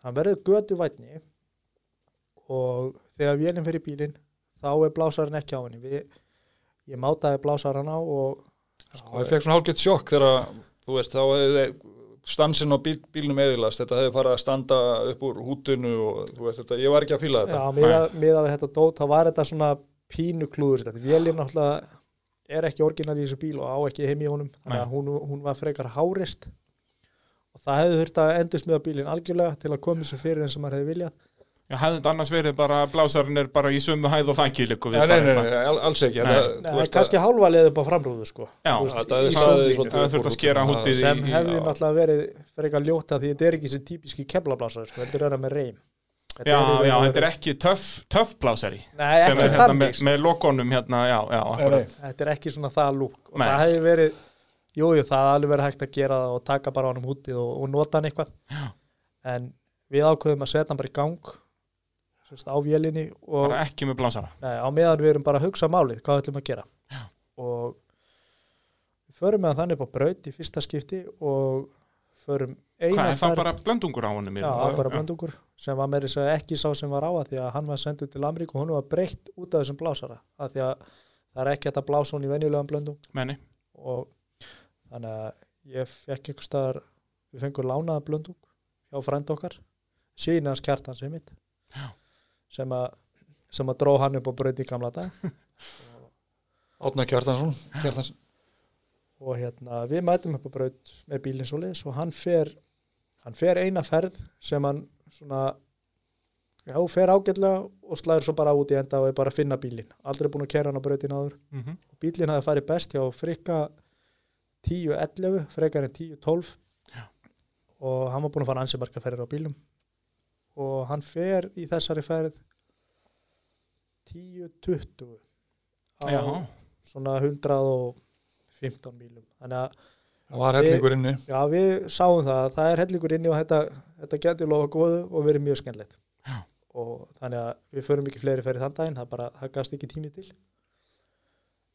Speaker 3: hann verður götu vætni og þegar vélinn fyrir bílinn þá er blásarinn ekki á henni við, ég mátaði blásarinn á og
Speaker 2: Og ég fekk svona hálfgett sjokk þegar að, þú veist, þá hefði stansinn á bíl, bílnum eðilast, þetta hefði farið að standa upp úr hútinu og þú veist þetta, ég var ekki að fýla þetta.
Speaker 3: Já, miðað miða við þetta dót, þá var þetta svona pínu klúður, þetta vélinn náttúrulega er ekki orginal í þessu bíl og á ekki heim í honum, þannig að hún, hún var frekar hárist og það hefði þurft að endur smiða bílinn algjörlega til að koma þessu fyrir eins og maður hefði viljað
Speaker 1: já, hefði þetta annars verið bara blásarinn er bara í sömu hæð og þakki líku
Speaker 2: Nei,
Speaker 1: við
Speaker 2: nei,
Speaker 1: bara hérna.
Speaker 2: nei,
Speaker 1: eitthvað.
Speaker 2: nei, al- alls ekki.
Speaker 1: Nei.
Speaker 2: þetta-
Speaker 3: Nei,
Speaker 2: þú veist
Speaker 3: kannski hálfa leið upp á framrúðu sko
Speaker 1: Já,
Speaker 3: Þú veist,
Speaker 2: þetta hefði
Speaker 3: í
Speaker 2: staðið
Speaker 3: sólinni.
Speaker 2: svolítið
Speaker 1: Það þurfti að
Speaker 2: upp úr
Speaker 1: skera
Speaker 2: hútinu.
Speaker 1: hútið
Speaker 3: sem
Speaker 1: í-
Speaker 3: hefði
Speaker 1: já.
Speaker 3: náttúrulega verið frekar ljóta því þetta er ekki þessi típiski keflablásar sko, heldur er það með reym Þetta
Speaker 1: já,
Speaker 3: í raun
Speaker 1: já,
Speaker 3: og
Speaker 1: þetta er
Speaker 3: veru-
Speaker 1: ekki töff, töff blásari
Speaker 3: Nei,
Speaker 1: sem
Speaker 3: ekki
Speaker 1: er hérna
Speaker 3: þannig
Speaker 1: með,
Speaker 3: sko.
Speaker 1: með lokonum hérna, já, já,
Speaker 2: Nei,
Speaker 1: akkurat
Speaker 2: nei.
Speaker 3: þetta er ekki svona það lúk og
Speaker 1: Nei.
Speaker 3: það hefði verið, jújú, jú, það hefði alveg verið hægt að gera það og taka bara á hann um hútið og, og nota hann eitthvað
Speaker 1: Já.
Speaker 3: en við ákveðum að setja hann bara í gang sérst, á vélinni og
Speaker 1: bara ekki með blásara
Speaker 3: nei, á meðan við erum bara að hugsa málið hvað ætlum að gera Já. og við förum með hann þannig upp á braut í fyrsta skipti og förum
Speaker 1: Hvað,
Speaker 3: eina
Speaker 1: er það bara blöndungur á honum? í
Speaker 3: Já,
Speaker 1: raun?
Speaker 3: bara blöndungur sem var meiri segja ekki sá sem var á að því að hann var sendur til Ameríku og hún var breytt út af þessum blásara að því að það er ekki hægt að blása hún í venjulegan blöndung
Speaker 1: Meni,
Speaker 3: og þannig að ég fekk einhver staðar við fengum lánaða blöndung hjá frænd okkar síðan hans kjartan sem mitt sem að, sem að dró hann upp og braut í gamla dag
Speaker 2: Átna Kjartansson, Kjartansson.
Speaker 3: og hérna við mætum upp og braut með bílinn svo og hann fer hann fer eina ferð sem hann svona já, fer ágætlega og slæður svo bara út í enda og er bara að finna bílinn aldrei búin að kera hann á brautin áður
Speaker 1: Mhm.
Speaker 3: bílinn hafði farið best hjá frikka 10-11, frekar en 10-12 og hann var búin að fara ansi marga ferðir á bílum og hann fer í þessari ferð 10-20 á
Speaker 1: Já.
Speaker 3: svona 115 bílum þannig að
Speaker 2: það var hellingur inni
Speaker 3: já, við sáum það að það er hellingur inni og þetta, þetta getur lofa góðu og verið mjög skemmlegt
Speaker 1: Já.
Speaker 3: og þannig að við förum ekki fleiri ferði þann daginn, það bara, það gafst ekki tími til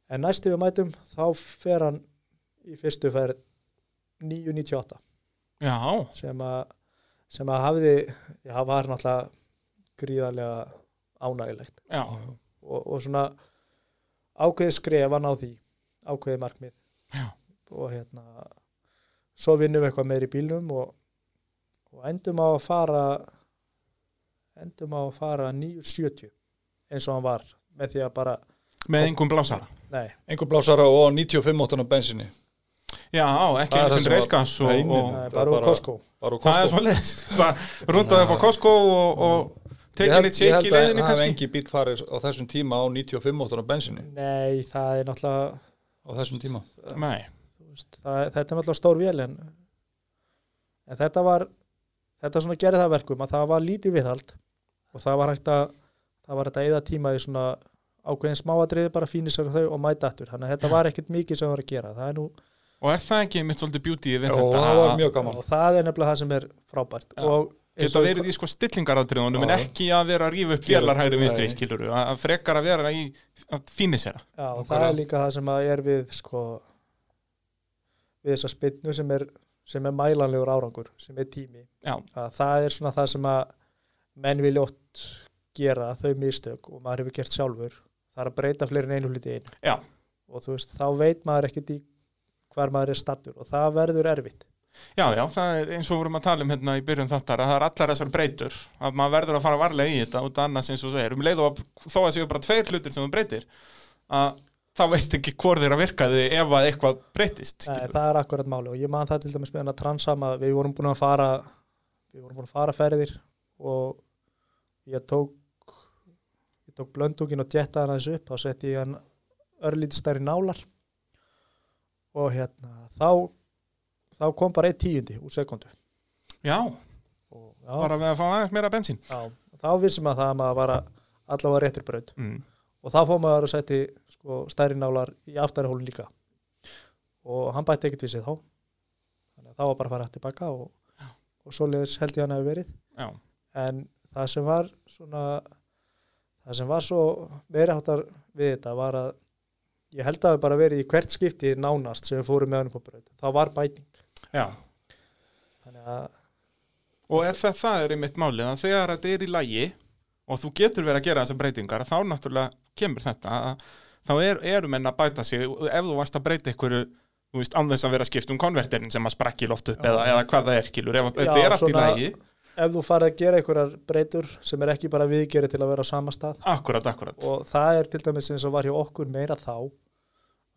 Speaker 3: en næstu við mætum þá fer hann í fyrstu ferð 9.98
Speaker 1: Já,
Speaker 3: sem að sem að hafði, já, var náttúrulega gríðarlega ánægilegt
Speaker 1: já,
Speaker 3: og, og svona ákveðið skref að ná því ákveðið markmið
Speaker 1: Já.
Speaker 3: og hérna svo vinnum við eitthvað meir í bílnum og, og endum á að fara endum á að fara 970 eins og hann var með því að bara,
Speaker 1: með einhverjum blásara
Speaker 3: nei,
Speaker 2: einhver blásara og 95 óttan á bensinni
Speaker 1: Já, ekki eins
Speaker 2: Það er
Speaker 1: og
Speaker 2: það sem
Speaker 1: reiskas
Speaker 2: var-
Speaker 1: og,
Speaker 2: Nei, nei,
Speaker 1: og
Speaker 3: nei,
Speaker 2: það
Speaker 3: bara úr
Speaker 2: bara-
Speaker 3: Costco
Speaker 2: bara úr
Speaker 1: það er
Speaker 2: Costco.
Speaker 1: svoleiðis <laughs> bara rundaði upp á Costco og, og
Speaker 2: Ég
Speaker 1: tekið
Speaker 2: held-
Speaker 1: nýtt shake í leiðinni
Speaker 2: Ég held að það hefði
Speaker 1: kannski
Speaker 2: engi bíl farið á þessum tíma á 95 óttan á bensinni
Speaker 3: nei, það er náttúrulega
Speaker 2: á þessum tíma
Speaker 1: Nei,
Speaker 3: þú veist, það, þetta er náttúrulega stór vél en, en þetta var þetta svona gerði það að verkum að það var lítið viðhald og það var hægt að það var hægt að eða tíma í svona ákveðin smáatriði bara fínisar þau og mæta aftur þannig að þetta var ekkert mikið sem var að gera það er nú,
Speaker 1: og er það ekki mitt svolítið beauty við
Speaker 2: og
Speaker 1: þetta
Speaker 2: það var
Speaker 1: að
Speaker 2: mjög gaman
Speaker 3: og það er nefnilega það sem er frábært
Speaker 1: Já.
Speaker 3: og eins
Speaker 1: geta
Speaker 3: og-
Speaker 1: verið í sko stillingaratriðunum en
Speaker 2: Já.
Speaker 1: ekki að vera að rífa upp
Speaker 2: Gera-
Speaker 1: félar hægri vinstri,
Speaker 2: Nei.
Speaker 1: skilur að að frekar að vera í að fínisera
Speaker 3: Já, og það
Speaker 2: Nákvæmlega.
Speaker 3: er líka það sem að er við sko við þessa spynnu sem er sem er mælanlegur árangur, sem er tími
Speaker 1: Já.
Speaker 3: að það er svona það sem að menn vilja oft gera þau mistök og maður hefur gert sjálfur það er að breyta fleiri en einu hluti í einu
Speaker 1: Já.
Speaker 3: og þú veist, þá veit maður ekkert í hvar maður er stattur og það verður erfitt
Speaker 1: Já, já, það er eins og vorum að tala um hérna í byrjun þáttar að það er allar þessar breytur að maður verður að fara varlega í þetta út af annars eins og segir um leið og að, þó að séu bara tveir hlutir sem þú breytir að þá veist ekki hvort þeirra virkaði ef að eitthvað breytist
Speaker 3: Nei,
Speaker 1: skilurðu.
Speaker 3: það er akkurat máli og ég man það til dæmis með hann að transama við vorum búin að fara við vorum búin að fara ferðir og ég tók ég tók blöndúkin og djetta hann aðeins upp þá setti ég hann örlítið stærri nálar og hérna þá þá kom bara eitt tíundi úr sekundu
Speaker 1: Já,
Speaker 3: og, já,
Speaker 1: bara við að fá aðeins meira bensín
Speaker 3: já, þá vissum að það að maður var að- allavega á réttri braut
Speaker 1: mm.
Speaker 3: og þá fór maður að setja sko, stærri nálar í aftarihólun líka og hann bætti ekkert við sig þá þannig að þá var bara að fara hægt tilbaka og, og svoleiðis held ég hann hafi verið
Speaker 1: Já,
Speaker 3: en það sem var svona það sem var svo meiriháttar við þetta var að ég held að það hafi bara verið í hvert skipti nánast sem við fórum með hann upp á braut þá var bæting
Speaker 1: já
Speaker 3: þannig að
Speaker 1: Og ef það, það er einmitt málið að þegar þetta er í lagi og þú getur verið að gera þessar breytingar þá náttúrulega kemur þetta að þá er, eru menn að bæta sig og ef þú varst að breyta einhverju þú veist, án þess að vera að skipta um konverterin sem að sprakki loft upp eða, eða hvað það er, skilur, ef
Speaker 3: Já,
Speaker 1: þetta er allt í
Speaker 3: svona-
Speaker 1: lagi
Speaker 3: ef þú farið að gera einhverjar breytur sem er ekki bara viðgerið til að vera á sama stað
Speaker 1: Akkurat, akkurat,
Speaker 3: og það er til dæmis eins og var hjá okkur meira þá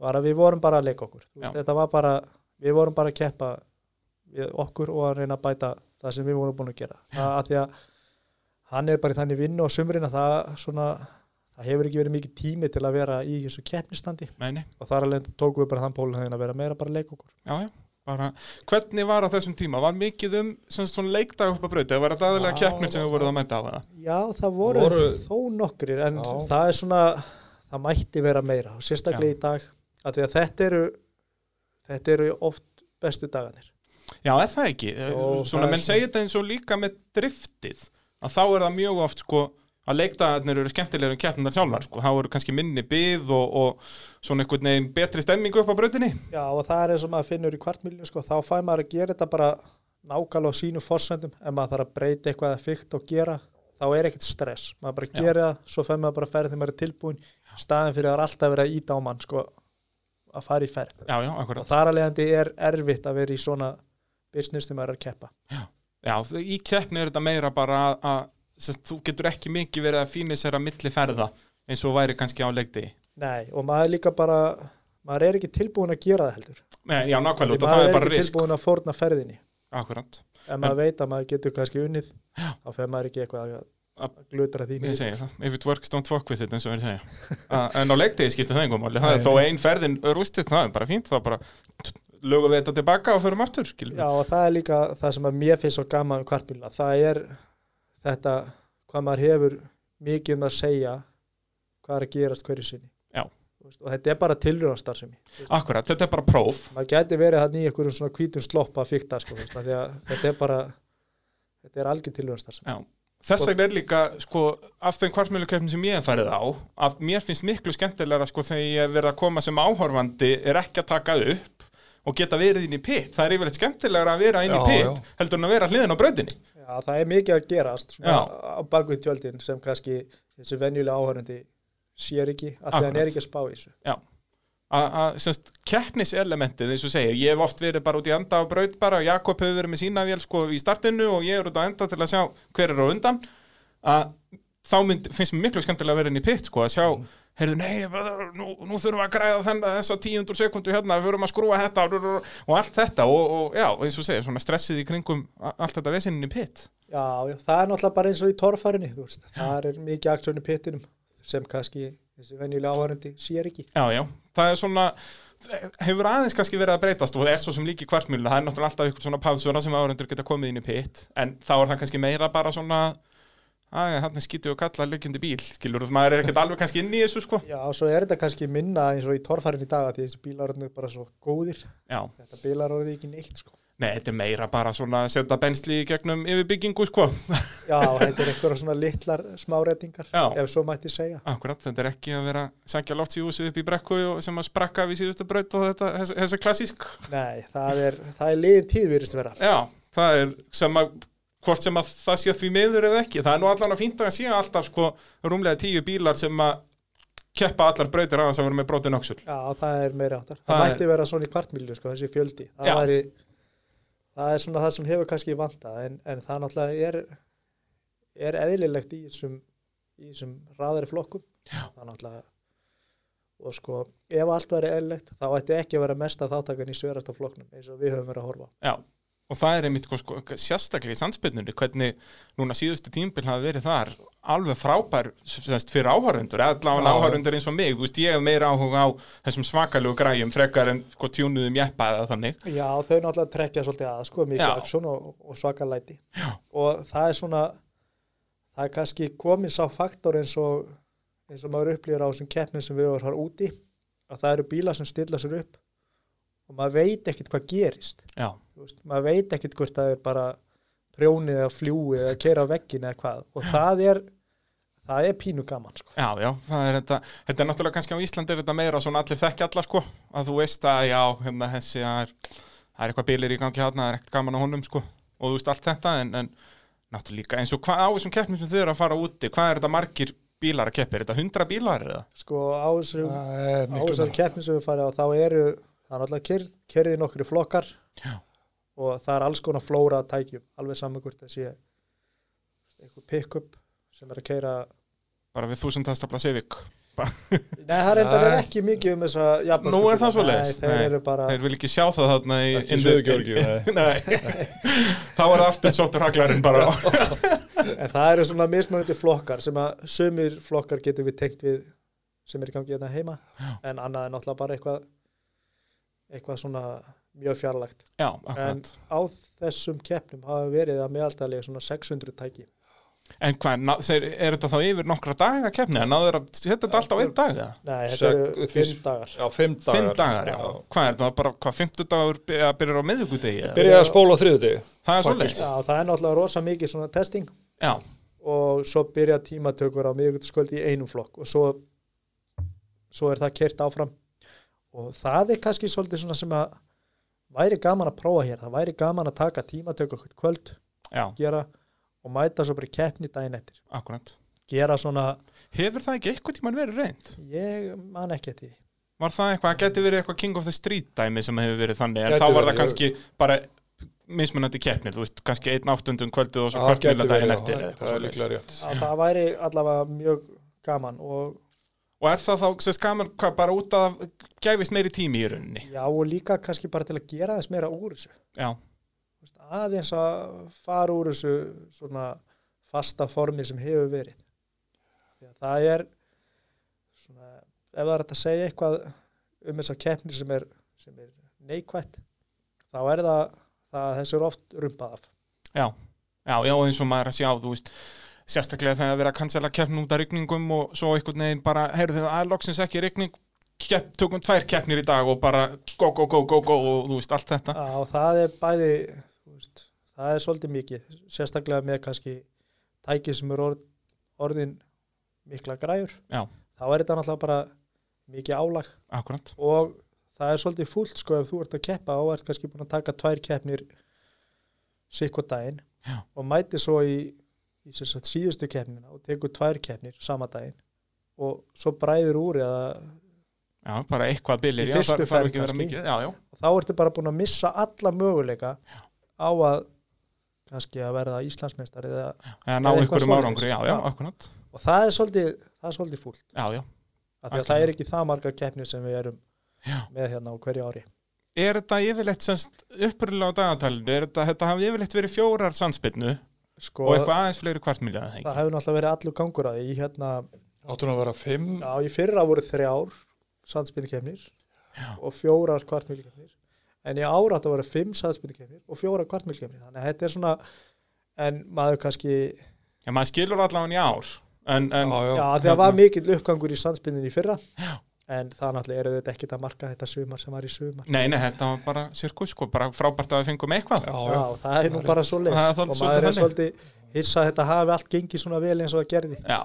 Speaker 3: var að við vorum bara að leika okkur Þú veist,
Speaker 1: Já.
Speaker 3: þetta var bara, við vorum bara að keppa við okkur og að reyna að bæta það sem við vorum búin að gera það að því að hann er bara í þannig vinnu á sumrin að það svona það hefur ekki verið mikið tími til að vera í þessu keppnistandi
Speaker 1: meini,
Speaker 3: og þar alveg tókum við bara þann pólun að vera meira bara að leika okkur
Speaker 1: já, já bara, hvernig var á þessum tíma, var mikið um sem sagt, svona leikdag upp að breyta, var þetta aðalega
Speaker 3: Já,
Speaker 1: keppnir sem þú voruð að mæta á það
Speaker 3: já það voru,
Speaker 2: Voru-
Speaker 3: þó nokkrir en
Speaker 2: Já.
Speaker 3: það er svona það mætti vera meira og sérstaklega í dag að því að þetta eru þetta eru oft bestu dagarnir
Speaker 1: Já, er það ekki?
Speaker 3: Jó,
Speaker 1: svona
Speaker 3: það er
Speaker 1: menn
Speaker 3: svona.
Speaker 1: segir þetta eins og líka með driftið að þá er það mjög oft sko að leikdagarnir eru skemmtilegur en keppnindar sjálfar sko, þá eru kannski minni byð og, og svona einhvern veginn betri stemmingu upp á brautinni
Speaker 3: Já og það er eins og maður finnur í kvartmilju sko, þá fær maður að gera þetta bara nákvæmlega á sínu forsendum ef maður þarf að breyta eitthvað að fyrkt og gera þá er ekkert stress, maður bara
Speaker 1: Já.
Speaker 3: gera það svo fer maður bara að ferð þegar maður er tilbúin í staðin fyrir að það er alltaf verið að íta á mann sko, að fara í ferð
Speaker 1: Já, já,
Speaker 3: og
Speaker 1: akkurat
Speaker 3: þar alvegandi er erfitt að vera í svona business þegar maður er að keppa
Speaker 1: Já, í keppni er þetta meira bara að, að sem sagt, þú getur ekki mikið verið að fínu sér að milli ferða eins og væri kannski á leikdegi
Speaker 3: Nei, og maður er líka bara maður er ekki tilbúin að gera það heldur
Speaker 1: Nei, Já, nákvæmlega,
Speaker 3: Því
Speaker 1: út af það er bara
Speaker 3: ekki
Speaker 1: risk
Speaker 3: tilbúin að fórna ferðinni
Speaker 1: Akkurat
Speaker 3: ef maður veit að maður getur kannski unnið
Speaker 1: Já.
Speaker 3: þá fer maður ekki eitthvað að glutra því
Speaker 1: Ég
Speaker 3: niður.
Speaker 1: segi það, if it works don't fuck with it eins og við segja A, En á leikdegi skipta það engum máli Það er þó ein ferðin rústist, það er bara fínt þá bara t- lögum við þetta tilbaka og förum aftur skilur.
Speaker 3: Já, og það er líka það sem að mér finnst svo gaman um kvartbíla, það er þetta hvað maður hefur mikið um að segja hvað er að gerast hverju sinni
Speaker 1: Já.
Speaker 3: Þú veist, og þetta er bara tilrjóðastar sem ég
Speaker 1: Akkurat, þetta er bara próf
Speaker 3: maður gæti verið hann í einhverjum svona hvítum sloppa að fykta sko, þú veist, af því að þetta er bara þetta er algjör tilrjóðastar sem
Speaker 1: Já. Þess vegna er líka, sko, af þeim kvartmjölukeppnum sem ég hef farið á að mér finnst miklu skemmtilega, sko, þegar ég hef verið að koma sem áhorfandi er ekki að taka upp og geta verið inn í pitt það er yfirleitt skemmtilega að vera inn í
Speaker 2: Já,
Speaker 1: pitt heldur en að vera hliðin á brautinni
Speaker 3: Já, það er mikið að gerast svona,
Speaker 1: Já.
Speaker 3: á bakvið tjöldin sem kannski þessi venjulega áhörandi sér ekki af því að hann
Speaker 1: Akkurat.
Speaker 3: er ekki að spá í þessu
Speaker 1: að að, semst, keppniselementið eins og segja, ég hef oft verið bara út í enda á braut bara og Jakob hefur verið með sína vél sko í startinu og ég er út á enda til að sjá hver er á undan að þá mynd, finnst mér miklu skemmtilega að vera inn í pitt sko að sjá, heyrðu nei ég bara, nú, nú þurfum við að græða þenn, þessa tíundur sekundu hérna, við þurfum að skrúa þetta og, og allt þetta og, og já, eins og segja, svona stressið í kringum a- allt þetta vesinnin í pitt
Speaker 3: Já, já, það er náttúrulega bara eins og í torfarinni, þú veist, það er mikið aksjón í pittinum sem kannski þessi venjulega áhærendi sér ekki.
Speaker 1: Já, já, það er svona hefur aðeins kannski verið að breytast og það er svo sem líki kvartmjölu, það er náttúrulega alltaf ykkur svona pásunar sem áhörendur geta komið inn í pitt en þá er það kannski meira bara svona að hann er skítið og kalla lögjandi bíl skilur, maður er ekkert alveg kannski inn í þessu sko
Speaker 3: Já, og svo er þetta kannski minna eins og í torfarinni í dag að því þessi bílaröðinu er bara svo góðir,
Speaker 1: Já,
Speaker 3: þetta bílaröði ekki neitt, sko.
Speaker 1: nei, þetta er meira bara svona að setja bensli í gegnum yfirbyggingu sko
Speaker 3: Já, og þetta er einhverja svona litlar smáreitingar,
Speaker 1: Já.
Speaker 3: ef svo mætti segja.
Speaker 1: Akkurat, þetta er ekki að vera sækja loftsjúsi upp í brekku og- sem að sprakka við síðustu braut og þetta, þessi, þessi klassísk
Speaker 3: Nei, það er, það er liðin tíð virðist vera.
Speaker 1: Já, það er sem að hvort sem að það sé því meður eða ekki það er nú allan að fínta að sé alltaf sko rúmlega tíu bílar sem að keppa allar brautir aðeins að vera með brotin öxul
Speaker 3: Já, það er meira áttar. Það
Speaker 1: Það er-
Speaker 3: mætti vera svona í kvartmílu, sko, þessi fjöldi. Það,
Speaker 1: Já.
Speaker 3: væri, það er svona það sem hefur kannski vantað, en, en það náttúrulega er, er eðlilegt í þessum, í þessum raðari flokkum. Já. Það náttúrulega, og sko, ef allt væri eðlilegt, þá ætti ekki að vera mesta þáttakan í sverasta flokknum, eins og við höfum verið að horfa. á.
Speaker 1: Já, og það er einmitt sko, sérstaklega í sandspenninni hvernig núna síðustu tímbil hafi verið þar alveg frábær semst, fyrir áhörundur, allavega
Speaker 2: Já.
Speaker 1: áhörundur eins og mig þú veist, ég hef meira áhuga á þessum svakalegu græjum frekar en sko tjúnuðum jeppa eða þannig
Speaker 3: Já, þau náttúrulega trekkja svolítið að, sko, mikið
Speaker 1: Já.
Speaker 3: aksjón og, og svaka læti. Já. Og það er svona, það er kannski komið sá faktor eins og, eins og maður upplýður á þessum keppnum sem við vorum þar úti, að það eru bílar sem stilla sér upp og maður veit ekkit hvað gerist.
Speaker 1: Já,
Speaker 3: Þú Veist, maður veit ekkit hvort það er bara prjónið eða fljúið eða keira á veggin eða hvað. Og það er, það er pínu gaman, sko.
Speaker 1: Já, já, það er þetta, þetta er náttúrulega kannski á Íslandi er þetta meira svona allir þekki alla sko, að þú veist að já, hérna þessi það er, það er eitthvað bilir í gangi hérna, það er ekkert gaman á honum sko og þú veist allt þetta en, en náttúrulega líka eins og hvað á þessum keppnum sem þau eru að fara úti, hvað er þetta margir bílar að keppi, er þetta hundra bílar eða?
Speaker 3: Sko, á þessum,
Speaker 2: Það er
Speaker 3: á
Speaker 2: miklu
Speaker 3: þessar
Speaker 2: meira.
Speaker 3: keppni sem við farið á þá eru það er náttúrulega kyrð, kyrði nokkru flokkar
Speaker 1: Já.
Speaker 3: og það er alls konar flóra að tækjum, alveg saman hvort það sé einhver pick-up sem er að keira
Speaker 1: <laughs> Bara við þúsundastafla Civic,
Speaker 3: Nei, það er reyndar
Speaker 2: Nei.
Speaker 3: ekki mikið um þess að
Speaker 1: Nú er það svoleiðis.
Speaker 3: Nei, þeir
Speaker 1: Nei.
Speaker 3: eru bara
Speaker 1: þeir vil ekki sjá það þarna í
Speaker 2: Ekki
Speaker 1: in the-
Speaker 2: Suður-Georgíu, nei.
Speaker 1: <laughs> Nei, þá er það aftur sóttur haglarinn bara
Speaker 3: en það eru svona mismunandi flokkar sem að sumir flokkar getum við tengt við sem er í gangi hérna heima en annað er náttúrulega bara eitthvað eitthvað svona mjög fjarlægt
Speaker 1: Já,
Speaker 3: en
Speaker 1: akkurat
Speaker 3: á þessum keppnum hafa verið að meðaldalega svona 600 tæki
Speaker 1: En hvað, ná, þeir, er þetta þá yfir nokkra daga keppni, en náður að setja þetta allt á einn dag eða?
Speaker 3: Nei, þetta
Speaker 2: Sek-
Speaker 3: eru
Speaker 2: því-
Speaker 3: fimm dagar.
Speaker 2: Já, fimm dagar.
Speaker 1: Fimm dagar, já. Hvað er það, bara hvað, fimmtudagur byrja, byrjar á miðvikudegi? eða?
Speaker 2: Byrjaði að spóla á þriðudegi.
Speaker 1: Það er svolítið.
Speaker 3: Já, það er náttúrulega rosa mikið svona testing
Speaker 1: Já,
Speaker 3: og svo byrja tímatökur á miðvíkutaskvöldi í einum flokk og svo, svo er það kert áfram og það er kannski svolítið svona sem að væri gaman að prófa hér, það væri gaman að taka tímatöku okkur kvöld,
Speaker 1: já,
Speaker 3: gera og mæta svo bara í keppni daginn eftir
Speaker 1: akkurat.
Speaker 3: gera svona,
Speaker 1: Hefur það ekki eitthvað tíman verið reynd?
Speaker 3: ég man ekki eftir því
Speaker 1: Var það eitthvað, geti verið eitthvað King of the Street dæmi sem hefur verið þannig, en
Speaker 2: Gæti
Speaker 1: þá var það
Speaker 2: verið,
Speaker 1: kannski bara mismunandi keppnir, þú veist, kannski einn áttundum kvöldið og svo
Speaker 2: Já,
Speaker 1: kvöldmjöla
Speaker 2: gæti verið,
Speaker 1: daginn
Speaker 2: já,
Speaker 1: eftir. eða eitthvað
Speaker 2: Það er
Speaker 1: svoleiðis.
Speaker 2: líklega rétt.
Speaker 3: að það væri allavega mjög gaman og
Speaker 1: Og er það þá, sérst, gaman, hvað, bara út að það gæfist meiri tími í rauninni?
Speaker 3: já og líka kannski bara til að gera þess meira úr þessu
Speaker 1: Já,
Speaker 3: Þú veist, aðeins að fara úr þessu svona fasta formi sem hefur verið Því að það er svona, ef það er hægt að segja eitthvað um þessa keppni sem er, sem er neikvætt þá er það, það þessu er oft rumpað af
Speaker 1: Já, já, eins og maður að sjá, þú veist sérstaklega þegar að vera að cancela keppn út af rigningum og svo einhvern veginn bara, heyrðu þið að loksins ekki rigning, kepp, tökum tvær keppnir í dag og bara go, go, go, go, go og þú veist, allt þetta
Speaker 3: Já, og það er bæði þú veist, það er svolítið mikið sérstaklega með kannski tæki sem eru orð, orðin mikla græjur
Speaker 1: Já.
Speaker 3: þá er þetta náttúrulega bara mikið álag
Speaker 1: Akkurat,
Speaker 3: og það er svolítið fúlt sko ef þú ert að keppa og ert kannski búin að taka tvær keppnir sikkur daginn
Speaker 1: Já.
Speaker 3: og mæti svo í, í sem sagt, síðustu keppnina og tekur tvær keppnir sama daginn og svo bræður úr eða,
Speaker 1: já, bara eitthvað bilir
Speaker 3: Í
Speaker 1: já,
Speaker 3: fyrstu
Speaker 1: þar- þarf
Speaker 3: ferð
Speaker 1: ekki að vera
Speaker 3: kannski.
Speaker 1: mikið, já, já,
Speaker 3: og þá ertu bara búin að missa alla möguleika
Speaker 1: Já.
Speaker 3: á að kannski að verða Íslandsmeistari eða,
Speaker 1: eða ná
Speaker 3: Eða eitthvað
Speaker 1: einhverjum
Speaker 3: svoleiðis.
Speaker 1: árangri, já, já,
Speaker 3: Já.
Speaker 1: akkurat
Speaker 3: og það er svolítið það er svolítið fúlt
Speaker 1: Já, já,
Speaker 3: af því að
Speaker 1: Algjörlega.
Speaker 3: það er ekki það marga keppnir sem við erum
Speaker 1: já
Speaker 3: með hérna á hverju ári
Speaker 1: er þetta yfirleitt semst uppröðlega á dagatalinu, er þetta, þetta hafi yfirleitt verið fjórar sandsbyrnu
Speaker 3: sko,
Speaker 1: og eitthvað aðeins fleiri kvartmilja eða
Speaker 3: það
Speaker 1: ekki?
Speaker 3: hefur náttúrulega verið allur gangur að því í hérna
Speaker 2: Áttu nú að vera fimm
Speaker 3: Já, í fyrra voru þrjár sandspinnukefnir og fjórar kvartmílkefnir en í ára þetta voru fimm sandspinnukefnir og fjórar kvartmílkefnir þannig að þetta er svona en maður kannski,
Speaker 1: Já, maður skilur allavega í ár en, en
Speaker 2: Já,
Speaker 3: já,
Speaker 2: já.
Speaker 3: því að var mikill uppgangur í sandspinnin í fyrra já. en það náttúrulega eru þetta ekkit að marka þetta sumar sem var í sumar
Speaker 1: nei, nei, þetta var bara sirkus sko, bara frábært að við fengum eitthvað
Speaker 2: Já,
Speaker 3: Já,
Speaker 2: já.
Speaker 3: það er nú
Speaker 2: Það er
Speaker 3: bara svo leys
Speaker 1: Það er
Speaker 3: og
Speaker 1: svolítið-
Speaker 3: maður er
Speaker 1: svolítið
Speaker 3: svolítið hissa að þetta hafi allt gengið svona vel eins og það gerði
Speaker 1: Já,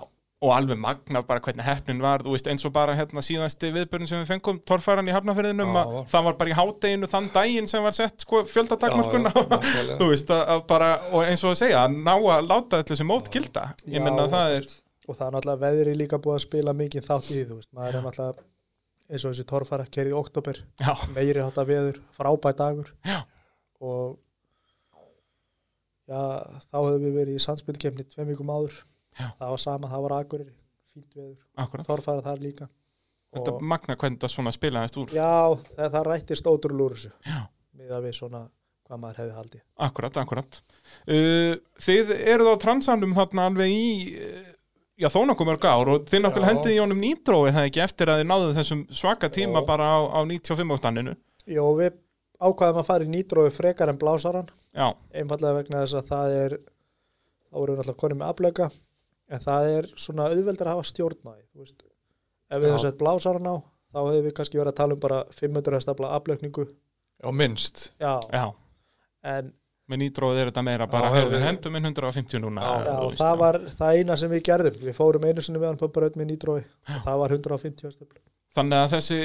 Speaker 1: og alveg magnað bara hvernig hefnin var, þú veist, eins og bara hérna síðasti viðbörn sem við fengum, torfæran í hafnafyrðinum
Speaker 2: Já.
Speaker 1: að það var bara í hádeginu þann daginn sem var sett sko fjöldatakmarkuna
Speaker 2: Já, já, nákvæmlega.
Speaker 1: <laughs> þú veist, að, að bara, og eins og að segja að ná að láta allir sem mót gilda ég
Speaker 3: Já.
Speaker 1: menna að það er,
Speaker 3: og það er náttúrulega veðri líka búið að spila mikið þátt í því, þú veist, maður er náttúrulega eins og þessi torfara kerði í oktober
Speaker 1: já,
Speaker 3: meiri hátta veður, frábæð dagur
Speaker 1: Já.
Speaker 3: og já, þá höfum við verið í sandspilkefni tveim vikum áður
Speaker 1: Já.
Speaker 3: það var sama, það var akureyri fínt veður,
Speaker 1: akkurat
Speaker 3: torfæra þar líka
Speaker 1: Þetta magna hvernig það svona spilaðist úr
Speaker 3: já, það, það rættist ótrúlega úr þessu
Speaker 1: Já.
Speaker 3: með að við svona hvað maður hefði haldið
Speaker 1: Akkurat, akkurat. Uh, þið eruð á transanum þarna alveg í, uh, já þó nokkuð mörg ár og þið náttúrulega
Speaker 2: Já.
Speaker 1: hendið í honum nýtró eða ekki eftir að þið náðuð þessum svaka tíma
Speaker 2: Já.
Speaker 1: bara á, á 95 áttanninu.
Speaker 3: Jó, við ákvaðum að fara í nýtrófi frekar en blásaran
Speaker 1: Já,
Speaker 3: einfallega vegna þess að það er þá erum við náttúrulega konum með aflöka en það er svona auðveldur að hafa stjórn á því, þú veist ef við
Speaker 2: Já.
Speaker 3: hefum sett blásaran á þá hefðum við kannski verið að tala um bara 500 hestafla aflökningu
Speaker 2: já, minnst
Speaker 3: já,
Speaker 1: já.
Speaker 3: en
Speaker 1: Með nýtróið er þetta meira
Speaker 2: Já,
Speaker 1: bara,
Speaker 2: já,
Speaker 1: heyrðu,
Speaker 2: við-
Speaker 1: hendum inn 150 núna.
Speaker 2: Já,
Speaker 3: já,
Speaker 1: þú veist,
Speaker 3: það var það eina sem við gerðum við fórum einu sinni meðan på braut með nýtrói og það var 150 hestafla
Speaker 1: Þannig að þessi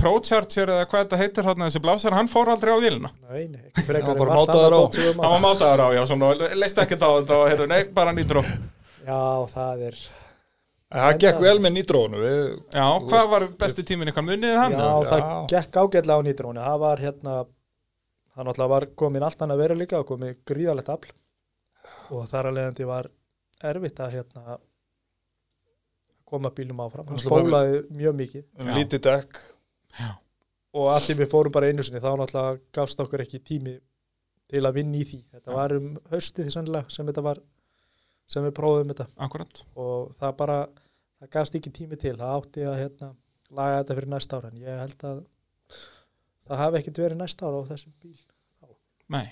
Speaker 1: ProCharger eða hvað þetta heitir þarna, þessi blásar, hann fór aldrei á vélina.
Speaker 3: nei, nei, ekki frekar
Speaker 2: var
Speaker 3: en
Speaker 2: bara
Speaker 3: margt
Speaker 2: mátaður
Speaker 3: annað
Speaker 2: á.
Speaker 3: gott sem við
Speaker 1: Hann var
Speaker 3: mátum.
Speaker 1: mátaður á, já, svona, leist ekkert á þetta og heyrðu, nei, bara nýtró.
Speaker 3: já, það er
Speaker 2: En það
Speaker 3: En
Speaker 2: gekk
Speaker 3: það-
Speaker 2: vel með nýtrónu við...
Speaker 1: Já,
Speaker 2: Þú
Speaker 1: hvað
Speaker 2: veist,
Speaker 1: var besti tíminn ykkur munið
Speaker 3: já,
Speaker 1: hann?
Speaker 3: það
Speaker 2: Já.
Speaker 3: gekk ágætlega á nýtróni það var hérna hann alltaf var komin allt annað veruleika og komin gríðalegt afl og þar að leiðandi var erfitt að hérna koma bílum áfram hann
Speaker 2: Hann sló bara
Speaker 3: spólaði mjög mikið
Speaker 1: Já.
Speaker 2: lítið dekk
Speaker 3: og að því við fórum bara einu sinni þá náttúrulega gafst okkur ekki tími til að vinna í því þetta
Speaker 1: Já.
Speaker 3: var um haustið sannlega sem þetta var sem við prófum þetta
Speaker 1: Akkurat.
Speaker 3: og það bara það gafst ekki tími til, það átti að hérna, laga þetta fyrir næsta ára en ég held að það hafi ekkit verið næsta ára á þessum bíl
Speaker 1: Nei.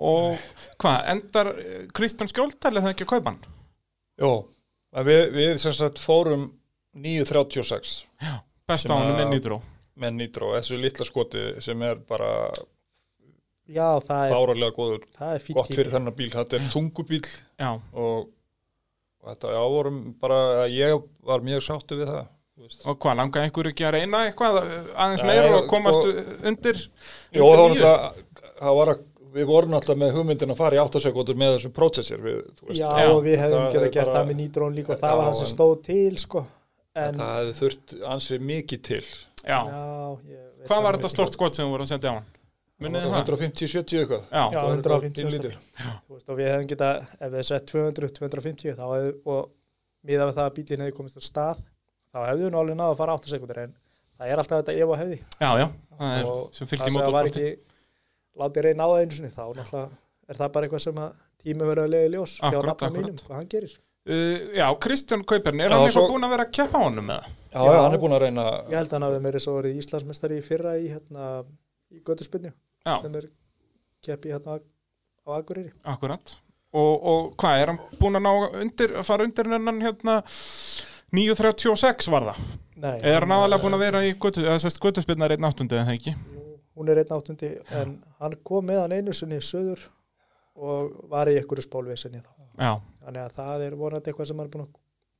Speaker 1: Og hvað, endar eh, Kristján Skjóldal eða ekki að kaupa hann?
Speaker 2: Jó, en við, við sem sagt fórum 9.36
Speaker 1: Besta
Speaker 2: Sem
Speaker 1: ánum
Speaker 2: að-
Speaker 1: með nýtró.
Speaker 2: með nýtró, þessu litla skoti sem er bara
Speaker 3: Já, það er,
Speaker 2: báralega góður
Speaker 3: það er fínt
Speaker 2: gott fyrir
Speaker 3: tími
Speaker 2: þennan bíl, þetta er þungubíl
Speaker 1: Já,
Speaker 2: og, og þetta já, vorum bara, ég var mjög sáttu við það þú veist.
Speaker 1: og hvað, langaði einhver ekki að reyna eitthvað eh, aðeins
Speaker 2: Nei,
Speaker 1: meira og
Speaker 2: sko-
Speaker 1: komast undir?
Speaker 2: Jó, það var
Speaker 1: níu?
Speaker 2: náttúrulega, það var að við vorum alltaf með hugmyndin að fara í áttasekótur með þessum prótsessir við, þú
Speaker 3: Já,
Speaker 1: Já,
Speaker 3: og við hefðum
Speaker 2: það
Speaker 3: geta
Speaker 2: er
Speaker 3: gert
Speaker 2: bara-
Speaker 3: það með nýtrón líka og það
Speaker 2: Já,
Speaker 3: var það sem
Speaker 2: en-
Speaker 3: stóð til sko. en,
Speaker 2: það hefði þurft ansið mikið til
Speaker 1: Já.
Speaker 3: já, ég veit
Speaker 1: Hvað var
Speaker 3: ekki.
Speaker 1: þetta stort skot sem þú voru að senda á hann? Munið þið það?
Speaker 2: 150-70 eitthvað
Speaker 1: Já,
Speaker 3: Já,
Speaker 2: Það var
Speaker 3: 150
Speaker 2: pínlítið.
Speaker 3: Þú veist, og við hefðum geta, ef við sett 200-250 þá hefðu, og miða við það að bílinn hefði komist á stað þá hefðu við nú alveg náða að fara 8 sekundir en það er alltaf þetta ef og hefði
Speaker 1: já, já, það er
Speaker 3: og
Speaker 1: sem
Speaker 3: það
Speaker 1: fylgir
Speaker 3: sem það var
Speaker 1: mótorsporti.
Speaker 3: ekki látið reyna á það einu sinni þá náttúrulega er það bara eitthvað sem að tími verið að leiða í ljós hjá
Speaker 1: Akkúrat,
Speaker 3: nafna
Speaker 1: akkúrat.
Speaker 3: mínum, hvað hann gerir
Speaker 1: Uh, já, Kristján Kaupern, er
Speaker 2: Já,
Speaker 1: hann eitthvað
Speaker 2: svo-
Speaker 1: búinn að vera að keppa á honum eða?
Speaker 2: já,
Speaker 3: Já.
Speaker 2: hann er búin að reyna
Speaker 3: ég held að hann hafi meiri svo verið Íslandsmestari í fyrra í, hérna, í göttuspinnu
Speaker 1: Já,
Speaker 3: sem er keppi hérna á Akureyri
Speaker 1: akkurat. Og, og hvað, er hann búinn að ná undir, fara undir hennan hérna 9.36 var það?
Speaker 3: Nei,
Speaker 1: Eða er hann aðalega búinn að vera í götu, eða sérst götuspinnar 1.8 eða ekki?
Speaker 3: hún er einn áttundi en hann kom með hann einu sinni söður og var í einhverju spólvesinni þá
Speaker 1: Já,
Speaker 3: þannig að það er vonandi eitthvað sem hann er búin að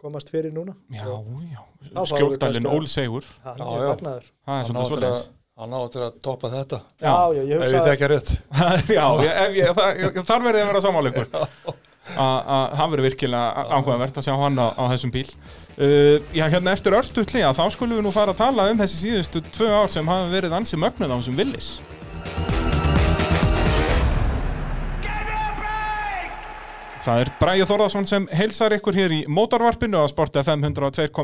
Speaker 3: komast fyrir núna
Speaker 1: já, já.
Speaker 3: Þá fáum við
Speaker 1: Skjóldalinn
Speaker 3: kannski-
Speaker 1: ólsegur,
Speaker 3: hann
Speaker 2: Já,
Speaker 3: er
Speaker 2: já.
Speaker 1: það
Speaker 3: magnaður
Speaker 1: er
Speaker 2: hann á
Speaker 1: svona
Speaker 2: eftir
Speaker 1: svoleiðis.
Speaker 2: að- hann á eftir að toppa þetta
Speaker 3: já, já, ég
Speaker 2: ef ég
Speaker 3: hugsa að
Speaker 2: tekja rétt
Speaker 1: <laughs> já, ég, ef ég, það, ég, þar verði ég að vera samáleikur að hann verður virkilega áhugavert að sjá hann á, á þessum bíl uh, Já, hérna eftir örstutli að þá skulum við nú fara að tala um þessi síðustu tvö ár sem hafa verið ansi mögnuð á þessum villis Það er Bræja Þorðarsson sem heilsar ykkur hér í mótarvarpinu á Sport FM 102.5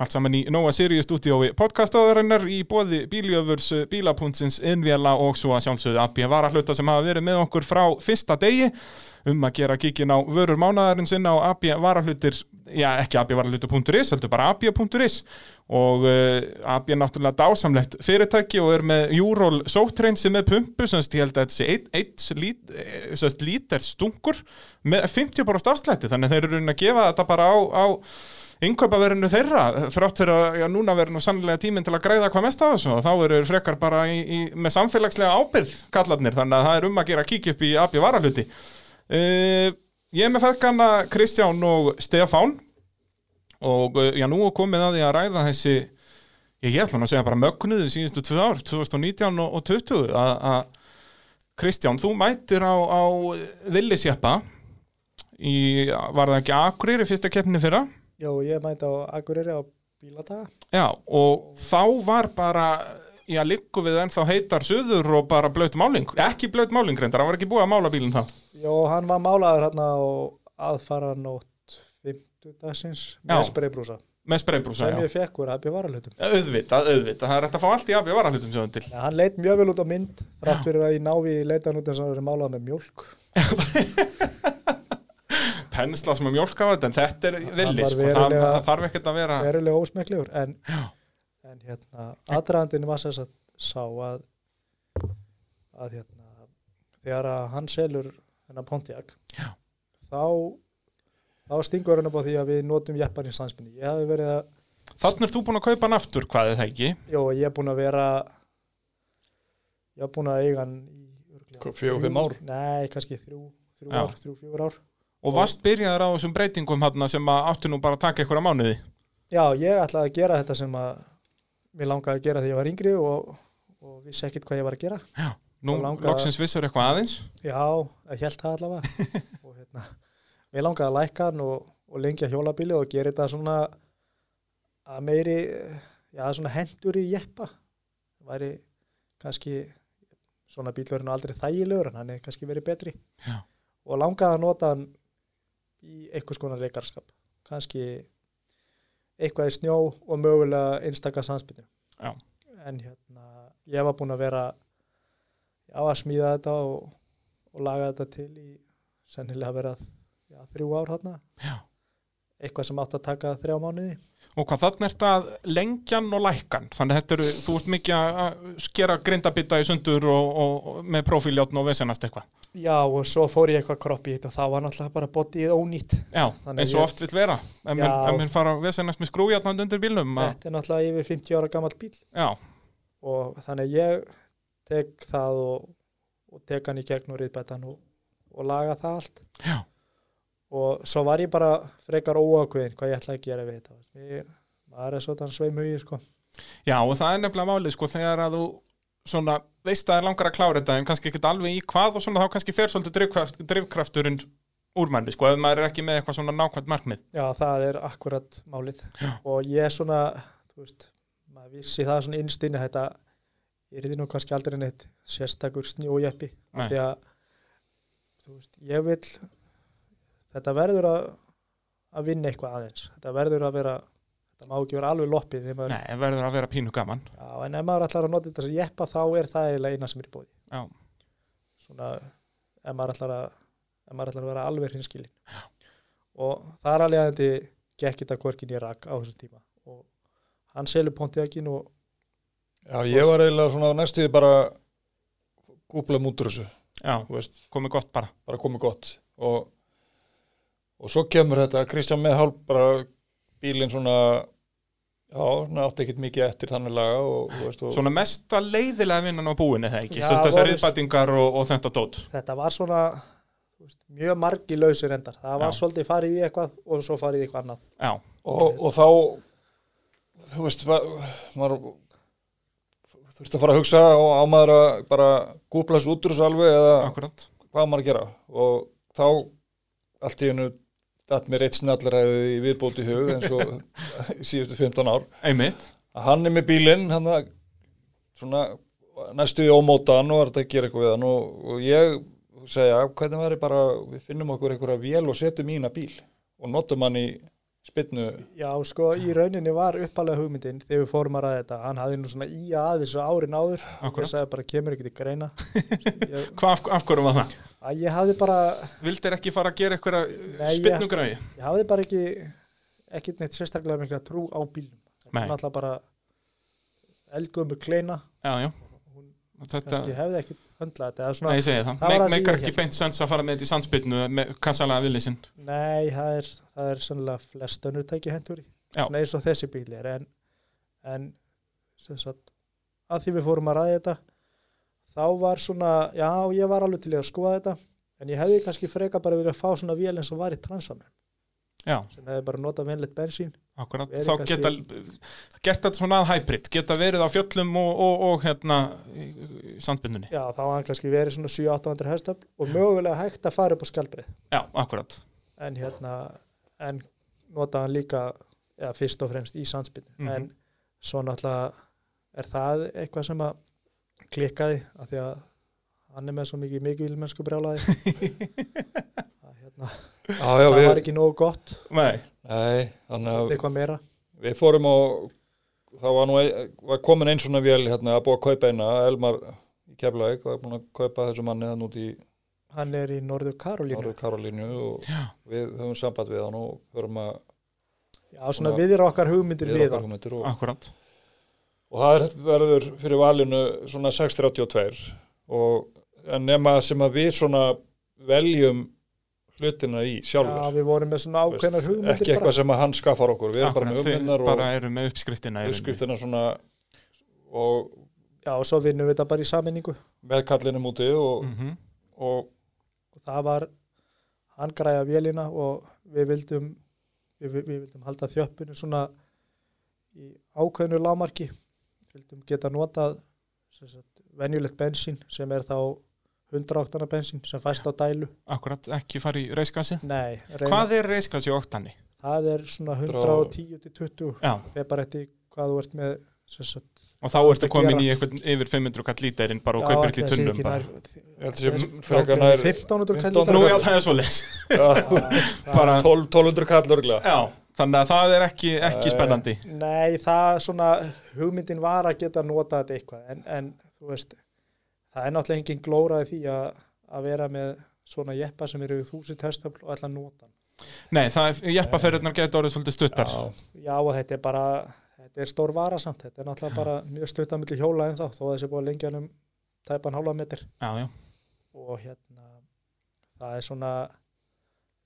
Speaker 1: allt saman í Nóa Sirius stúdíói podcastaðarinnar í bóði bíljöfurs bílapuntsins innvjala og svo að sjálfsögðu AB varahluta sem hafa verið með okkur frá fyrsta degi um að gera kíkin á vörur mánaðarinn sinna á AB varahlutir já ekki AB varahlutur.is heldur bara AB.is og uh, AB er náttúrulega dásamlegt fyrirtæki og er með Júról sóttrein sem er pumpu sem sagt, ég held að þetta sé 1 lít, eh, sem sagt, lítar stungur með 50 bara stafslætti þannig að þeir eru raunin að gefa þetta bara á, á innkaupaverinu þeirra þrátt fyrir að já, núna verður nú sannlega tíminn til að græða hvað mest af þessu og þá eru þeir frekar bara í, í, með samfélagslega ábyrð kallarnir þannig að það er um að gera kík upp í AB varahluti uh, ég er með feðgana Kristján og Stefán og uh, já nú er komið að því að ræða þessi ég ég ætla nú að segja bara mögnuðu síðustu tvö ár, 2019 og, og 20 að að- Kristján, þú mætir á, á villisjeppa í, var það ekki Akureyri fyrsta keppni fyrra?
Speaker 3: já, ég mændi á Akureyri á bíladaga
Speaker 1: Já, og þá var bara já, liggu við ennþá heitar suður og bara blöyt máling, ekki blöyt máling reyndar, það var ekki búið að mála bílinn þá
Speaker 3: já, hann var málaður hérna á aðfara nótt 50 dagsins með
Speaker 1: Já.
Speaker 3: spreybrúsa
Speaker 1: með spreybrúsa,
Speaker 3: sem
Speaker 1: já,
Speaker 3: ég fekk úr AB varalhutum
Speaker 1: auðvitað, auðvitað það er hægt að fá allt í afi varahlutum sem það til
Speaker 3: Nei, hann leit mjög vel út á mynd þrátt fyrir að ég návi leita hann út eins og hann verið málað með mjólk
Speaker 1: pensla sem er mjólka á þetta en þetta er villis,
Speaker 3: var
Speaker 1: sko, það,
Speaker 3: verulega-
Speaker 1: það þarf ekkert að vera
Speaker 3: verulega ósmeklegur en, en hérna, aðdragandinn var sess að sá að að hérna þegar að hann selur þennan Pontiac
Speaker 1: Já.
Speaker 3: þá þá stingur hann upp á því að við notum jeppan í stansminni ég hafði verið að,
Speaker 1: Þannig er þú búin að kaupa hann aftur, hvað er það ekki?
Speaker 3: já ég er búin að vera ég er búin að eiga hann í örugglega
Speaker 2: Hvað, fjögur,
Speaker 3: þrjú-
Speaker 2: fimm ár?
Speaker 3: nei, kannski þrjú, þrjú
Speaker 1: Já.
Speaker 3: ár, þrjú, fjögur ár
Speaker 1: Og varst byrjaður á þessum breytingum hann sem að áttu nú bara að taka ykkur á mánuði
Speaker 3: Já, ég ætlaði að gera þetta sem að mér langaði að gera þegar ég var yngri og, og vissi ekkit hvað ég var að gera.
Speaker 1: Nú
Speaker 3: Og langaði-
Speaker 1: loksins vissur eitthvað aðeins
Speaker 3: Já, ég held það allavega.
Speaker 1: <laughs>
Speaker 3: og hérna, mér langaði að lækka hann og, og lengja hjólabilið og gera þetta svona að meiri, já, svona hendur í jeppa. Það væri kannski, svona bíl verið nú aldrei þægilegur en hann hefði kannski verið betri.
Speaker 1: Já.
Speaker 3: Og langaði að nota hann í einhvers konar leikarskap. Kannski eitthvað í snjó og mögulega einstaka sanspinnu.
Speaker 1: Já.
Speaker 3: En hérna, ég var búinn að vera á að smíða þetta og, og laga þetta til í sennilega vera já, þrjú ár þarna.
Speaker 1: Já.
Speaker 3: Eitthvað sem átt að taka þrjá mánuði.
Speaker 1: Og hvað þannig er þetta að lengjan og lækkan Þannig að þetta eru, þú ert mikið að- að skera grindabitta í sundur og, og, og með profíljáttn og vesenast eitthvað
Speaker 3: Já, og svo fór ég eitthvað kropp í þetta og þá var náttúrulega bara bodyið ónýtt.
Speaker 1: Já,
Speaker 3: Þannig
Speaker 1: eins og
Speaker 3: ég-
Speaker 1: oft vill vera En
Speaker 3: Já.
Speaker 1: minn, en minn fara að vesenast með skrújáttn undir bílnum að,
Speaker 3: Þetta er náttúrulega yfir 50 ára gammal bíl
Speaker 1: Já,
Speaker 3: og þannig að ég tek það og, og tek hann í gegn og riðbætan og, og laga það allt.
Speaker 1: já,
Speaker 3: og svo var ég bara frekar óákveðin hvað ég ætlaði að gera við þetta ég, maður er svona sveimhugi sko.
Speaker 1: Já, og það er nefnilega málið sko þegar að þú svona veist að það er langar að klára þetta en kannski ekkert alveg í hvað og svona þá kannski fer svolítið drifkraft, drifkrafturinn úr manni sko ef maður er ekki með eitthvað svona nákvæmt markmið
Speaker 3: já það er akkurat málið
Speaker 1: Já.
Speaker 3: og ég er svona þú veist, maður vissi það svona innstinni þetta er þið nú kannski aldrei neitt sérstakur snjójeppi
Speaker 1: Nei.
Speaker 3: því að þú veist, ég vil þetta verður að, að vinna eitthvað aðeins þetta verður að vera þetta má ekki vera alveg loppið þegar maður-
Speaker 1: Nei, það verður að vera pínu gaman
Speaker 3: já, en ef maður ætlar að nota þetta sem jeppa þá er það eiginlega eina sem er í bóði
Speaker 1: Já,
Speaker 3: svona ef maður ætlar að en maður ætlar að vera alveg hinskilin og þar alveg að þetta gekk þetta hvorkin í rak á þessum tíma og hann selur Pontiakin og
Speaker 2: Já, ég var eiginlega svona næstuði bara gúblum út úr þessu,
Speaker 1: Já,
Speaker 2: þú veist,
Speaker 1: komið gott bara
Speaker 2: bara komið gott og, og svo kemur þetta Kristján Meðhál bara bílinn svona já, hann átti ekkert mikið eftir þannig laga og, þú veist, og
Speaker 1: Svona mesta leiðilega vinnan á búinu eða ekki,
Speaker 3: Já,
Speaker 1: sérst þessar
Speaker 3: var-
Speaker 1: riðbætingar og, og þetta dót
Speaker 3: þetta var svona þú veist, mjög margi lausir endar það var
Speaker 1: Já.
Speaker 3: svolítið farið í eitthvað og svo farið í eitthvað annað
Speaker 1: Já,
Speaker 2: og, og þá þú veist va- maður þurfti að fara að hugsa og á maður að bara gúbla þessu út úr þessu alveg eða
Speaker 1: akkurat
Speaker 2: hvað á maður að gera og þá allt í hennu datt mér eitt snallræði í viðbóti hug eins og <laughs> síðustu 15 ár
Speaker 1: Einmitt,
Speaker 2: að hann er með bílinn hann að svona næstuði ómótaðan og var þetta að gera eitthvað við hann og, og ég segja hvernig væri bara við finnum okkur einhverja vél og setjum í hana bíl og notum hann í spynnu
Speaker 3: Já, sko, í rauninni var uppalega hugmyndin þegar við fórum að ræða þetta, hann hafði nú svona í að þessu árin áður,
Speaker 1: Akkurat.
Speaker 3: ég sagði bara kemur ekki til
Speaker 1: <laughs>
Speaker 3: greina ég,
Speaker 1: hvað af, af hverju var það?
Speaker 3: að ég hafði bara
Speaker 1: Vildir ekki fara að gera einhverja
Speaker 3: Nei, ég-
Speaker 1: spynnugræði?
Speaker 3: ég hafði bara ekki ekki neitt sérstaklega mikla trú á bílum
Speaker 1: Nei.
Speaker 3: náttúrulega bara eldgömmu kleina,
Speaker 1: Já, já Og Þetta,
Speaker 3: kannski hefði ekki höndlað þetta, eða
Speaker 1: nei,
Speaker 3: svona,
Speaker 1: ég segi það,
Speaker 3: það var
Speaker 1: Me-
Speaker 3: það sem
Speaker 1: meikar
Speaker 3: ég
Speaker 1: ekki
Speaker 3: hélt.
Speaker 1: beint sens að fara með þetta í sandspinnu með kassalega villisinn
Speaker 3: nei, það er það er sannlega flest önnur tæki hendur í
Speaker 1: Já.
Speaker 3: svona eins og þessi bíl er en, en sem sagt að því við fórum að ræða þetta þá var svona, já, ég var alveg til í að skoða þetta, en ég hefði kannski freka bara verið að fá svona vél eins og var í transamenn
Speaker 1: Já,
Speaker 3: sem hefði bara notað venlegt bensín
Speaker 1: akkurat,
Speaker 3: Verið
Speaker 1: þá
Speaker 3: kannski-
Speaker 1: geta gert þetta svona að hybrid, geta verið á fjöllum og, og, og hérna í- í sandspinnunni,
Speaker 3: Já, þá var hann kannski verið svona 7-800 hestöfl og mögulega hægt að fara upp á skjaldbreið
Speaker 1: já, akkurat
Speaker 3: en hérna, en notaði hann líka, eða fyrst og fremst í sandspinnu,
Speaker 1: Mhm.
Speaker 3: en svo náttúrulega er það eitthvað sem að klikkaði, af því að hann er með svo mikið
Speaker 2: <laughs>
Speaker 3: mikilmennsku brjálaði að hérna,
Speaker 2: já, já,
Speaker 3: það
Speaker 2: við,
Speaker 3: var ekki nógu gott
Speaker 1: Nei,
Speaker 2: nei, þannig að
Speaker 3: eitthvað meira,
Speaker 2: við fórum og þá var nú ein- var komin einn svona vél hérna að búa að kaupa eina Elmar í Keflavík var búin að kaupa þessu manni hann út í
Speaker 3: hann er í Norður Karolínu,
Speaker 2: Norður Karolínu og við höfum samband við hann og höfum að
Speaker 3: já svona
Speaker 2: Norður-
Speaker 3: viðir okkar hugmyndir
Speaker 2: við
Speaker 3: við
Speaker 2: okkar
Speaker 3: hann,
Speaker 2: hugmyndir og
Speaker 1: akkurat
Speaker 2: og það er- verður fyrir valinu svona 6.32 og en nema sem að við svona veljum hlutina í
Speaker 3: já
Speaker 2: sjálfur
Speaker 3: við vorum með svona
Speaker 2: Þú veist,
Speaker 3: ákveðnar
Speaker 2: ekki
Speaker 3: hugmyndir bara,
Speaker 2: eitthvað sem að hann skaffar okkur við erum bara með
Speaker 1: Akkurat, þið
Speaker 2: umvinnar
Speaker 1: bara
Speaker 2: og
Speaker 1: eru með uppskriftina í rauninni.
Speaker 2: uppskriftina svona og
Speaker 3: já og svo vinnum við þetta bara í sammenningu
Speaker 2: með kallinum úti og,
Speaker 1: Mhm. <laughs>
Speaker 2: og
Speaker 3: og það var hann græja vélina og við vildum við, við við vildum halda þjöppinu svona í ákveðnu lámarki vildum geta notað sem sagt, venjulegt bensín sem er þá 100 oktana bensín sem fæst á dælu
Speaker 1: akkurat, ekki fara í reiskassi
Speaker 3: Nei, reyna,
Speaker 1: Hvað er reiskas í óttanni?
Speaker 3: það er svona 110 til 20
Speaker 1: Já,
Speaker 3: þegar bara eftir hvað þú ert með sem sagt,
Speaker 1: og þá ertu
Speaker 3: Að
Speaker 1: komin
Speaker 3: gera.
Speaker 1: í einhvern yfir 500 kall lítarinn bara og
Speaker 3: já,
Speaker 1: kaupir ekki
Speaker 3: ætli það sé
Speaker 1: tunnum
Speaker 3: ekki
Speaker 1: bara.
Speaker 3: nær-
Speaker 2: ég held að
Speaker 3: Þessi-
Speaker 2: sem frekar nær
Speaker 3: 1500
Speaker 2: 1500
Speaker 3: kallar
Speaker 1: Nú, já, það er svo leys
Speaker 2: ja,
Speaker 1: bara,
Speaker 2: 12, 1200 kall örglega
Speaker 1: já, þannig að það er ekki, ekki
Speaker 2: Nei.
Speaker 1: spennandi
Speaker 3: Nei, það svona hugmyndin var að geta nota þetta eitthvað en, en þú veist, það er náttúrulega engin glóraði því að, að vera með svona jeppa sem eru þúsund hestöfl og ætla að nota hann.
Speaker 1: Nei, það er, jeppaferðurnar getur orðið svolítið stuttar
Speaker 2: Eh, Já.
Speaker 3: Já, og þetta er bara, þetta er stór varasamt, þetta er náttúrulega bara mjög stuttamilli hjóla en þá, þó að þessi búið að lengja hann um tæpan hálfa metr
Speaker 1: já, já,
Speaker 3: og hérna, það er svona,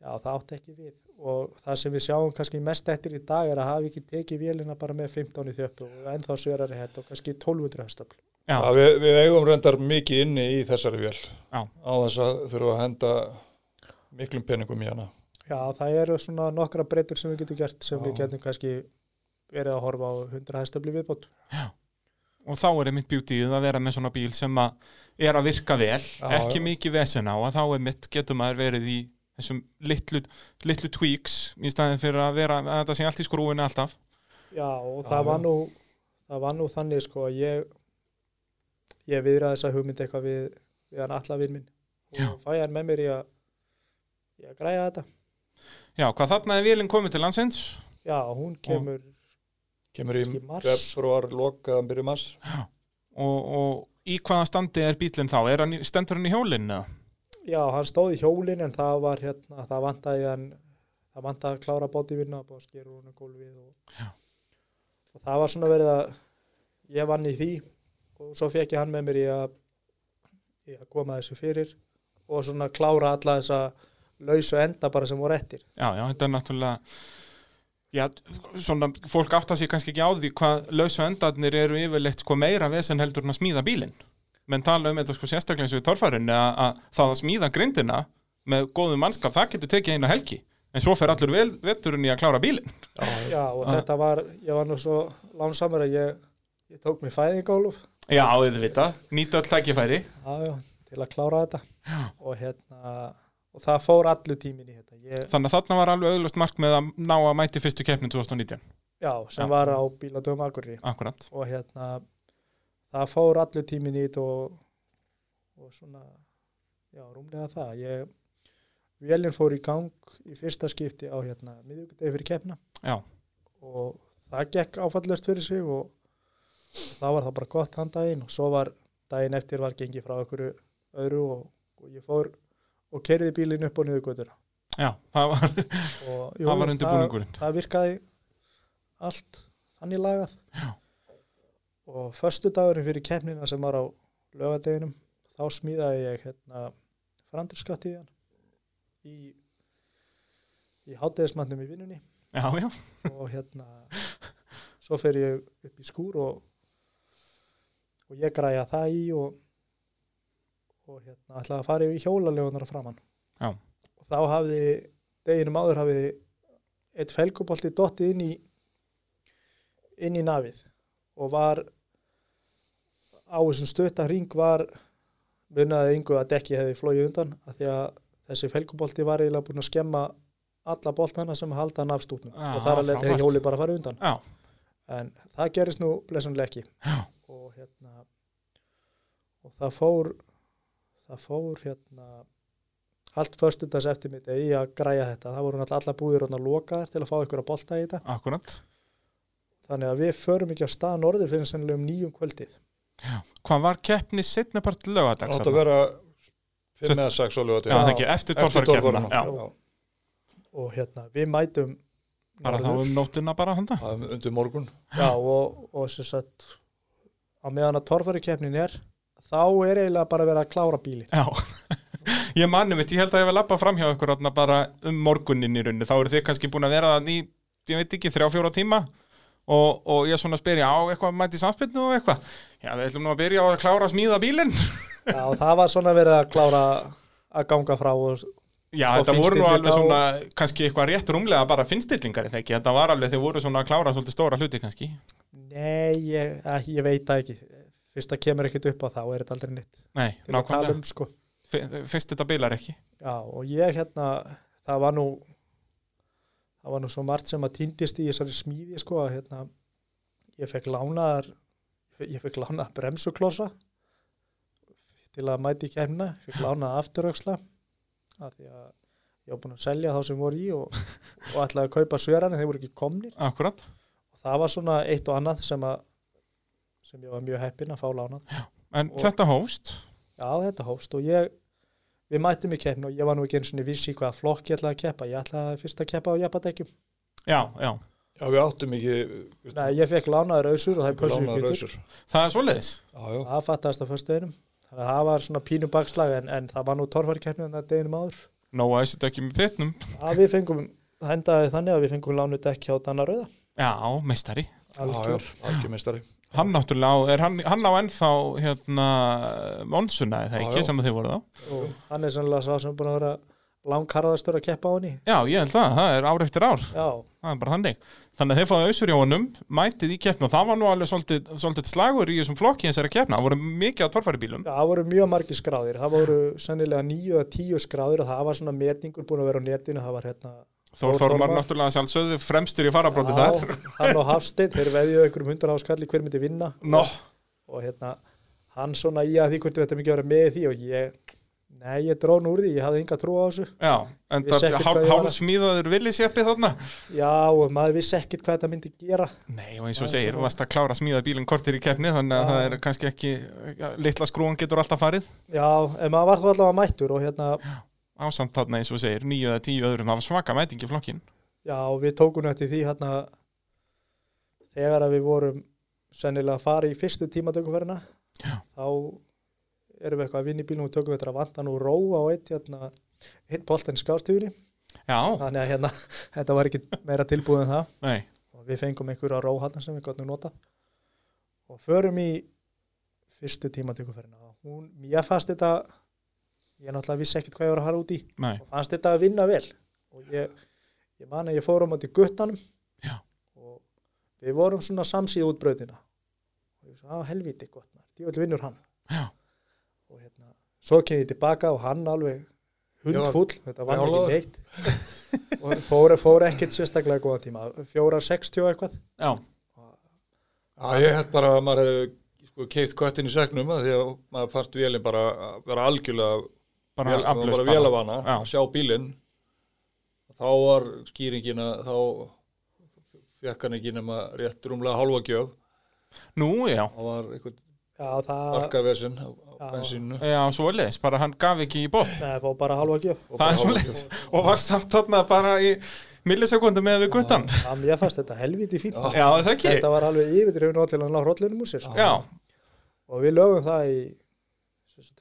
Speaker 3: já, það átti ekki við og það sem við sjáum kannski mest eftir í dag er að hafa ekki tekið vélina bara með 15 í þjöppu og ennþá sverari hett og kannski 1200 hestöfl.
Speaker 1: já,
Speaker 2: Ja, við, við eigum reyndar mikið inni í þessari vél
Speaker 1: Já.
Speaker 2: á þess að þurfa að henda miklum peningum í hana
Speaker 3: Já, það eru svona nokkra breytur sem við getum gert sem við
Speaker 2: Já.
Speaker 3: getum kannski verið að horfa á 100 hæstöfli viðbót.
Speaker 1: og þá er einmitt bjútið að vera með svona bíl sem að er að virka vel, ekki
Speaker 2: já.
Speaker 1: mikið vesen á að þá er mitt getur maður verið í þessum litlu, litlu tweaks í staðin fyrir að vera að þetta sé allt í skrúinu alltaf
Speaker 3: Já, og
Speaker 2: Já,
Speaker 3: það,
Speaker 2: já.
Speaker 3: var nú, það var nú þannig sko að ég ég viðraði þessa hugmynd eitthvað við, við hann allafinn minn og
Speaker 1: Já.
Speaker 3: fæ hann með mér í að, í að græja þetta.
Speaker 1: Já, hvað þarna er vélinn komið til landsins
Speaker 3: Já, hún kemur
Speaker 2: kemur í
Speaker 3: Kannski í mars.
Speaker 2: februar, loka, byrju mars
Speaker 1: og, og í hvaða standi er bílinn þá? Er hann, í- stendur hann í hjólinn eða?
Speaker 3: já, hann stóð í hjólin en það var hérna, það vantaði hann það vantaði að klára bótivinna og búið að skera honum gólfið og,
Speaker 1: Já.
Speaker 3: og það var svona verið að ég vann í því og svo fekk ég hann með mér í að, í að koma þessu fyrir og svona klára alla þessa lausu enda bara sem voru eftir
Speaker 1: Já, já, þetta er náttúrulega Já, svona, fólk aftar sér kannski ekki á því hvað lausu endarnir eru yfirleitt sko meira vesen heldur en að smíða bílinn menn tala um þetta sko sérstaklega eins og í torfærinni að, að það að smíða grindina með góðum mannskap, það getur tekið eina helgi en svo fer allur vel, veturinn í að klára bílinn
Speaker 3: já, og
Speaker 1: Ah.
Speaker 3: þetta var, ég var nú svo lánsamur að ég, ég tók mér fæðingólf
Speaker 1: Já, auðvitað, nýta all tækifæri
Speaker 3: já, já, til að klára þetta já. og hérna og það fór allur tímin í þetta ég,
Speaker 1: Þannig að þarna var alveg auðlust mark með að ná að mæti fyrstu keppni 2019,
Speaker 3: já, sem
Speaker 1: Já.
Speaker 3: var á bíladöfum Akurri
Speaker 1: akkurat
Speaker 3: og hérna það fór allur tímin í þetta og, og svona já, rúmlega það ég, vélinn fór í gang í fyrsta skipti á hérna miðvikudegi fyrir keppna
Speaker 1: Já,
Speaker 3: og það gekk áfallast fyrir sig og það var það bara gott þann daginn og svo var daginn eftir var gengið frá okkur öðru og, og ég fór og kerði bílinn upp og niður göttur
Speaker 1: já, það var,
Speaker 3: og jú,
Speaker 1: það var undirbúningurinn
Speaker 3: það virkaði allt þannig lagað
Speaker 1: Já.
Speaker 3: og föstudagurinn fyrir keppnina sem var á lögadeginum þá smíðaði ég hérna framdurskattíðan í í hátegismannum í vinnunni
Speaker 1: Já, já,
Speaker 3: og hérna svo fer ég upp í skúr og, og ég græja það í og, og hérna ætlaði að fara yfir hjólalögunar að framann
Speaker 1: Já.
Speaker 3: og þá hafði deginum áður hafði eitt felgubolti dottið inn í inn í nafið og var á þessum stötta hring var munaði yngu að dekki hefði flóið undan af því að þessi felgubolti var eiginlega búin að skemma alla boltana sem halda hann af stútnum
Speaker 1: Ah,
Speaker 3: og þar að leta
Speaker 1: frábært.
Speaker 3: hjóli bara fara undan
Speaker 1: já,
Speaker 3: en það gerist nú blessunlega ekki
Speaker 1: Já.
Speaker 3: og hérna og það fór það fór hérna allt föstudags eftir mitt í að græja þetta, það voru náttúrulega alla búðir hérna lokaðar til að fá ykkur að bolta í þetta
Speaker 1: akkurat
Speaker 3: þannig að við förum ekki á stað norður fyrir sennilega um nýjum kvöldið
Speaker 1: Hvað var keppni setnapart lögadags?
Speaker 2: átt að
Speaker 1: þarna?
Speaker 2: vera
Speaker 1: Sest-
Speaker 2: 5 eða 6 á lögati
Speaker 1: Já, það ekki, eftir torfarkeppna Já,
Speaker 3: og hérna við mætum
Speaker 1: bara þá um nóttina bara handa
Speaker 2: undir morgun
Speaker 3: Já, og, og sem sagt á meðan að torfarikeppnin er þá er eiginlega bara verið að klára
Speaker 1: <laughs>
Speaker 3: bílin
Speaker 1: Já, ég manum veit, ég held að ég vil labba fram hjá ykkur þarna bara um morgunin í rauninni, þá eru þið kannski búin að vera þannig, í, ég veit ekki, þrjá, fjóra tíma og, og ég svona spyr, já, eitthvað mæti samspilnu og eitthvað Já, við ætlum nú að byrja á að klára að smíða bílinn
Speaker 3: Já, og það var svona verið að klára að ganga frá og
Speaker 1: Já,
Speaker 3: Og
Speaker 1: þetta voru nú
Speaker 3: finnstillinga
Speaker 1: alveg svona, kannski eitthvað rétt rúmlega bara finnstillingar, er það ekki, þetta var alveg þeir voru svona að klára svolítið stóra hluti kannski
Speaker 3: nei, ég, eh, ég veit það ekki fyrst það kemur ekkert upp á þá er þetta aldrei nýtt
Speaker 1: Nei,
Speaker 3: til að tala
Speaker 1: nákvæmlega,
Speaker 3: um sko
Speaker 1: Fi- fyrst þetta bílar ekki
Speaker 3: Já, og ég hérna, það var nú það var nú svo margt sem að týndist í þessari smíði sko að hérna, ég fekk lánaðar ég fekk lánaðar bremsuklossa til að mæti í kemna ég fekk lánaðar afturöksla af því að ég var búin að selja þá sem voru í og, og ætlaði að kaupa sverani þeir voru ekki komnir
Speaker 1: Akkurat
Speaker 3: og það var svona eitt og annað sem að sem ég var mjög heppinn að fá lánað
Speaker 1: En
Speaker 3: Og-
Speaker 1: þetta hófst
Speaker 3: já þetta hófst og ég við mættum í keppn og ég var nú ekki eins og vissi í hvaða flokk ég ætlaði að keppa ég ætlaði fyrst að keppa á jafnbadekkjum
Speaker 1: Já, já,
Speaker 2: já við áttum ekki
Speaker 3: nei ég fekk lánaður ausur og það er pössuð
Speaker 2: lánaður
Speaker 3: byttur
Speaker 2: rausur
Speaker 1: það er svoleiðis
Speaker 2: já já
Speaker 3: það fattaðist á föstudeginum þannig að það var svona pínu bakslag en, en það var nú torfarkeppni þannig að deginum áður
Speaker 1: Nóa þessu dökjum í pitnum
Speaker 3: að við fengum hendaði þannig að við fengum lánuð dekki á Danna Rauða
Speaker 1: Já, meistari
Speaker 3: algjör
Speaker 2: algjörmestari
Speaker 1: Hann náttúrulega, á- er hann, hann á ennþá hérna, Monsuna eða
Speaker 2: Já,
Speaker 1: ekki,
Speaker 2: já.
Speaker 1: sem að þið voru þá
Speaker 3: og hann er sannlega sá sem er búin að vera langkarðastur að keppa á henni
Speaker 1: Já, ég held það, það er ár eftir ár
Speaker 3: já
Speaker 1: það er bara þannig, þannig að þeir fáið ausur í honum mætið í keppna og það var nú alveg svolítið, svolítið slagur í þessum flokki eins er að keppna það voru mikið á torfæri bílum
Speaker 3: Já, það voru mjög margir skráðir, það voru sennilega nýju eða tíu skráðir og það var svona metningur búin að vera á netinu, það var hérna
Speaker 1: Þór
Speaker 3: Þór
Speaker 1: Þormar
Speaker 3: Þormar.
Speaker 1: náttúrulega sjálfsögðu fremstur í farabróti
Speaker 3: Já,
Speaker 1: þar
Speaker 3: hann og Hafsteinn, þeir veðjuðu einhverjum hundar áskalli hver myndi vinna
Speaker 1: Nó,
Speaker 3: og hérna hann svona í að því hvort þetta mikið að vera með í því og ég Nei, ég dró nú úr því, ég hafði enga trú á þessu.
Speaker 1: Já, en
Speaker 3: Vissi
Speaker 1: það
Speaker 3: ekkert hvað
Speaker 1: hál,
Speaker 3: ég var að-
Speaker 1: hálfsmíðaður villisjeppi þarna
Speaker 3: Já, og maður vissi ekkit hvað þetta myndi gera.
Speaker 1: Nei, og eins og
Speaker 3: Já,
Speaker 1: segir,
Speaker 3: já.
Speaker 1: varst að klára að smíða bílinn kortir í keppni þannig að
Speaker 3: Já.
Speaker 1: það er kannski ekki, litla skrúan getur alltaf farið
Speaker 3: Já, en maður var þá allavega mættur og hérna,
Speaker 1: ásamt þarna eins og segir, níu eða tíu öðrum það var svaka mæting í flokkin
Speaker 3: já, við tókum eftir því hérna þegar að við vorum sennilega að fara í fyrstu tímatökuferðina
Speaker 1: Já.
Speaker 3: þá erum við eitthvað að vinna í bílum og tökum þetta að vantan og róa á eitt hérna, hitt boltinn skástíðunni
Speaker 1: Já,
Speaker 3: þannig að hérna, <laughs> þetta var ekki meira tilbúið en það
Speaker 1: nei,
Speaker 3: og við fengum einhverja róhaldan sem við gott nú nota og förum í fyrstu tímatökuferðina og hún, ég fannst þetta ég náttúrulega vissi ekkert hvað ég var að fara út í
Speaker 1: nei
Speaker 3: og fannst þetta að vinna vel og ég, ég man að ég fór á móti guttanum
Speaker 1: Já.
Speaker 3: og við vorum svona samsíð út brautina og ég sagði, á helviti gott því öll vinnur hann
Speaker 1: Já.
Speaker 3: og hérna, svo kem ég tilbaka og hann alveg hundfúll, þetta var
Speaker 2: brjálaður.
Speaker 3: ekki neitt <laughs> og fór, fór ekkert sérstaklega góðan tíma, 4.60 eitthvað
Speaker 1: Já,
Speaker 2: Já, ég held bara að maður hefði sko, keitt köttin í segnum að því að maður fannst vélinn bara að vera algjörlega
Speaker 1: bara
Speaker 2: vél-
Speaker 1: aflaust
Speaker 2: bara vélavana
Speaker 1: Já.
Speaker 2: að sjá bílinn þá var skýringina þá fekk hann ekki nema rétt rúmlega hálfa gjöf
Speaker 1: Nú, já,
Speaker 2: það var eitthvað
Speaker 3: já, það,
Speaker 2: barkavesen á
Speaker 3: Já.
Speaker 2: bensinu
Speaker 1: já, svoleiðis, bara hann gaf ekki í botn
Speaker 3: neða, fór bara halva gjöf
Speaker 1: Það er svoleiðis, og var samt þarna bara í millisekundum með við guttan
Speaker 3: Já, mér fannst þetta helviti fínt
Speaker 2: Já.
Speaker 1: Já, það ekki,
Speaker 3: þetta var alveg yfirdrifin og til að ná hrollinum úr sér sko.
Speaker 1: já,
Speaker 3: og við lögum það í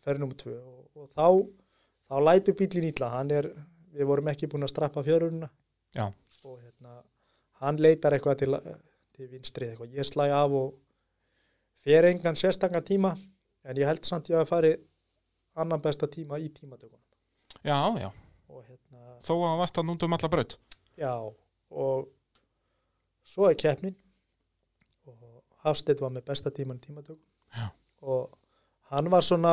Speaker 3: ferð nr. 2 og, og þá þá lætur bílinn ítla hann er, við vorum ekki búin að strappa fjörununa
Speaker 1: Já.
Speaker 3: og hérna hann leitar eitthvað til, til vinstrið eitthvað, ég slæ af og fer engan sérstanga tíma en ég held samt ég að fari annan besta tíma í tímatökunum
Speaker 1: já, já
Speaker 3: og hérna,
Speaker 1: Þó að hann varst hann út um alla braut
Speaker 3: já og svo er keppnin og Hafstedt var með besta tíman í tímatökum
Speaker 1: Já.
Speaker 3: og hann var svona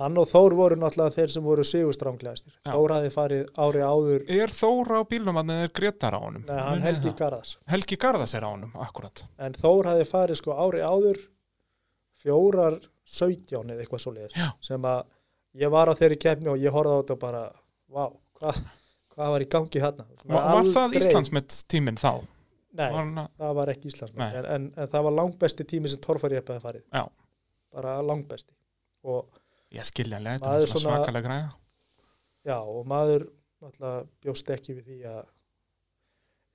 Speaker 3: hann og Þór voru náttúrulega þeir sem voru sigurstránglegastir
Speaker 1: Já.
Speaker 3: Þór hafði farið ári áður
Speaker 1: Er Þóra á bílnum hann eða er Gretar á honum?
Speaker 3: nei, hann Helgi Garðars
Speaker 1: Helgi Garðas er á honum, akkurat
Speaker 3: en Þór hafði farið sko ári áður fjórar 17 eða eitthvað svo
Speaker 1: Já.
Speaker 3: sem að ég var á þeirri keppni og ég horfði á þetta og bara, vá, hvað hvað var í gangi þarna
Speaker 1: Var, var það
Speaker 3: Aldrei-
Speaker 1: Íslandsmet tíminn þá?
Speaker 3: Nei,
Speaker 1: Var hann að-
Speaker 3: það var ekki Íslands
Speaker 1: Nei.
Speaker 3: en, en, en það var langbesti tími sem Torfari hefði farið
Speaker 1: Já.
Speaker 3: bara langbesti og,
Speaker 1: Ég skiljanlega, þetta
Speaker 3: Maður
Speaker 1: er svona
Speaker 3: svona-
Speaker 1: svakalega græja
Speaker 3: já, og maður náttúrulega bjóst ekki við því að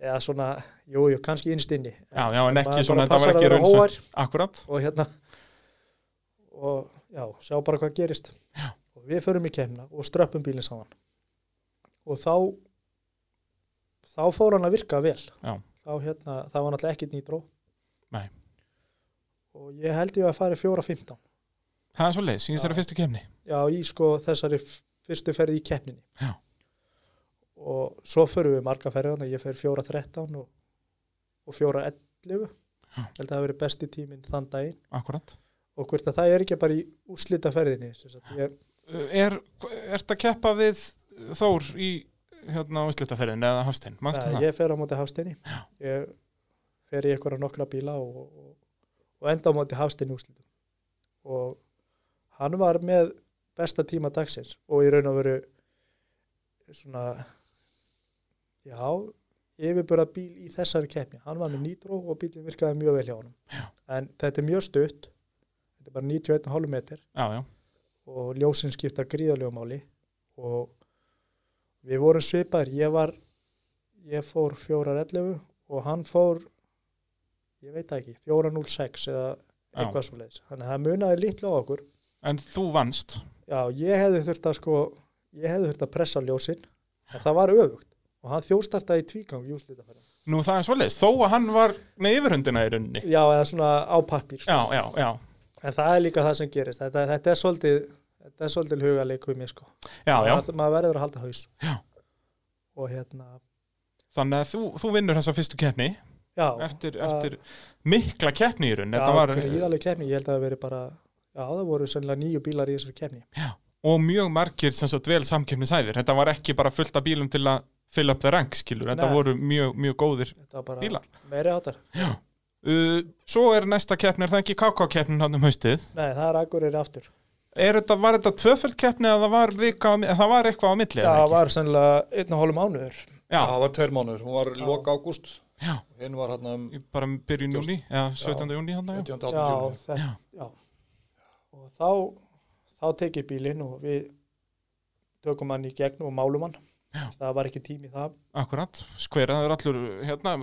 Speaker 3: eða svona, jú, jú, kannski innst inni
Speaker 1: Já, já, en
Speaker 3: maður
Speaker 1: ekki svona, þetta var
Speaker 3: bara passar að
Speaker 1: ekki
Speaker 3: vera
Speaker 1: raunsa
Speaker 3: hógvær
Speaker 1: Akkurat,
Speaker 3: og hérna og já, sjá bara hvað gerist
Speaker 1: Já.
Speaker 3: og við förum í kemna og ströppum bílinn saman og þá þá fór hann að virka vel
Speaker 1: Já.
Speaker 3: þá hérna, það var náttúrulega ekkit nýtró
Speaker 1: Nei.
Speaker 3: og ég held ég að fara í 4.15
Speaker 1: það er svo leiðis, ég þessari
Speaker 3: Já.
Speaker 1: fyrstu kemni
Speaker 3: já, í sko þessari f- fyrstu ferði í keppninni
Speaker 1: Já.
Speaker 3: og svo förum við marga ferði þannig að ég fer 4.13 og, og 4.11
Speaker 1: Já.
Speaker 3: held að það hafi verið besti tíminn þann daginn
Speaker 1: Akkurat
Speaker 3: og hvort að það er ekki bara í úslita ferðinni ég,
Speaker 1: Eh, er, ert að keppa við Þór í hérna áslutaferðin eða Hafstein, mannstu
Speaker 3: að,
Speaker 1: það?
Speaker 3: ég fer á móti hafstinni ég fer í einhverja nokkra bíla og, og, og enda á móti hafstinni úslitum og hann var með besta tíma dagsins og í raun og veru svona já yfirbúra bíl í þessari keppni hann var með nýtró og bílinn virkaði mjög vel hjá honum
Speaker 1: Já.
Speaker 3: en þetta er mjög stutt þetta er bara 91,5 metr
Speaker 1: Já, já,
Speaker 3: og ljósin skipta gríðarlegu máli og við vorum svipaðir, ég var ég fór 4.11 og hann fór ég veit það ekki, 4.06 eða
Speaker 1: Já.
Speaker 3: eitthvað svo leiðis, þannig að það munaði litla á okkur,
Speaker 1: en þú vannst
Speaker 3: já ég hefði þurft að sko, ég hefði þurft að pressa ljósin en það var öfugt og hann þjóstartaði í tvígang júslitafæri
Speaker 1: Nú það er svoleiðis, þó að hann var með yfirhundina í rauninni
Speaker 3: já eða svona á pappír
Speaker 1: Já, já, já,
Speaker 3: en það er líka það sem gerist, þetta, þetta er svolítið þetta er svolítið hugaleikum mér sko
Speaker 1: já, já
Speaker 3: Maður- maður verður að halda haus
Speaker 1: Já.
Speaker 3: og hérna
Speaker 1: Þannig að þú, þú vinnur þessa fyrstu keppni
Speaker 3: já,
Speaker 1: eftir,
Speaker 3: það-
Speaker 1: eftir mikla keppni í rauninni
Speaker 3: já,
Speaker 1: Þetta var eh,
Speaker 3: gríðaleg keppni, ég held að það veri bara já, það voru sennilega nýju bílar í þessari keppni
Speaker 1: og mjög margir sem sagt vel samkeppnisæðir Þetta var ekki bara fullt af bílum til að fylla upp það rank, skilur, þetta
Speaker 3: Nei.
Speaker 1: voru mjög, mjög góðir
Speaker 3: þetta var bara
Speaker 1: Bílar?
Speaker 3: meiri áttar
Speaker 1: uh, Svo er næsta keppni, er það ekki KK-keppnin hann um haustið
Speaker 3: nei, það er akkurir aftur
Speaker 1: er þetta, var þetta tvöföld keppni eða það var, vika, á mi- eða það var eitthvað á milli
Speaker 3: Já,
Speaker 1: eða
Speaker 3: það
Speaker 1: ekki?
Speaker 3: var sennilega einn og hálfum mánuður.
Speaker 1: já,
Speaker 2: það var tveir mánuður, hún var
Speaker 3: Já.
Speaker 2: lok ágúst
Speaker 1: Já.
Speaker 2: hinn var hérna um
Speaker 1: í- bara byrjun júni, já, 17. júni hann, já.
Speaker 2: 17. 18.
Speaker 3: Já,
Speaker 2: júni
Speaker 3: þetta, já.
Speaker 1: Já.
Speaker 3: Og þá, þá tek ég bílinn og við tökum hann í gegn og málum hann.
Speaker 1: Já.
Speaker 3: Það var ekki tími í það.
Speaker 1: akkurat, skveraður allur hérna,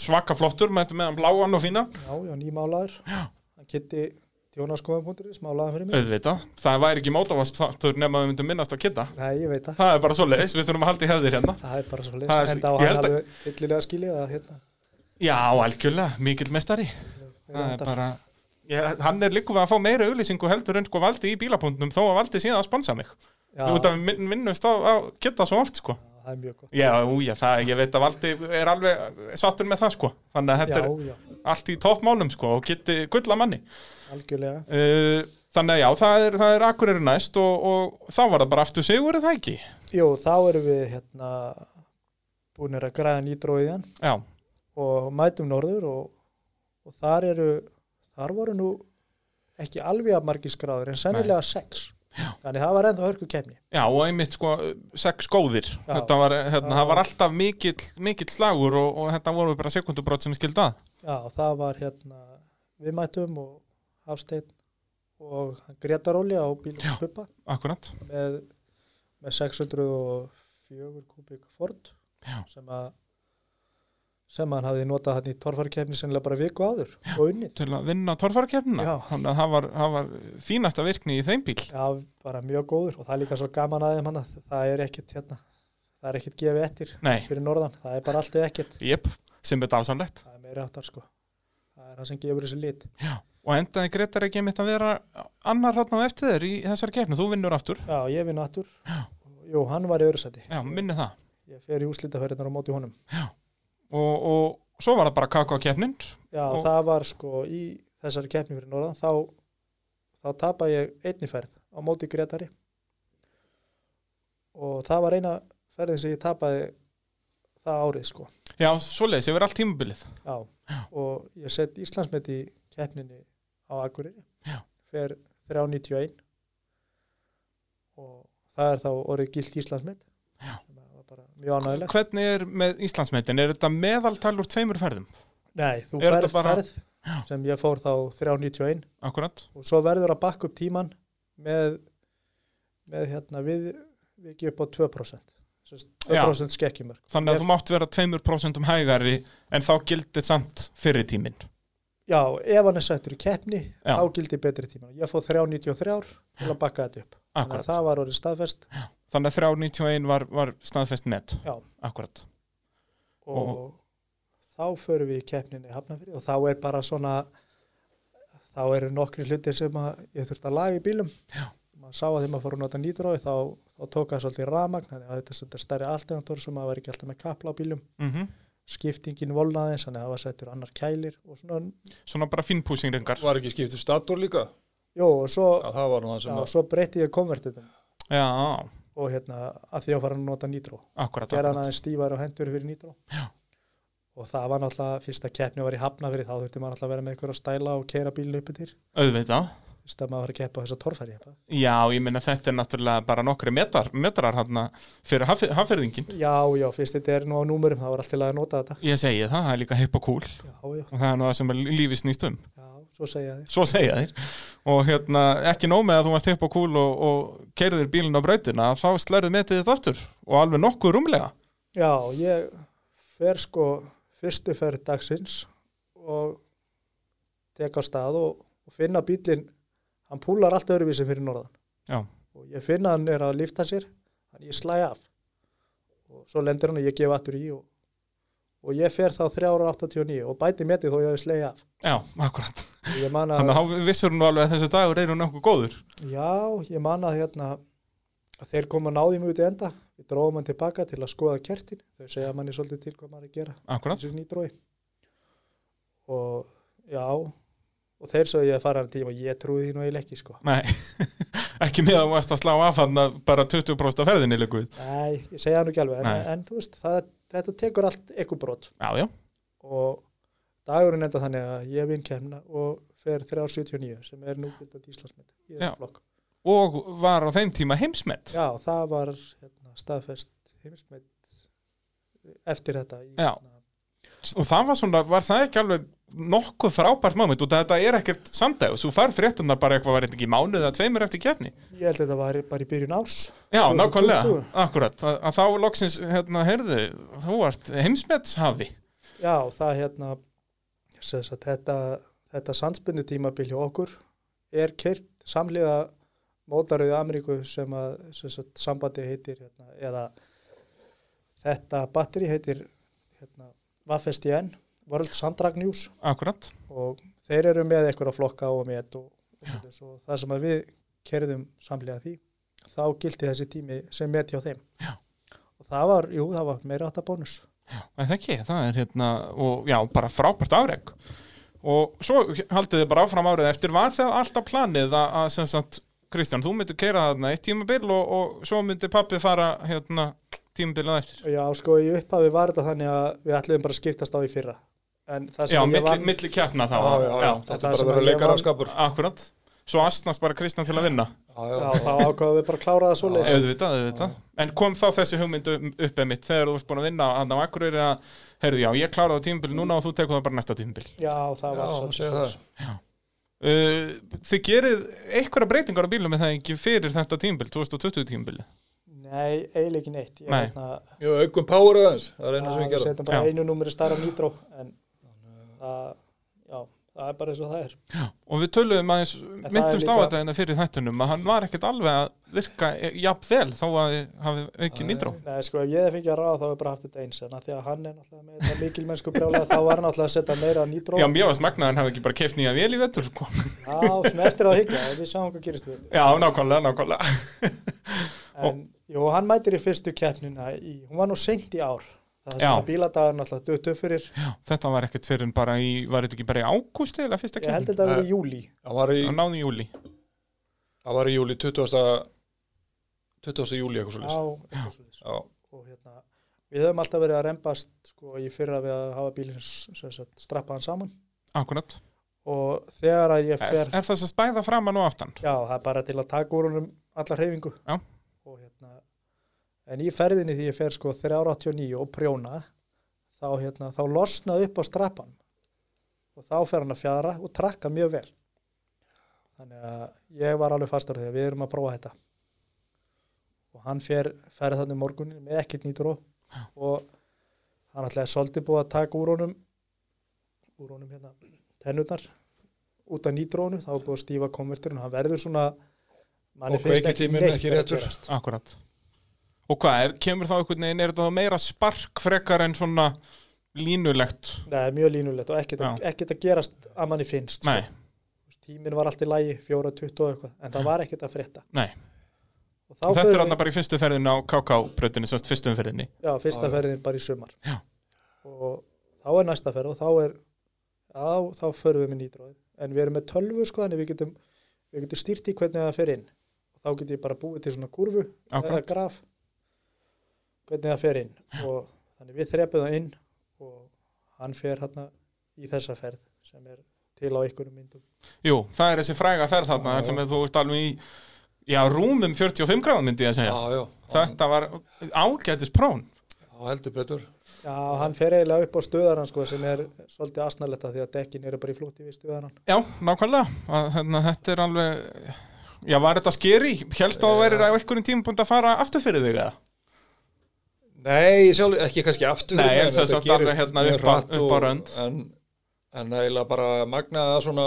Speaker 1: svaka flottur með þetta meðan bláan og fína,
Speaker 3: Já, ég var nýmálaður. Já. Hann kitti tjónaskoðum.is, málaði fyrir mig.
Speaker 1: auðvitað það væri ekki mótavast þáttur nema við myndum minnast á kitta,
Speaker 3: Nei, ég veit það.
Speaker 1: það er bara svo leiðis, við þurfum að halda í hefðir hérna
Speaker 3: Það er bara svo
Speaker 1: Það er
Speaker 3: leiðis.
Speaker 1: svo-
Speaker 3: Enda á
Speaker 1: ég
Speaker 3: hann
Speaker 1: held að-
Speaker 3: alveg fyllilega skilið að hérna.
Speaker 1: já, algjörlega, mikill mestari það er
Speaker 3: þetta-
Speaker 1: bara ég, hann er líka að fá meira auðlýsingu heldur en sko valdi í bílapunktnum þó að valdi síðan að sponsa mig
Speaker 3: Já,
Speaker 1: þú veit að við minn- minnumst á, á kitta svo oft sko
Speaker 3: það er mjög gott.
Speaker 1: já, ú, já, það, ég veit að valdi er alveg sattur með það sko þannig að
Speaker 3: Já,
Speaker 1: þetta er
Speaker 3: já,
Speaker 1: allt í toppmálum sko og kitti gullamanni
Speaker 3: algjörlega.
Speaker 1: uh, þannig að já, það er, það er akkurir næst og, og þá var það bara aftur sigur er það ekki
Speaker 3: Jú, þá erum við hérna búinir að græða nýtróiðan
Speaker 1: já,
Speaker 3: og mætum norður og, og þar eru, þar voru nú ekki alveg að margir skráður en sennilega sex. Já. Þannig það var ennþá hörku kemni.
Speaker 1: já, og einmitt sko sex góðir,
Speaker 3: Já.
Speaker 1: þetta var hérna,
Speaker 3: Já.
Speaker 1: það var alltaf mikill, mikill slagur og, og þetta voru bara sekundubrót sem skildi að
Speaker 3: Já, það var hérna, við mætum og Hafsteinn og Gretar Olja á bílum spuppa
Speaker 1: akkurat,
Speaker 3: með, með 604 kubík Ford
Speaker 1: Já.
Speaker 3: sem að sem hann hafði notað hann í torfarkefni sennilega bara viku áður og unnið.
Speaker 1: til að vinna torfarkefnina
Speaker 3: Já.
Speaker 1: þannig að það var, það var fínasta virkni í þeim bíl
Speaker 3: Já, bara mjög góður og það er líka svo gaman aðeim hann að það er ekkit hérna, það er ekkit gefið eftir
Speaker 1: nei,
Speaker 3: fyrir norðan, það er bara alltaf ekkit
Speaker 1: jöp, sem er dásamlegt
Speaker 3: það er meira áttar sko það er það sem gefur þessu lit
Speaker 1: og endaði Gretar ekki mitt að vera annar hrann á eftir þér í þessari kefni, þú vinnur aftur
Speaker 3: Já, ég vinn aftur Jú, hann var í öðru sæti
Speaker 1: já, minni það
Speaker 3: ég fer í úslitaferðinar á móti honum
Speaker 1: og, og svo var það bara kaka á kefnin
Speaker 3: Já,
Speaker 1: Og-
Speaker 3: það var sko í þessari keppni fyrir norðan þá, þá tapa ég einni ferð á móti Gretari og það var eina ferðin sem ég tapaði það árið sko
Speaker 1: já, svoleiðis, ég verið allt tímabilið
Speaker 3: Já, og ég sett Íslandsmet í keppninni á Akureyri
Speaker 1: Já.
Speaker 3: fer 391 og það er þá orðið gilt Íslandsmet
Speaker 1: Já.
Speaker 3: sem að var bara mjög ánægilegt
Speaker 1: hvernig er með Íslandsmeitin, er þetta meðaltal úr tveimur ferðum,
Speaker 3: Nei, þú
Speaker 1: Er
Speaker 3: ferð
Speaker 1: þetta bara-
Speaker 3: ferð sem ég fór þá 391
Speaker 1: akkurat
Speaker 3: og svo verður að bakka upp tíman með, með hérna við vikið upp á 2% Sem sagt, 2% skekkjumörk
Speaker 1: þannig að
Speaker 3: Ég-
Speaker 1: þú mátt vera tveimur prósentum hægari en þá gildir samt fyrir tíminn
Speaker 3: Já, ef hann er sættur í keppni
Speaker 1: Já.
Speaker 3: þá gildi betri tíman ég fór 393 til að bakka þetta upp þannig
Speaker 1: akkurat,
Speaker 3: að það var orðið staðfest
Speaker 1: þannig að 391 var, var staðfest met,
Speaker 3: Já.
Speaker 1: akkurat
Speaker 3: og þá förum við í keppninni í Hafnafyrir og þá er bara svona þá eru nokkri hlutir sem að ég þurfti að laga í bílum
Speaker 1: Já.
Speaker 3: maður sá að þegar maður fór að nota nýtrói þá, þá tók það svolítið ramagn þannig að þetta er svolítið stærri alternator sem maður var ekki alltaf með kapla á bílum
Speaker 1: mm
Speaker 3: skiptingin volnaði þannig að það var settur annar kælir og svona,
Speaker 1: svona bara finnpúsingringar
Speaker 2: var ekki skiptið stator líka
Speaker 3: jú og svo,
Speaker 2: já, það var nú það
Speaker 3: já,
Speaker 2: sem að
Speaker 3: svo breytti ég konvertitum
Speaker 1: já,
Speaker 3: og hérna að því að fara að nota nýtró
Speaker 1: akkurat,
Speaker 3: gera
Speaker 1: akkurat.
Speaker 3: hann aðeins stífar og hendur fyrir nýtró
Speaker 1: Já.
Speaker 3: og það var náttúrulega fyrsta keppni var í hafnafyrir þá þurfti maður náttúrulega að vera með ykkur að stæla og keira bílinu uppi til
Speaker 1: auðvitað
Speaker 3: fyrst að maður var að keppa á þessa torfæri
Speaker 1: já, ég minna þetta er náttúrulega bara nokkri metrar, metrar hana fyrir haf, hafverðingin
Speaker 3: já, já, fyrst þetta er nú á númurum það var alltaf að nota þetta
Speaker 1: ég segi það, það er líka heip og cool
Speaker 3: já, já,
Speaker 1: og það er nú það sem er lífi snýst um
Speaker 3: já, svo segja þið
Speaker 1: svo segja þér og hérna, ekki nóg með að þú varst heip og cool og, og keirðir bílinn á brautina þá slærið metið þetta aftur og alveg nokkuð rúmlega
Speaker 3: já, ég fer sko fyrstu ferð dagsins og tek á stað og, og finna bílinn hann púlar allt öðruvísi fyrir norðan
Speaker 1: Já.
Speaker 3: og ég finna að hann er að lifta sér þannig ég slæ af og svo lendir hann og ég gef aftur í og, og ég fer þá 3.89 og bæti metið þó ég hafi slegið af
Speaker 1: já, akkurat
Speaker 3: og ég man að
Speaker 1: Þannig að þá vissur hún alveg að þessi dagur eru nokkuð góður
Speaker 3: Já, ég man að hérna að þeir koma að náði mig út í enda við dróðum hann tilbaka til að skoða kertin þau segja manni svolítið til hvað maður er að gera
Speaker 1: Akkurat,
Speaker 3: þessu nýtrói og já og þeir sögðu ég að fara hann tíma og ég trúi því nú eiginlega ekki sko
Speaker 1: nei <laughs> ekki með að þú varst að slá af hann bara 20% af ferðinni líkuð
Speaker 3: Nei, ég segja hann ekki alveg en,
Speaker 1: Nei.
Speaker 3: en þú veist, það, þetta tekur allt ekkur brot
Speaker 1: Já, já,
Speaker 3: og dagurinn enda þannig að ég vinn kemna og fer 379 sem er núgildandi Íslandsmynd
Speaker 1: Já.
Speaker 3: í þessum flokk
Speaker 1: og var á þeim tíma heimsmet
Speaker 3: Já, það var hérna, staðfest heimsmeitt eftir þetta í,
Speaker 1: Já.
Speaker 3: hérna,
Speaker 1: og það var svona, var það ekki alveg nokkuð frábært moment og þetta er ekkert samdæg og svo far fréttina bara eitthvað var þetta ekki í mánuð eða tveimur eftir kefni
Speaker 3: Ég held að þetta var bara í byrjun árs
Speaker 1: Já,
Speaker 3: 2020.
Speaker 1: nákvæmlega, akkurat að, að þá loksins, hérna, heyrðu þú varst heimsmetshafi
Speaker 3: Já, það hérna sess að þetta, þetta sandspunni tímabil hjá okkur er kert samliða mótaröðu Ameríku sem að sess að sambandi heitir hérna, eða þetta batteri heitir hérna, VFSTN, World Sandrag News
Speaker 1: akkurat,
Speaker 3: og þeir eru með einhverja flokka og met og, og, svoleiðis og það sem að við kerðum samlega því þá gildi þessi tími sem met hjá þeim Já. og það var, jú, það var meira átta bónus
Speaker 1: en það ekki það er hérna, og já, bara frábært afreg og svo haldið þið bara áfram árið eftir, var það alltaf planið að, að sem sagt, Kristján, þú myndir keira þarna eitt tímabil og, og svo myndi pappi fara, hérna, tímabilið á eftir
Speaker 3: Já, sko, í upphafi var þetta þannig að við ætluðum bara að skiptast á í fyrra en það sem
Speaker 1: Já,
Speaker 3: ég
Speaker 1: milli,
Speaker 3: vann,
Speaker 1: milli keppna þá
Speaker 2: já, já, já,
Speaker 3: það
Speaker 2: þetta
Speaker 3: er
Speaker 2: er
Speaker 3: það
Speaker 2: bara
Speaker 3: sem
Speaker 2: að vera
Speaker 3: ég vann.
Speaker 2: leikaraskapur já,
Speaker 1: akkurat, svo astnast bara Kristján til að vinna
Speaker 2: já,
Speaker 3: já, þá ákvaðum við bara að klára það svo leið
Speaker 1: auðvitað, auðvitað. En kom þá þessi hugmynd um- upp eða mitt þegar þú varst búin að vinna að á Akureyri að, heyrðu, já, ég kláraði á tímbil núna og þú tekur það bara næsta tímbil.
Speaker 3: Já, það var
Speaker 2: já,
Speaker 3: svolítið
Speaker 2: segja það
Speaker 3: svoleiðis.
Speaker 1: Uh, þið gerið einhverja breytingar á bílum er það ekki fyrir þetta tímbil, 2020 tímbil.
Speaker 3: Nei, eiginlega ekki neitt Ég
Speaker 1: Nei.
Speaker 3: hérna,
Speaker 2: já, aukum power aðeins, það er eina sem ég
Speaker 3: að
Speaker 2: gera
Speaker 3: setja bara
Speaker 1: Já.
Speaker 3: einu númeri starra nýtró en það, já, það er bara eins og það er
Speaker 1: Og við töluðum aðeins,
Speaker 3: það
Speaker 1: myndumst
Speaker 3: er
Speaker 1: á
Speaker 3: líka-
Speaker 1: þetta hérna fyrir þættunum að hann var ekkert alveg að virka e- jafn vel þó að þið hafi aukið nýndró.
Speaker 3: Nei, sko, ef ég hef fengið að ráða þá hef ég bara haft þetta eins en að því að hann er náttúrulega með þetta líkilmennsku brjálega þá var hann náttúrulega að setja meira nýtró
Speaker 1: Já, mér varst magnað að hann hafi ekki bara keft nýja vel í vetur, sko.
Speaker 3: Já, svona eftir á að higgja, en við sjáum hvað gerist við
Speaker 1: Já, nákvæmlega, nákvæmlega.
Speaker 3: En, jú, hann mætir í fyrstu keppnina í, hún var nú seint í ár
Speaker 1: Já.
Speaker 3: það sem að bíladagur náttúrulega döttu fyrir
Speaker 1: Já, þetta var ekkert fyrir en bara í, var þetta ekki bara í ágúst eða fyrsta
Speaker 3: ég
Speaker 1: kemur?
Speaker 3: held þetta að vera í júli
Speaker 2: það var í,
Speaker 1: Á náðum júli.
Speaker 2: það var í júli 20. 20. júli eitthvað
Speaker 3: á,
Speaker 2: svolítið
Speaker 3: eitthvað svoleiðis.
Speaker 2: já,
Speaker 3: og hérna, við höfum alltaf verið að rembast sko í fyrra við að hafa bílinn sem sagt, strappa hann saman
Speaker 1: Akkurat.
Speaker 3: og þegar að ég
Speaker 1: Er,
Speaker 3: fer
Speaker 1: er þess að spæða framan og aftan?
Speaker 3: já, það er bara til að taka úr honum alla hreyfingu
Speaker 1: Já.
Speaker 3: og hérna en í ferðinni því ég fer sko 389 og prjóna þá hérna, þá losna upp á strappan og þá fer hann að fjara og trakka mjög vel þannig að ég var alveg fastur því að við erum að prófa þetta og hann fer ferði þannig morgunin með ekkert nýtró og hann ætlaði svolítið búið að taka úr honum úr honum hérna tennurnar út af nýtrónu, þá er búið að stífa konvertirinn, hann verður svona manni
Speaker 2: Og
Speaker 3: finnst
Speaker 2: kveikitíminn
Speaker 3: neitt
Speaker 2: ekki
Speaker 3: vera að
Speaker 2: réttur.
Speaker 3: gerast.
Speaker 1: Akkurat. Og hvað er, kemur þá einhvern veginn, er þetta þá meira spark frekar en svona línulegt?
Speaker 3: Nei, mjög línulegt og ekkert,
Speaker 1: Já.
Speaker 3: ekkert að gerast að manni finnst
Speaker 1: Nei,
Speaker 3: sko. tíminn var allt í lægi, fjóra, tuttu og eitthvað en það var ekkert að frétta
Speaker 1: nei.
Speaker 3: og þá
Speaker 1: Og þetta
Speaker 3: förum
Speaker 1: er
Speaker 3: við-
Speaker 1: hann bara í fyrstu ferðinu á KK-bröðinu, semst fyrstu umferðinni.
Speaker 3: já, fyrsta
Speaker 2: Já, já.
Speaker 3: ferðin bara í sumar
Speaker 1: Já.
Speaker 3: og þá er næsta ferð og þá er já, þá förum við með nýtróð en við erum með tölvu sko, þannig við getum við getum stýrt í hvernig það fer inn og þá getum ég bara búið til svona kurvu eða
Speaker 1: Akkurat.
Speaker 3: graf hvernig það fer inn og þannig við þrepum það inn og hann fer hérna í þessa ferð sem er til á einhverjum myndum
Speaker 1: Jú, það er þessi fræga ferð þarna,
Speaker 2: Já,
Speaker 1: sem er, þú ert alveg í, já, rúmum 45 gráðum myndi ég að segja.
Speaker 2: já, já,
Speaker 1: Þetta var ágætis prón.
Speaker 2: já, heldur betur
Speaker 3: Já, hann fer eiginlega upp á stöðaran sko, sem er svolítið asnaletta því að dekkin eru bara í flótti við stöðaran
Speaker 1: Já, nákvæmlega. Að- Þannig að þetta er alveg, já, var þetta skeri? Hélst að þú værir á einhverjum tímapunkt að fara aftur fyrir þig eða?
Speaker 2: Nei, sjálf, ekki kannski aftur
Speaker 1: Nei, en
Speaker 2: en
Speaker 1: sem
Speaker 2: þetta
Speaker 1: sagt alveg
Speaker 2: gerist
Speaker 1: hérna
Speaker 2: mjög
Speaker 1: upp á-
Speaker 2: hratt
Speaker 1: upp á
Speaker 2: og-
Speaker 1: rönd.
Speaker 2: En, en eiginlega bara magnað að svona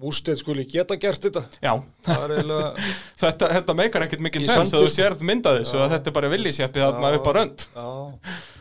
Speaker 2: úrstið skuli geta gert þetta
Speaker 1: Já,
Speaker 2: Það er eiginlega,
Speaker 1: þetta, þetta meikar ekkert mikinn
Speaker 2: Í
Speaker 1: sens að
Speaker 2: sandi.
Speaker 1: þú sérð mynda þessu að þetta er bara villisjæppi þarna
Speaker 2: Já.
Speaker 1: upp á rönd
Speaker 2: já,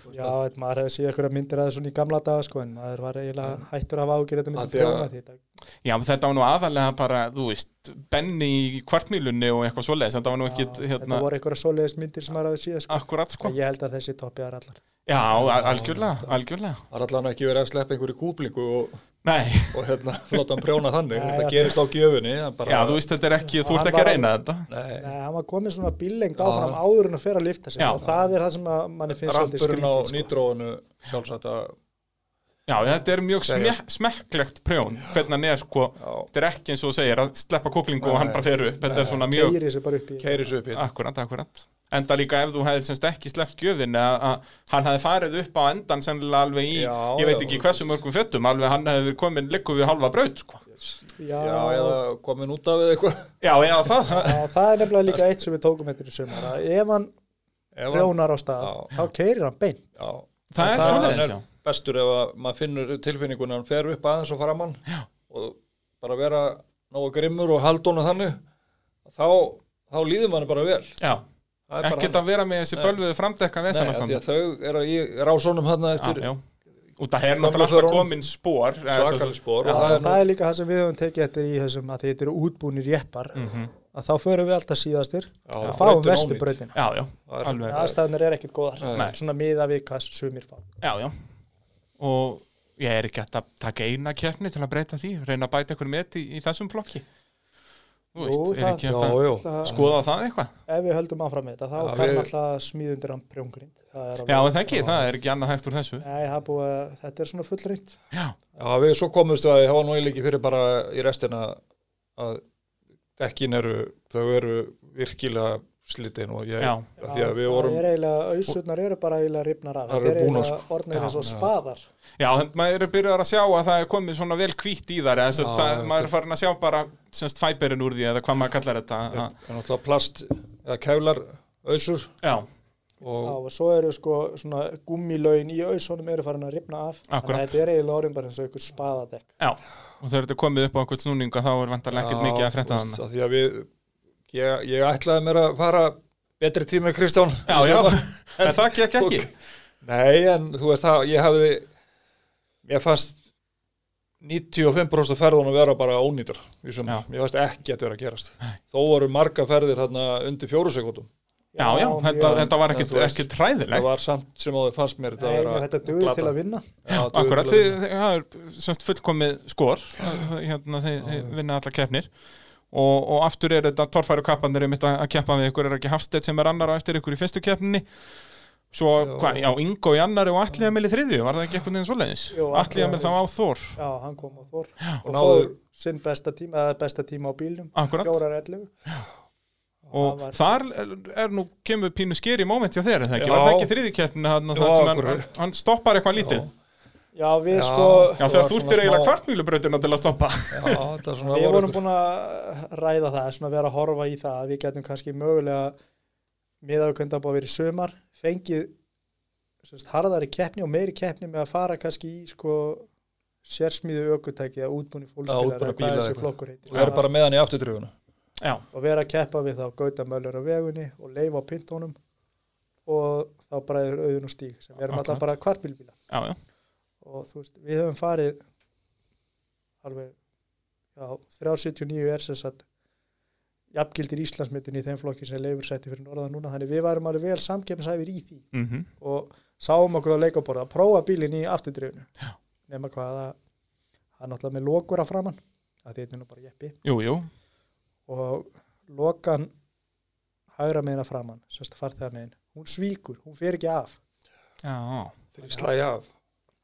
Speaker 3: Já, þetta- maður hefði séð einhverja myndir að það svona í gamla daga sko, en maður var eiginlega hættur að hafa ágjur þetta myndi
Speaker 2: Af því að-
Speaker 3: prjóna því þetta
Speaker 1: Já, menn þetta var nú aðalega bara, þú veist Benny í kvartmýlunni og eitthvað svoleiðis þetta var nú ekkit,
Speaker 3: Já,
Speaker 1: hérna,
Speaker 3: Þetta voru einhverja svoleiðis myndir sem maður hefði séð sko.
Speaker 1: akkurat sko
Speaker 3: En Ég held að þessi toppið er allar
Speaker 1: Já, a- algjörlega, algjörlega
Speaker 2: það er allan ekki verið að sleppa einhverju kúplingu og,
Speaker 1: Nei,
Speaker 2: og hérna, <laughs> láta hann prjóna þannig
Speaker 3: Nei,
Speaker 2: Þetta
Speaker 3: já.
Speaker 2: gerist á gjöfunni en bara,
Speaker 1: já, þú veist, þetta er ekki, þú
Speaker 3: Hann
Speaker 1: ert ekki að
Speaker 3: var-
Speaker 1: reyna þetta
Speaker 2: Nei,
Speaker 3: Nei, hann var komið svona bíllengt
Speaker 2: Já.
Speaker 3: áfram áður en að fer að lifta sig
Speaker 1: Já.
Speaker 3: og það er það sem að manni finnst svolítið sko.
Speaker 2: rafburinn á
Speaker 3: skrítið sko.
Speaker 2: nýtróinu sjálfsagt að
Speaker 1: Já, þetta er mjög
Speaker 2: Segja.
Speaker 1: smek smekklegt prjón hvernig hann er sko,
Speaker 2: Já,
Speaker 1: þetta er ekki eins og þú segir að sleppa kúplingu og hann
Speaker 2: Nei.
Speaker 1: bara fer upp þetta er svona mjög,
Speaker 3: keiri sér bara upp í
Speaker 2: keiri svo upp hérna.
Speaker 1: akkurat, akkurat enda líka ef þú hefði semst ekki sleppt gjöfin að, að hann hefði farið upp á endan sennilega alveg í,
Speaker 2: Já,
Speaker 1: ég veit
Speaker 2: já.
Speaker 1: ekki hversu mörgum fötum alveg hann hefði verið komin likku við halva braut sko.
Speaker 3: já,
Speaker 2: Já, eða komin út af eða eitthvað.
Speaker 1: já, eða það
Speaker 3: Já, það er nefnilega líka eitt sem við tókum hérna í sumar að ef hann
Speaker 2: Ef hann-
Speaker 3: rjónar á stað
Speaker 2: Já.
Speaker 3: þá keirir hann beint
Speaker 2: Já,
Speaker 1: það er
Speaker 3: Það-
Speaker 1: svoleiðis, já
Speaker 2: bestur ef að maður finnur tilfinninguna hann fer upp aðeins og framann já. og bara vera nógu grimmur og haldónu þannig þá, þá líður manni bara vel
Speaker 1: Já,
Speaker 2: Það er bara
Speaker 1: ekkert
Speaker 2: hann.
Speaker 1: að vera með þessi bölvuðu framdekka
Speaker 2: Nei, af því
Speaker 1: vesanastanda
Speaker 2: að þau eru í rásónum hann eftir
Speaker 1: Já, út að það er
Speaker 2: Gömlu
Speaker 1: náttúrulega alltaf eh,
Speaker 2: förunum.
Speaker 1: komin spór
Speaker 2: svakaleg spór
Speaker 3: Já,
Speaker 2: og
Speaker 3: það, er
Speaker 2: nú-
Speaker 3: líka það sem við höfum tekið eftir í þessum að þetta eru útbúnir jeppar
Speaker 1: Mhm.
Speaker 3: að þá förum við alltaf síðastir
Speaker 2: Já, brautin
Speaker 3: og fáum vestu
Speaker 2: ónýt.
Speaker 3: brautina
Speaker 1: Já, já,
Speaker 2: Það er-
Speaker 1: alveg
Speaker 3: aðstæðunar er ekkit góðar
Speaker 1: Nei.
Speaker 3: svona miða við hvað sumir fá
Speaker 1: Já, já Og ég er ekki hægt að taka eina keppni til að breyta því Reyna að bæta einhverjum með í, í þessum flokki Þú
Speaker 3: Jú,
Speaker 1: veist, er
Speaker 3: það-
Speaker 1: ekki
Speaker 2: já,
Speaker 1: hægt að
Speaker 2: já,
Speaker 3: það,
Speaker 1: skoða það eitthvað
Speaker 3: Sko, ef við höldum áfram með þetta þá
Speaker 2: Já,
Speaker 3: fer
Speaker 2: við-
Speaker 3: við... alltaf smíðundir hann prjóngrind það er
Speaker 1: Já,
Speaker 3: alveg,
Speaker 1: en það ekki, það er ekki annað hægt úr þessu
Speaker 3: nei, það er búið, að- þetta er svona fullrind
Speaker 1: Já,
Speaker 2: já, við svo komumst að það var nú eiginlega ekki fyrir bara í restina að dekkin eru þau eru virkilega slitin og ég,
Speaker 1: Já.
Speaker 2: af því að við vorum
Speaker 3: það er eiginlega, auðsutnar eru bara eiginlega ripnar af
Speaker 2: Það
Speaker 3: þetta
Speaker 2: eru
Speaker 3: er
Speaker 2: búnar, sko.
Speaker 3: eiginlega
Speaker 1: Já,
Speaker 3: orðnir eins og
Speaker 2: já.
Speaker 3: spaðar
Speaker 1: já þannig maður er byrjar að sjá að það er komið svona vel hvítt í þar eða sem
Speaker 2: Já,
Speaker 1: sagt að
Speaker 2: já,
Speaker 1: maður er farin að sjá bara semst fæberinn úr því eða hvað maður kallar þetta
Speaker 2: það
Speaker 1: að-
Speaker 2: er náttúrulega plast eða kælar ausur
Speaker 1: Já,
Speaker 3: Já,
Speaker 2: og
Speaker 3: og svo eru sko svona gummilögin í auðsónum eru farin að ripna af þannig
Speaker 1: Akkurat.
Speaker 3: að þetta er eiginlega orðin bara eins og ykkur spaðadekk
Speaker 1: já Og þegar þetta er komið upp á einhvern snúninga þá er vantarlega ekkert mikið að frétta þannig
Speaker 2: þannig Því að við, ég, ég ætlaði mér að fara betri tími Kristján
Speaker 1: Já, já,
Speaker 2: <laughs>
Speaker 1: en það gekk ekki
Speaker 2: Nei, en þú veist það, ég hafði ég fannst 95% ferðunum vera bara ónýtur í sumar,
Speaker 1: Já.
Speaker 2: mér fannst ekki að vera að gerast þó voru marga ferðir þarna undir fjóru sekundum,
Speaker 1: Já, já, þetta,
Speaker 3: mjög-
Speaker 1: þetta var
Speaker 2: En þú
Speaker 1: ekkert
Speaker 2: veist,
Speaker 1: ekkit
Speaker 2: það
Speaker 1: hræðilegt
Speaker 2: var samt sem áður fannst mér
Speaker 3: Nei, nei, þetta dugur til að vinna
Speaker 2: Já, dugði
Speaker 1: Akkurat,
Speaker 2: til að
Speaker 1: þið, þið- það er semst fullkomið skor hérna, þið, þið vinna allar keppnir og, og aftur er þetta torfæru kappanir einmitt að, að keppa við ykkur er ekki Hafstedt sem er annar á eftir ykkur í fyrstu keppninni svo, hvað, já, Ingo í annari og Atli Emil í þriðju, var það ekki eitthvað neðan svoleiðis
Speaker 3: Jú,
Speaker 1: Atli
Speaker 3: Atli
Speaker 1: Emil
Speaker 3: Emil.
Speaker 1: þá á Þór
Speaker 3: Já, hann kom á Þór
Speaker 2: og
Speaker 3: og
Speaker 2: náðu-
Speaker 3: fór sinn besta tíma, eða besta tíma á bílnum
Speaker 1: Akkurat,
Speaker 3: fjórar ellu
Speaker 1: og
Speaker 3: það
Speaker 1: þar er, er nú kemur pínu skeri moment hjá þér, er það ekki,
Speaker 2: Já.
Speaker 1: var það ekki þriðju keppnin hann,
Speaker 2: Jú,
Speaker 1: það sem hann,
Speaker 2: akkurat.
Speaker 1: hann stoppar eitthvað lítið
Speaker 3: Já, við
Speaker 2: Já.
Speaker 3: sko,
Speaker 1: Já,
Speaker 2: Það var
Speaker 1: þegar þú
Speaker 2: svona
Speaker 1: ert eiginlega
Speaker 2: smá-
Speaker 1: kvartmýlubrautina til að stoppa
Speaker 2: <laughs> Já, þetta er svona
Speaker 3: við
Speaker 2: voru
Speaker 3: vorum
Speaker 2: ykkur-
Speaker 3: búin að ræða það svona vera að horfa í það að við getum kannski mögulega miðaukvönda búið að vera í sumar fengið sérst, harðari keppni og meiri keppni með að fara kannski í sko sérsmíðu ökutæki eða útbúni
Speaker 2: Já, útbúna bíla
Speaker 3: fólkspilar hvað
Speaker 2: eða
Speaker 3: þessi
Speaker 2: eitthvað.
Speaker 3: flokkur heitir
Speaker 2: og er bara með hann í afturtrifuna
Speaker 1: Já,
Speaker 3: og vera að keppa við þá gautamöllur á vegunni og leifa á pintónum og þá bara er auðun og stíg sem við erum
Speaker 1: Akkurat.
Speaker 3: alltaf bara kvartbílbíla
Speaker 1: já, já
Speaker 3: og þú veist, við höfum farið alveg já, 379 er sem sagt jafngildir Íslandsmyndin í þeim flokki sem leifur setti fyrir norðan núna þannig við varum alveg vel samkefnshæfir í því
Speaker 1: mhm
Speaker 3: og sáum okkur á leikaborða að prófa bílinn í afturdrifinu nema hvað að hann er náttúrulega með lokur að framann að því þetta er nú bara jeppi
Speaker 1: Jú, jú,
Speaker 3: og lokan hægra meina framann, sérst að farþega megin hún svíkur, hún fer ekki af
Speaker 1: já
Speaker 2: þegar ég slæði af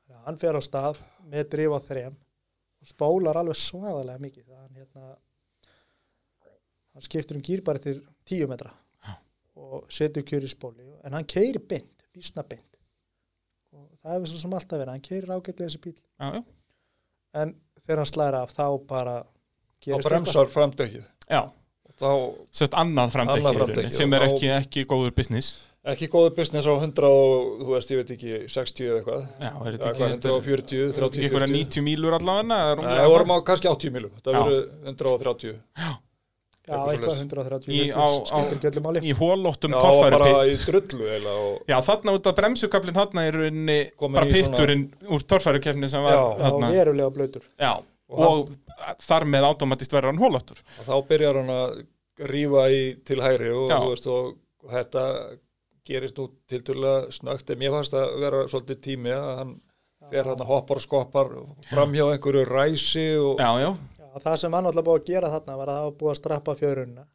Speaker 3: Þannig að hann fer á stað með drif á þrem og spólar alveg svaðalega mikið þannig hann hérna hann skiptir um gýr bara til tíu metra og setur kjör í spóli en hann keiri beint, bísna beint og það hefur svo sem alltaf verið hann keiri ágætlega þessi bíl
Speaker 1: Já, já,
Speaker 3: en þegar hann slæra af þá bara
Speaker 2: og
Speaker 3: gerist eitthvað.
Speaker 2: bremsar framdekið
Speaker 1: já,
Speaker 2: þá
Speaker 1: sérst annað framdekki,
Speaker 2: Annað
Speaker 1: í rauninni,
Speaker 2: framdekki,
Speaker 1: sem
Speaker 2: já.
Speaker 1: er ekki, ekki góður business
Speaker 2: ekki góðu business á 100 og þú veist, ég veit ekki, 60 eða eitthvað
Speaker 1: Já, er
Speaker 2: eða
Speaker 1: þetta
Speaker 2: hvað,
Speaker 1: ekki, þetta er-
Speaker 2: 140,
Speaker 1: er þetta ekki
Speaker 2: 30,
Speaker 1: einhverja
Speaker 2: 40
Speaker 1: 90 mílur allavega eða
Speaker 2: Nei,
Speaker 1: rúmlega
Speaker 2: við vorum á kannski 80 milum, það
Speaker 1: Já.
Speaker 2: voru 130
Speaker 3: já,
Speaker 2: eitthvað
Speaker 3: eitthvað
Speaker 2: svoleiðis.
Speaker 3: 130
Speaker 1: Í-
Speaker 3: metrum,
Speaker 1: á- á-
Speaker 3: skiptir ekki öllu máli
Speaker 1: í hólóttum
Speaker 2: Já, og bara í
Speaker 1: torfærupitt
Speaker 2: drullu eiginlega og
Speaker 1: Já, þarna út af bremsukablinn þarna er rauninni
Speaker 2: Komin
Speaker 1: bara
Speaker 2: í svona-
Speaker 1: pitturinn úr torfærukefni sem var
Speaker 2: Já.
Speaker 3: Já,
Speaker 1: þarna
Speaker 3: verulega blöytur
Speaker 1: Já, og, þar með automatist verður hann hólóttur
Speaker 2: og þá byrjar hann að rífa í til hægri og,
Speaker 1: Já.
Speaker 2: þú veist, og, og þetta gerist nú tiltölulega snögt en mér fannst að vera svolítið tími að hann fer hann að hoppar og skoppar framhjá einhverju ræsi og
Speaker 1: Já, já,
Speaker 3: Já, það sem hann alltaf búið að gera þarna var að það var búið að strappa fjörunna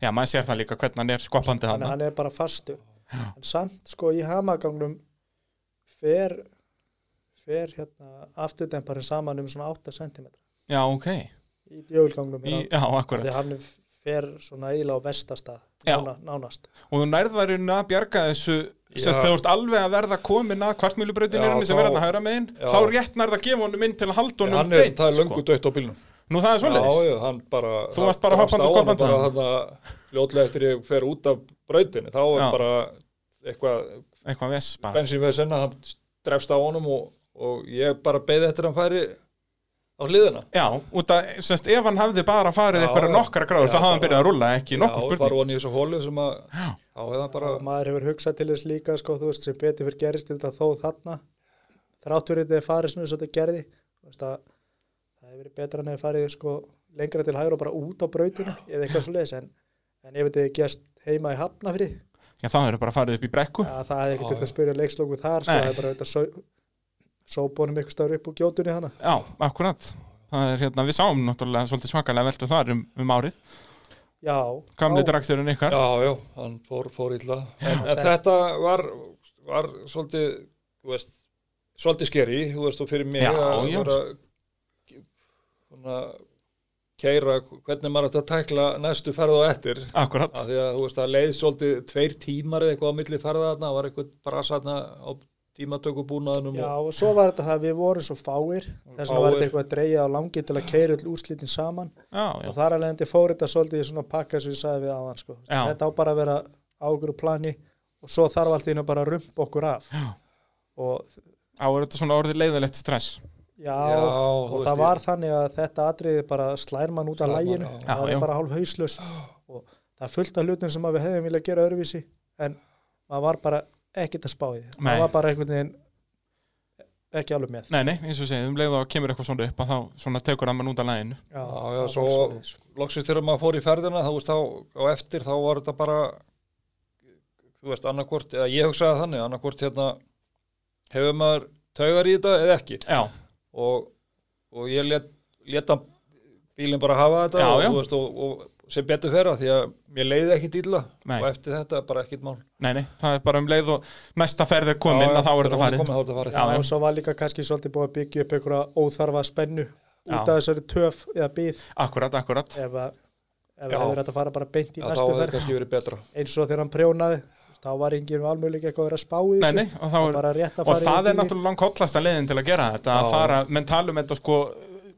Speaker 1: já, maður sér það líka hvernig hann er skoppandi
Speaker 3: þannig
Speaker 1: þarna
Speaker 3: að hann er bara fastu en samt sko í hamagangnum fer fer hérna afturdemparinn saman um svona 8 cm
Speaker 1: Já, ok.
Speaker 3: í djöfulgangnum
Speaker 1: Í,
Speaker 3: hérna,
Speaker 1: já,
Speaker 3: því
Speaker 1: akkurat.
Speaker 3: hann fer svona eiginlega á vestastað
Speaker 1: Já.
Speaker 3: nána, nánast
Speaker 1: Og þú nærðarinn að bjarga þessu,
Speaker 2: Já.
Speaker 1: sérst þegar þú ert alveg að verða komin að kvartmýlubrautin
Speaker 2: Já,
Speaker 1: er henni sem
Speaker 2: þá-
Speaker 1: verða að hægra megin,
Speaker 2: Já.
Speaker 1: þá rétt nærða að gefa honum inn til að halda honum
Speaker 2: hann er, það er
Speaker 1: sko.
Speaker 2: löngu dött á bílnum
Speaker 1: Nú það er svoleiðis.
Speaker 2: já, já, hann bara
Speaker 1: Þú
Speaker 2: hann
Speaker 1: varst bara
Speaker 2: drakst
Speaker 1: hoppandi
Speaker 2: á hann og
Speaker 1: skoppandi.
Speaker 2: bara hann ljótlega eftir ég fer út af brautinni þá er
Speaker 1: Já.
Speaker 2: bara eitthvað
Speaker 1: Eitthvað vess bara.
Speaker 2: bensínveðsenn hann drefst á honum og, og ég bara beði eftir að hann færi á hliðina
Speaker 1: Já, út að, semst, ef hann hafði bara farið
Speaker 2: Já,
Speaker 1: eitthvað
Speaker 2: já.
Speaker 1: nokkara gráður,
Speaker 2: Já,
Speaker 1: þá hafði hann
Speaker 2: bara-
Speaker 1: byrjað að rulla, ekki nokkuð
Speaker 2: já,
Speaker 1: spurning.
Speaker 2: bara onni í þessu hólu sem að
Speaker 1: Já.
Speaker 2: þá hefði hann bara
Speaker 3: og maður hefur hugsað til þess líka sko, þú veist, sem betur fyrir gerist þetta þó þarna þrátt fyrir þetta er farið svona eins og þetta gerði þú veist að það hefur verið betra en að farið sko, lengra til hægur og bara út á brautinu eða eitthvað svo leiðis en, en ef þetta hefði gerst heima í Hafnafrið
Speaker 1: Já, þá hefur bara farið upp í brekku.
Speaker 3: Já, það hefði ekki
Speaker 2: Já,
Speaker 3: þurft
Speaker 2: já.
Speaker 3: að spyrja leikslóku þar, sko,
Speaker 1: Nei.
Speaker 3: það er bara auðvitað sóbónum ykkur stöður upp úr gjótunni hana.
Speaker 1: Já, akkurat. Það er hérna, við sáum náttúrulega svolítið svakalega veltu þar um, um árið.
Speaker 3: Já.
Speaker 1: Gamli
Speaker 3: þá-
Speaker 1: dragsturinn ykkar.
Speaker 2: Já, já, hann fór, fór illa en, en þetta var, var svolítið, þú veist svolítið skeri, þú veist, og fyrir mig
Speaker 1: Já,
Speaker 2: að
Speaker 1: já.
Speaker 2: vera svona keira hvernig maður ætti að tækla næstu ferð á eftir
Speaker 1: Akkurat.
Speaker 2: að því að, þú veist, það leið svolítið tveir tímar eða eitthvað á milli ferða þarna, það var eitthvað brasa þarna á tímatökubúnaðunum
Speaker 3: Já,
Speaker 2: og
Speaker 3: og svo var þetta það að við vorum svo fáir, þess vegna var
Speaker 2: Fáir.
Speaker 3: þetta eitthvað að dreyja á langi til að keira öll úrslitin saman
Speaker 1: Já, já.
Speaker 3: og þar alveg endi fór þetta svolítið í svona pakka sem ég sagði við áðan, sko.
Speaker 1: Já.
Speaker 3: Þetta á bara að vera á okkur plani og svo þarf allt í hennu bara að rumpa okkur af.
Speaker 1: Já.
Speaker 3: Og
Speaker 1: Á, er þetta svona orðið leiðilegt stress?
Speaker 3: já,
Speaker 2: Já, þú
Speaker 3: og
Speaker 2: veist,
Speaker 3: það
Speaker 2: ég-
Speaker 3: var þannig að þetta atriði bara slær mann út af
Speaker 2: Slær mann,
Speaker 3: læginu
Speaker 2: já.
Speaker 1: Já,
Speaker 3: það
Speaker 1: já.
Speaker 3: er bara hálf
Speaker 2: <gasps>
Speaker 3: hauslaus og það er fullt af hlutum sem að við hefðum viljað gera öðruvísi en maður var bara ekkert að spá í því
Speaker 1: Nei.
Speaker 3: maður var bara einhvern veginn ekki alveg með
Speaker 1: Nei, nei, eins og segið, um leiðu að kemur eitthvað svona upp að þá svona tekur hann mann út af læginu.
Speaker 2: Já,
Speaker 3: það
Speaker 2: já,
Speaker 3: var
Speaker 2: svo
Speaker 3: svoleiðis.
Speaker 2: loksist þegar maður fór í ferðina þá veist þá á eftir þá var þetta bara þú veist annarkvort eða ég hugsaði þannig annarkvort hérna hefur maður taugar í þetta eða ekki
Speaker 1: Já,
Speaker 2: og, og ég let, leta bílinn bara hafa þetta
Speaker 1: Já,
Speaker 2: og,
Speaker 1: já.
Speaker 2: þú Veist, og, og sem betur fyrra því að mér leiði ekkit illa
Speaker 1: Nei.
Speaker 2: og eftir þetta bara ekkit mál
Speaker 1: nei, nei, það er bara um leið og næsta ferð er komin að þá er þetta farið.
Speaker 2: komið, þá er þetta farið.
Speaker 1: Já,
Speaker 3: Já, og svo var líka kannski svolítið búið að byggja upp einhverja óþarfa spennu
Speaker 1: Já.
Speaker 3: út af þessari töf eða bíð
Speaker 1: Akkurat, akkurat.
Speaker 3: ef að ef
Speaker 2: Já.
Speaker 3: það hefur þetta að fara bara beint í
Speaker 2: Já, þá
Speaker 3: næstu
Speaker 2: hefði
Speaker 3: ferð
Speaker 2: kannski verið betra
Speaker 3: eins og þegar hann prjónaði þá var enginn almöguleik eitthvað að vera að spá í
Speaker 1: Nei,
Speaker 3: þessu
Speaker 1: nei, og þá er
Speaker 3: bara rétt að
Speaker 1: og
Speaker 3: fara
Speaker 1: það
Speaker 3: í
Speaker 1: er náttúrulega langt hotlasta leiðin til að gera þetta að
Speaker 2: Já.
Speaker 1: fara, menn talum þetta sko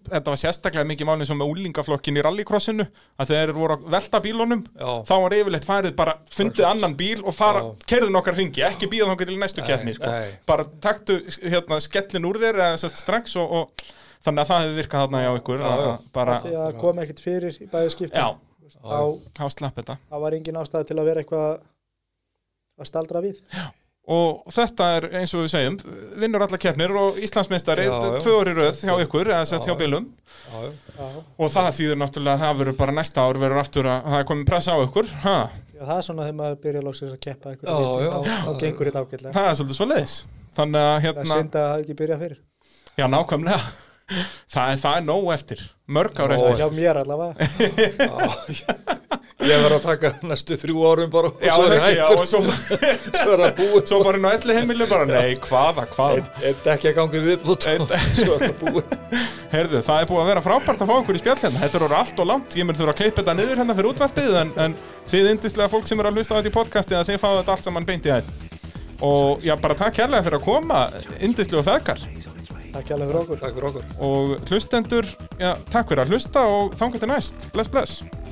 Speaker 1: þetta var sérstaklega mikið málið sem með úlingaflokkin í rallycrossinu, að þeir voru að velta bílunum,
Speaker 2: já,
Speaker 1: þá var yfirleitt farið bara fundið annan bíl og fara
Speaker 2: Já.
Speaker 1: kerðu nokkar ringi, ekki býða þangað til næstu
Speaker 2: Nei,
Speaker 1: keppni sko.
Speaker 2: nei.
Speaker 1: bara taktu hérna skellin úr þér eða sérst strax og, og þannig að það hefur virkað þarna hjá ykkur
Speaker 2: Já, já.
Speaker 1: að bara,
Speaker 3: því að koma ekkert fyrir í bæði skipti
Speaker 1: já,
Speaker 3: þá,
Speaker 1: þá slapp þetta
Speaker 3: þá var engin ástæði til að vera eitthvað að staldra við
Speaker 1: og þetta er eins og við segjum vinnur alla keppnir og Íslandsmeistari
Speaker 2: Já, já.
Speaker 1: tvö orði röð hjá ykkur, eða sérst
Speaker 2: Já,
Speaker 1: hjá bílum
Speaker 2: já, já.
Speaker 3: já,
Speaker 1: Og það þýður náttúrulega að það verður bara næsta ár verður aftur að það er komin pressa á ykkur. Ha,
Speaker 3: já, það er svona þegar maður byrja loksins að keppa
Speaker 2: Já,
Speaker 3: eitthvað
Speaker 2: já.
Speaker 3: þá, þá gengur þetta ágætlega
Speaker 1: það er svolítið svo leiðis. Þannig að
Speaker 3: það er
Speaker 1: hérna,
Speaker 3: synd að það hafi ekki byrjað fyrir
Speaker 1: já nákvæmlega, <laughs> það er, það er nóg eftir, mörg ár
Speaker 2: Nóg
Speaker 1: eftir.
Speaker 3: hjá mér allavega
Speaker 2: ég verð að taka <laughs> næstu þrjú árum bara og
Speaker 1: Já,
Speaker 2: svo er
Speaker 1: það ekki, já,
Speaker 2: hættur
Speaker 1: og svo,
Speaker 2: <laughs> verða búið
Speaker 1: svo bara inn á elli heimilu bara, nei, hvaða, hvaða.
Speaker 2: Eitt ekki að gangi viðbútt
Speaker 1: Einn-
Speaker 2: Svo er Sko, það búið
Speaker 1: Herðu, það er búið að vera frábært að fá okkur í spjall hérna, þetta eru allt og langt, ég mun þurfa að klippa þetta niður hérna fyrir útvarpið, en, en þið indislega fólk sem eru að hlusta á þetta í podcasti að þið fáið þetta allt saman beint í hæð. Og já, bara takk kærlega fyrir að koma, indislega feðgar.
Speaker 3: takk alveg fyrir okkur
Speaker 2: Takk fyrir okkur
Speaker 1: og hlustendur, já, takk fyrir að hlusta og þangar til næst, bless bless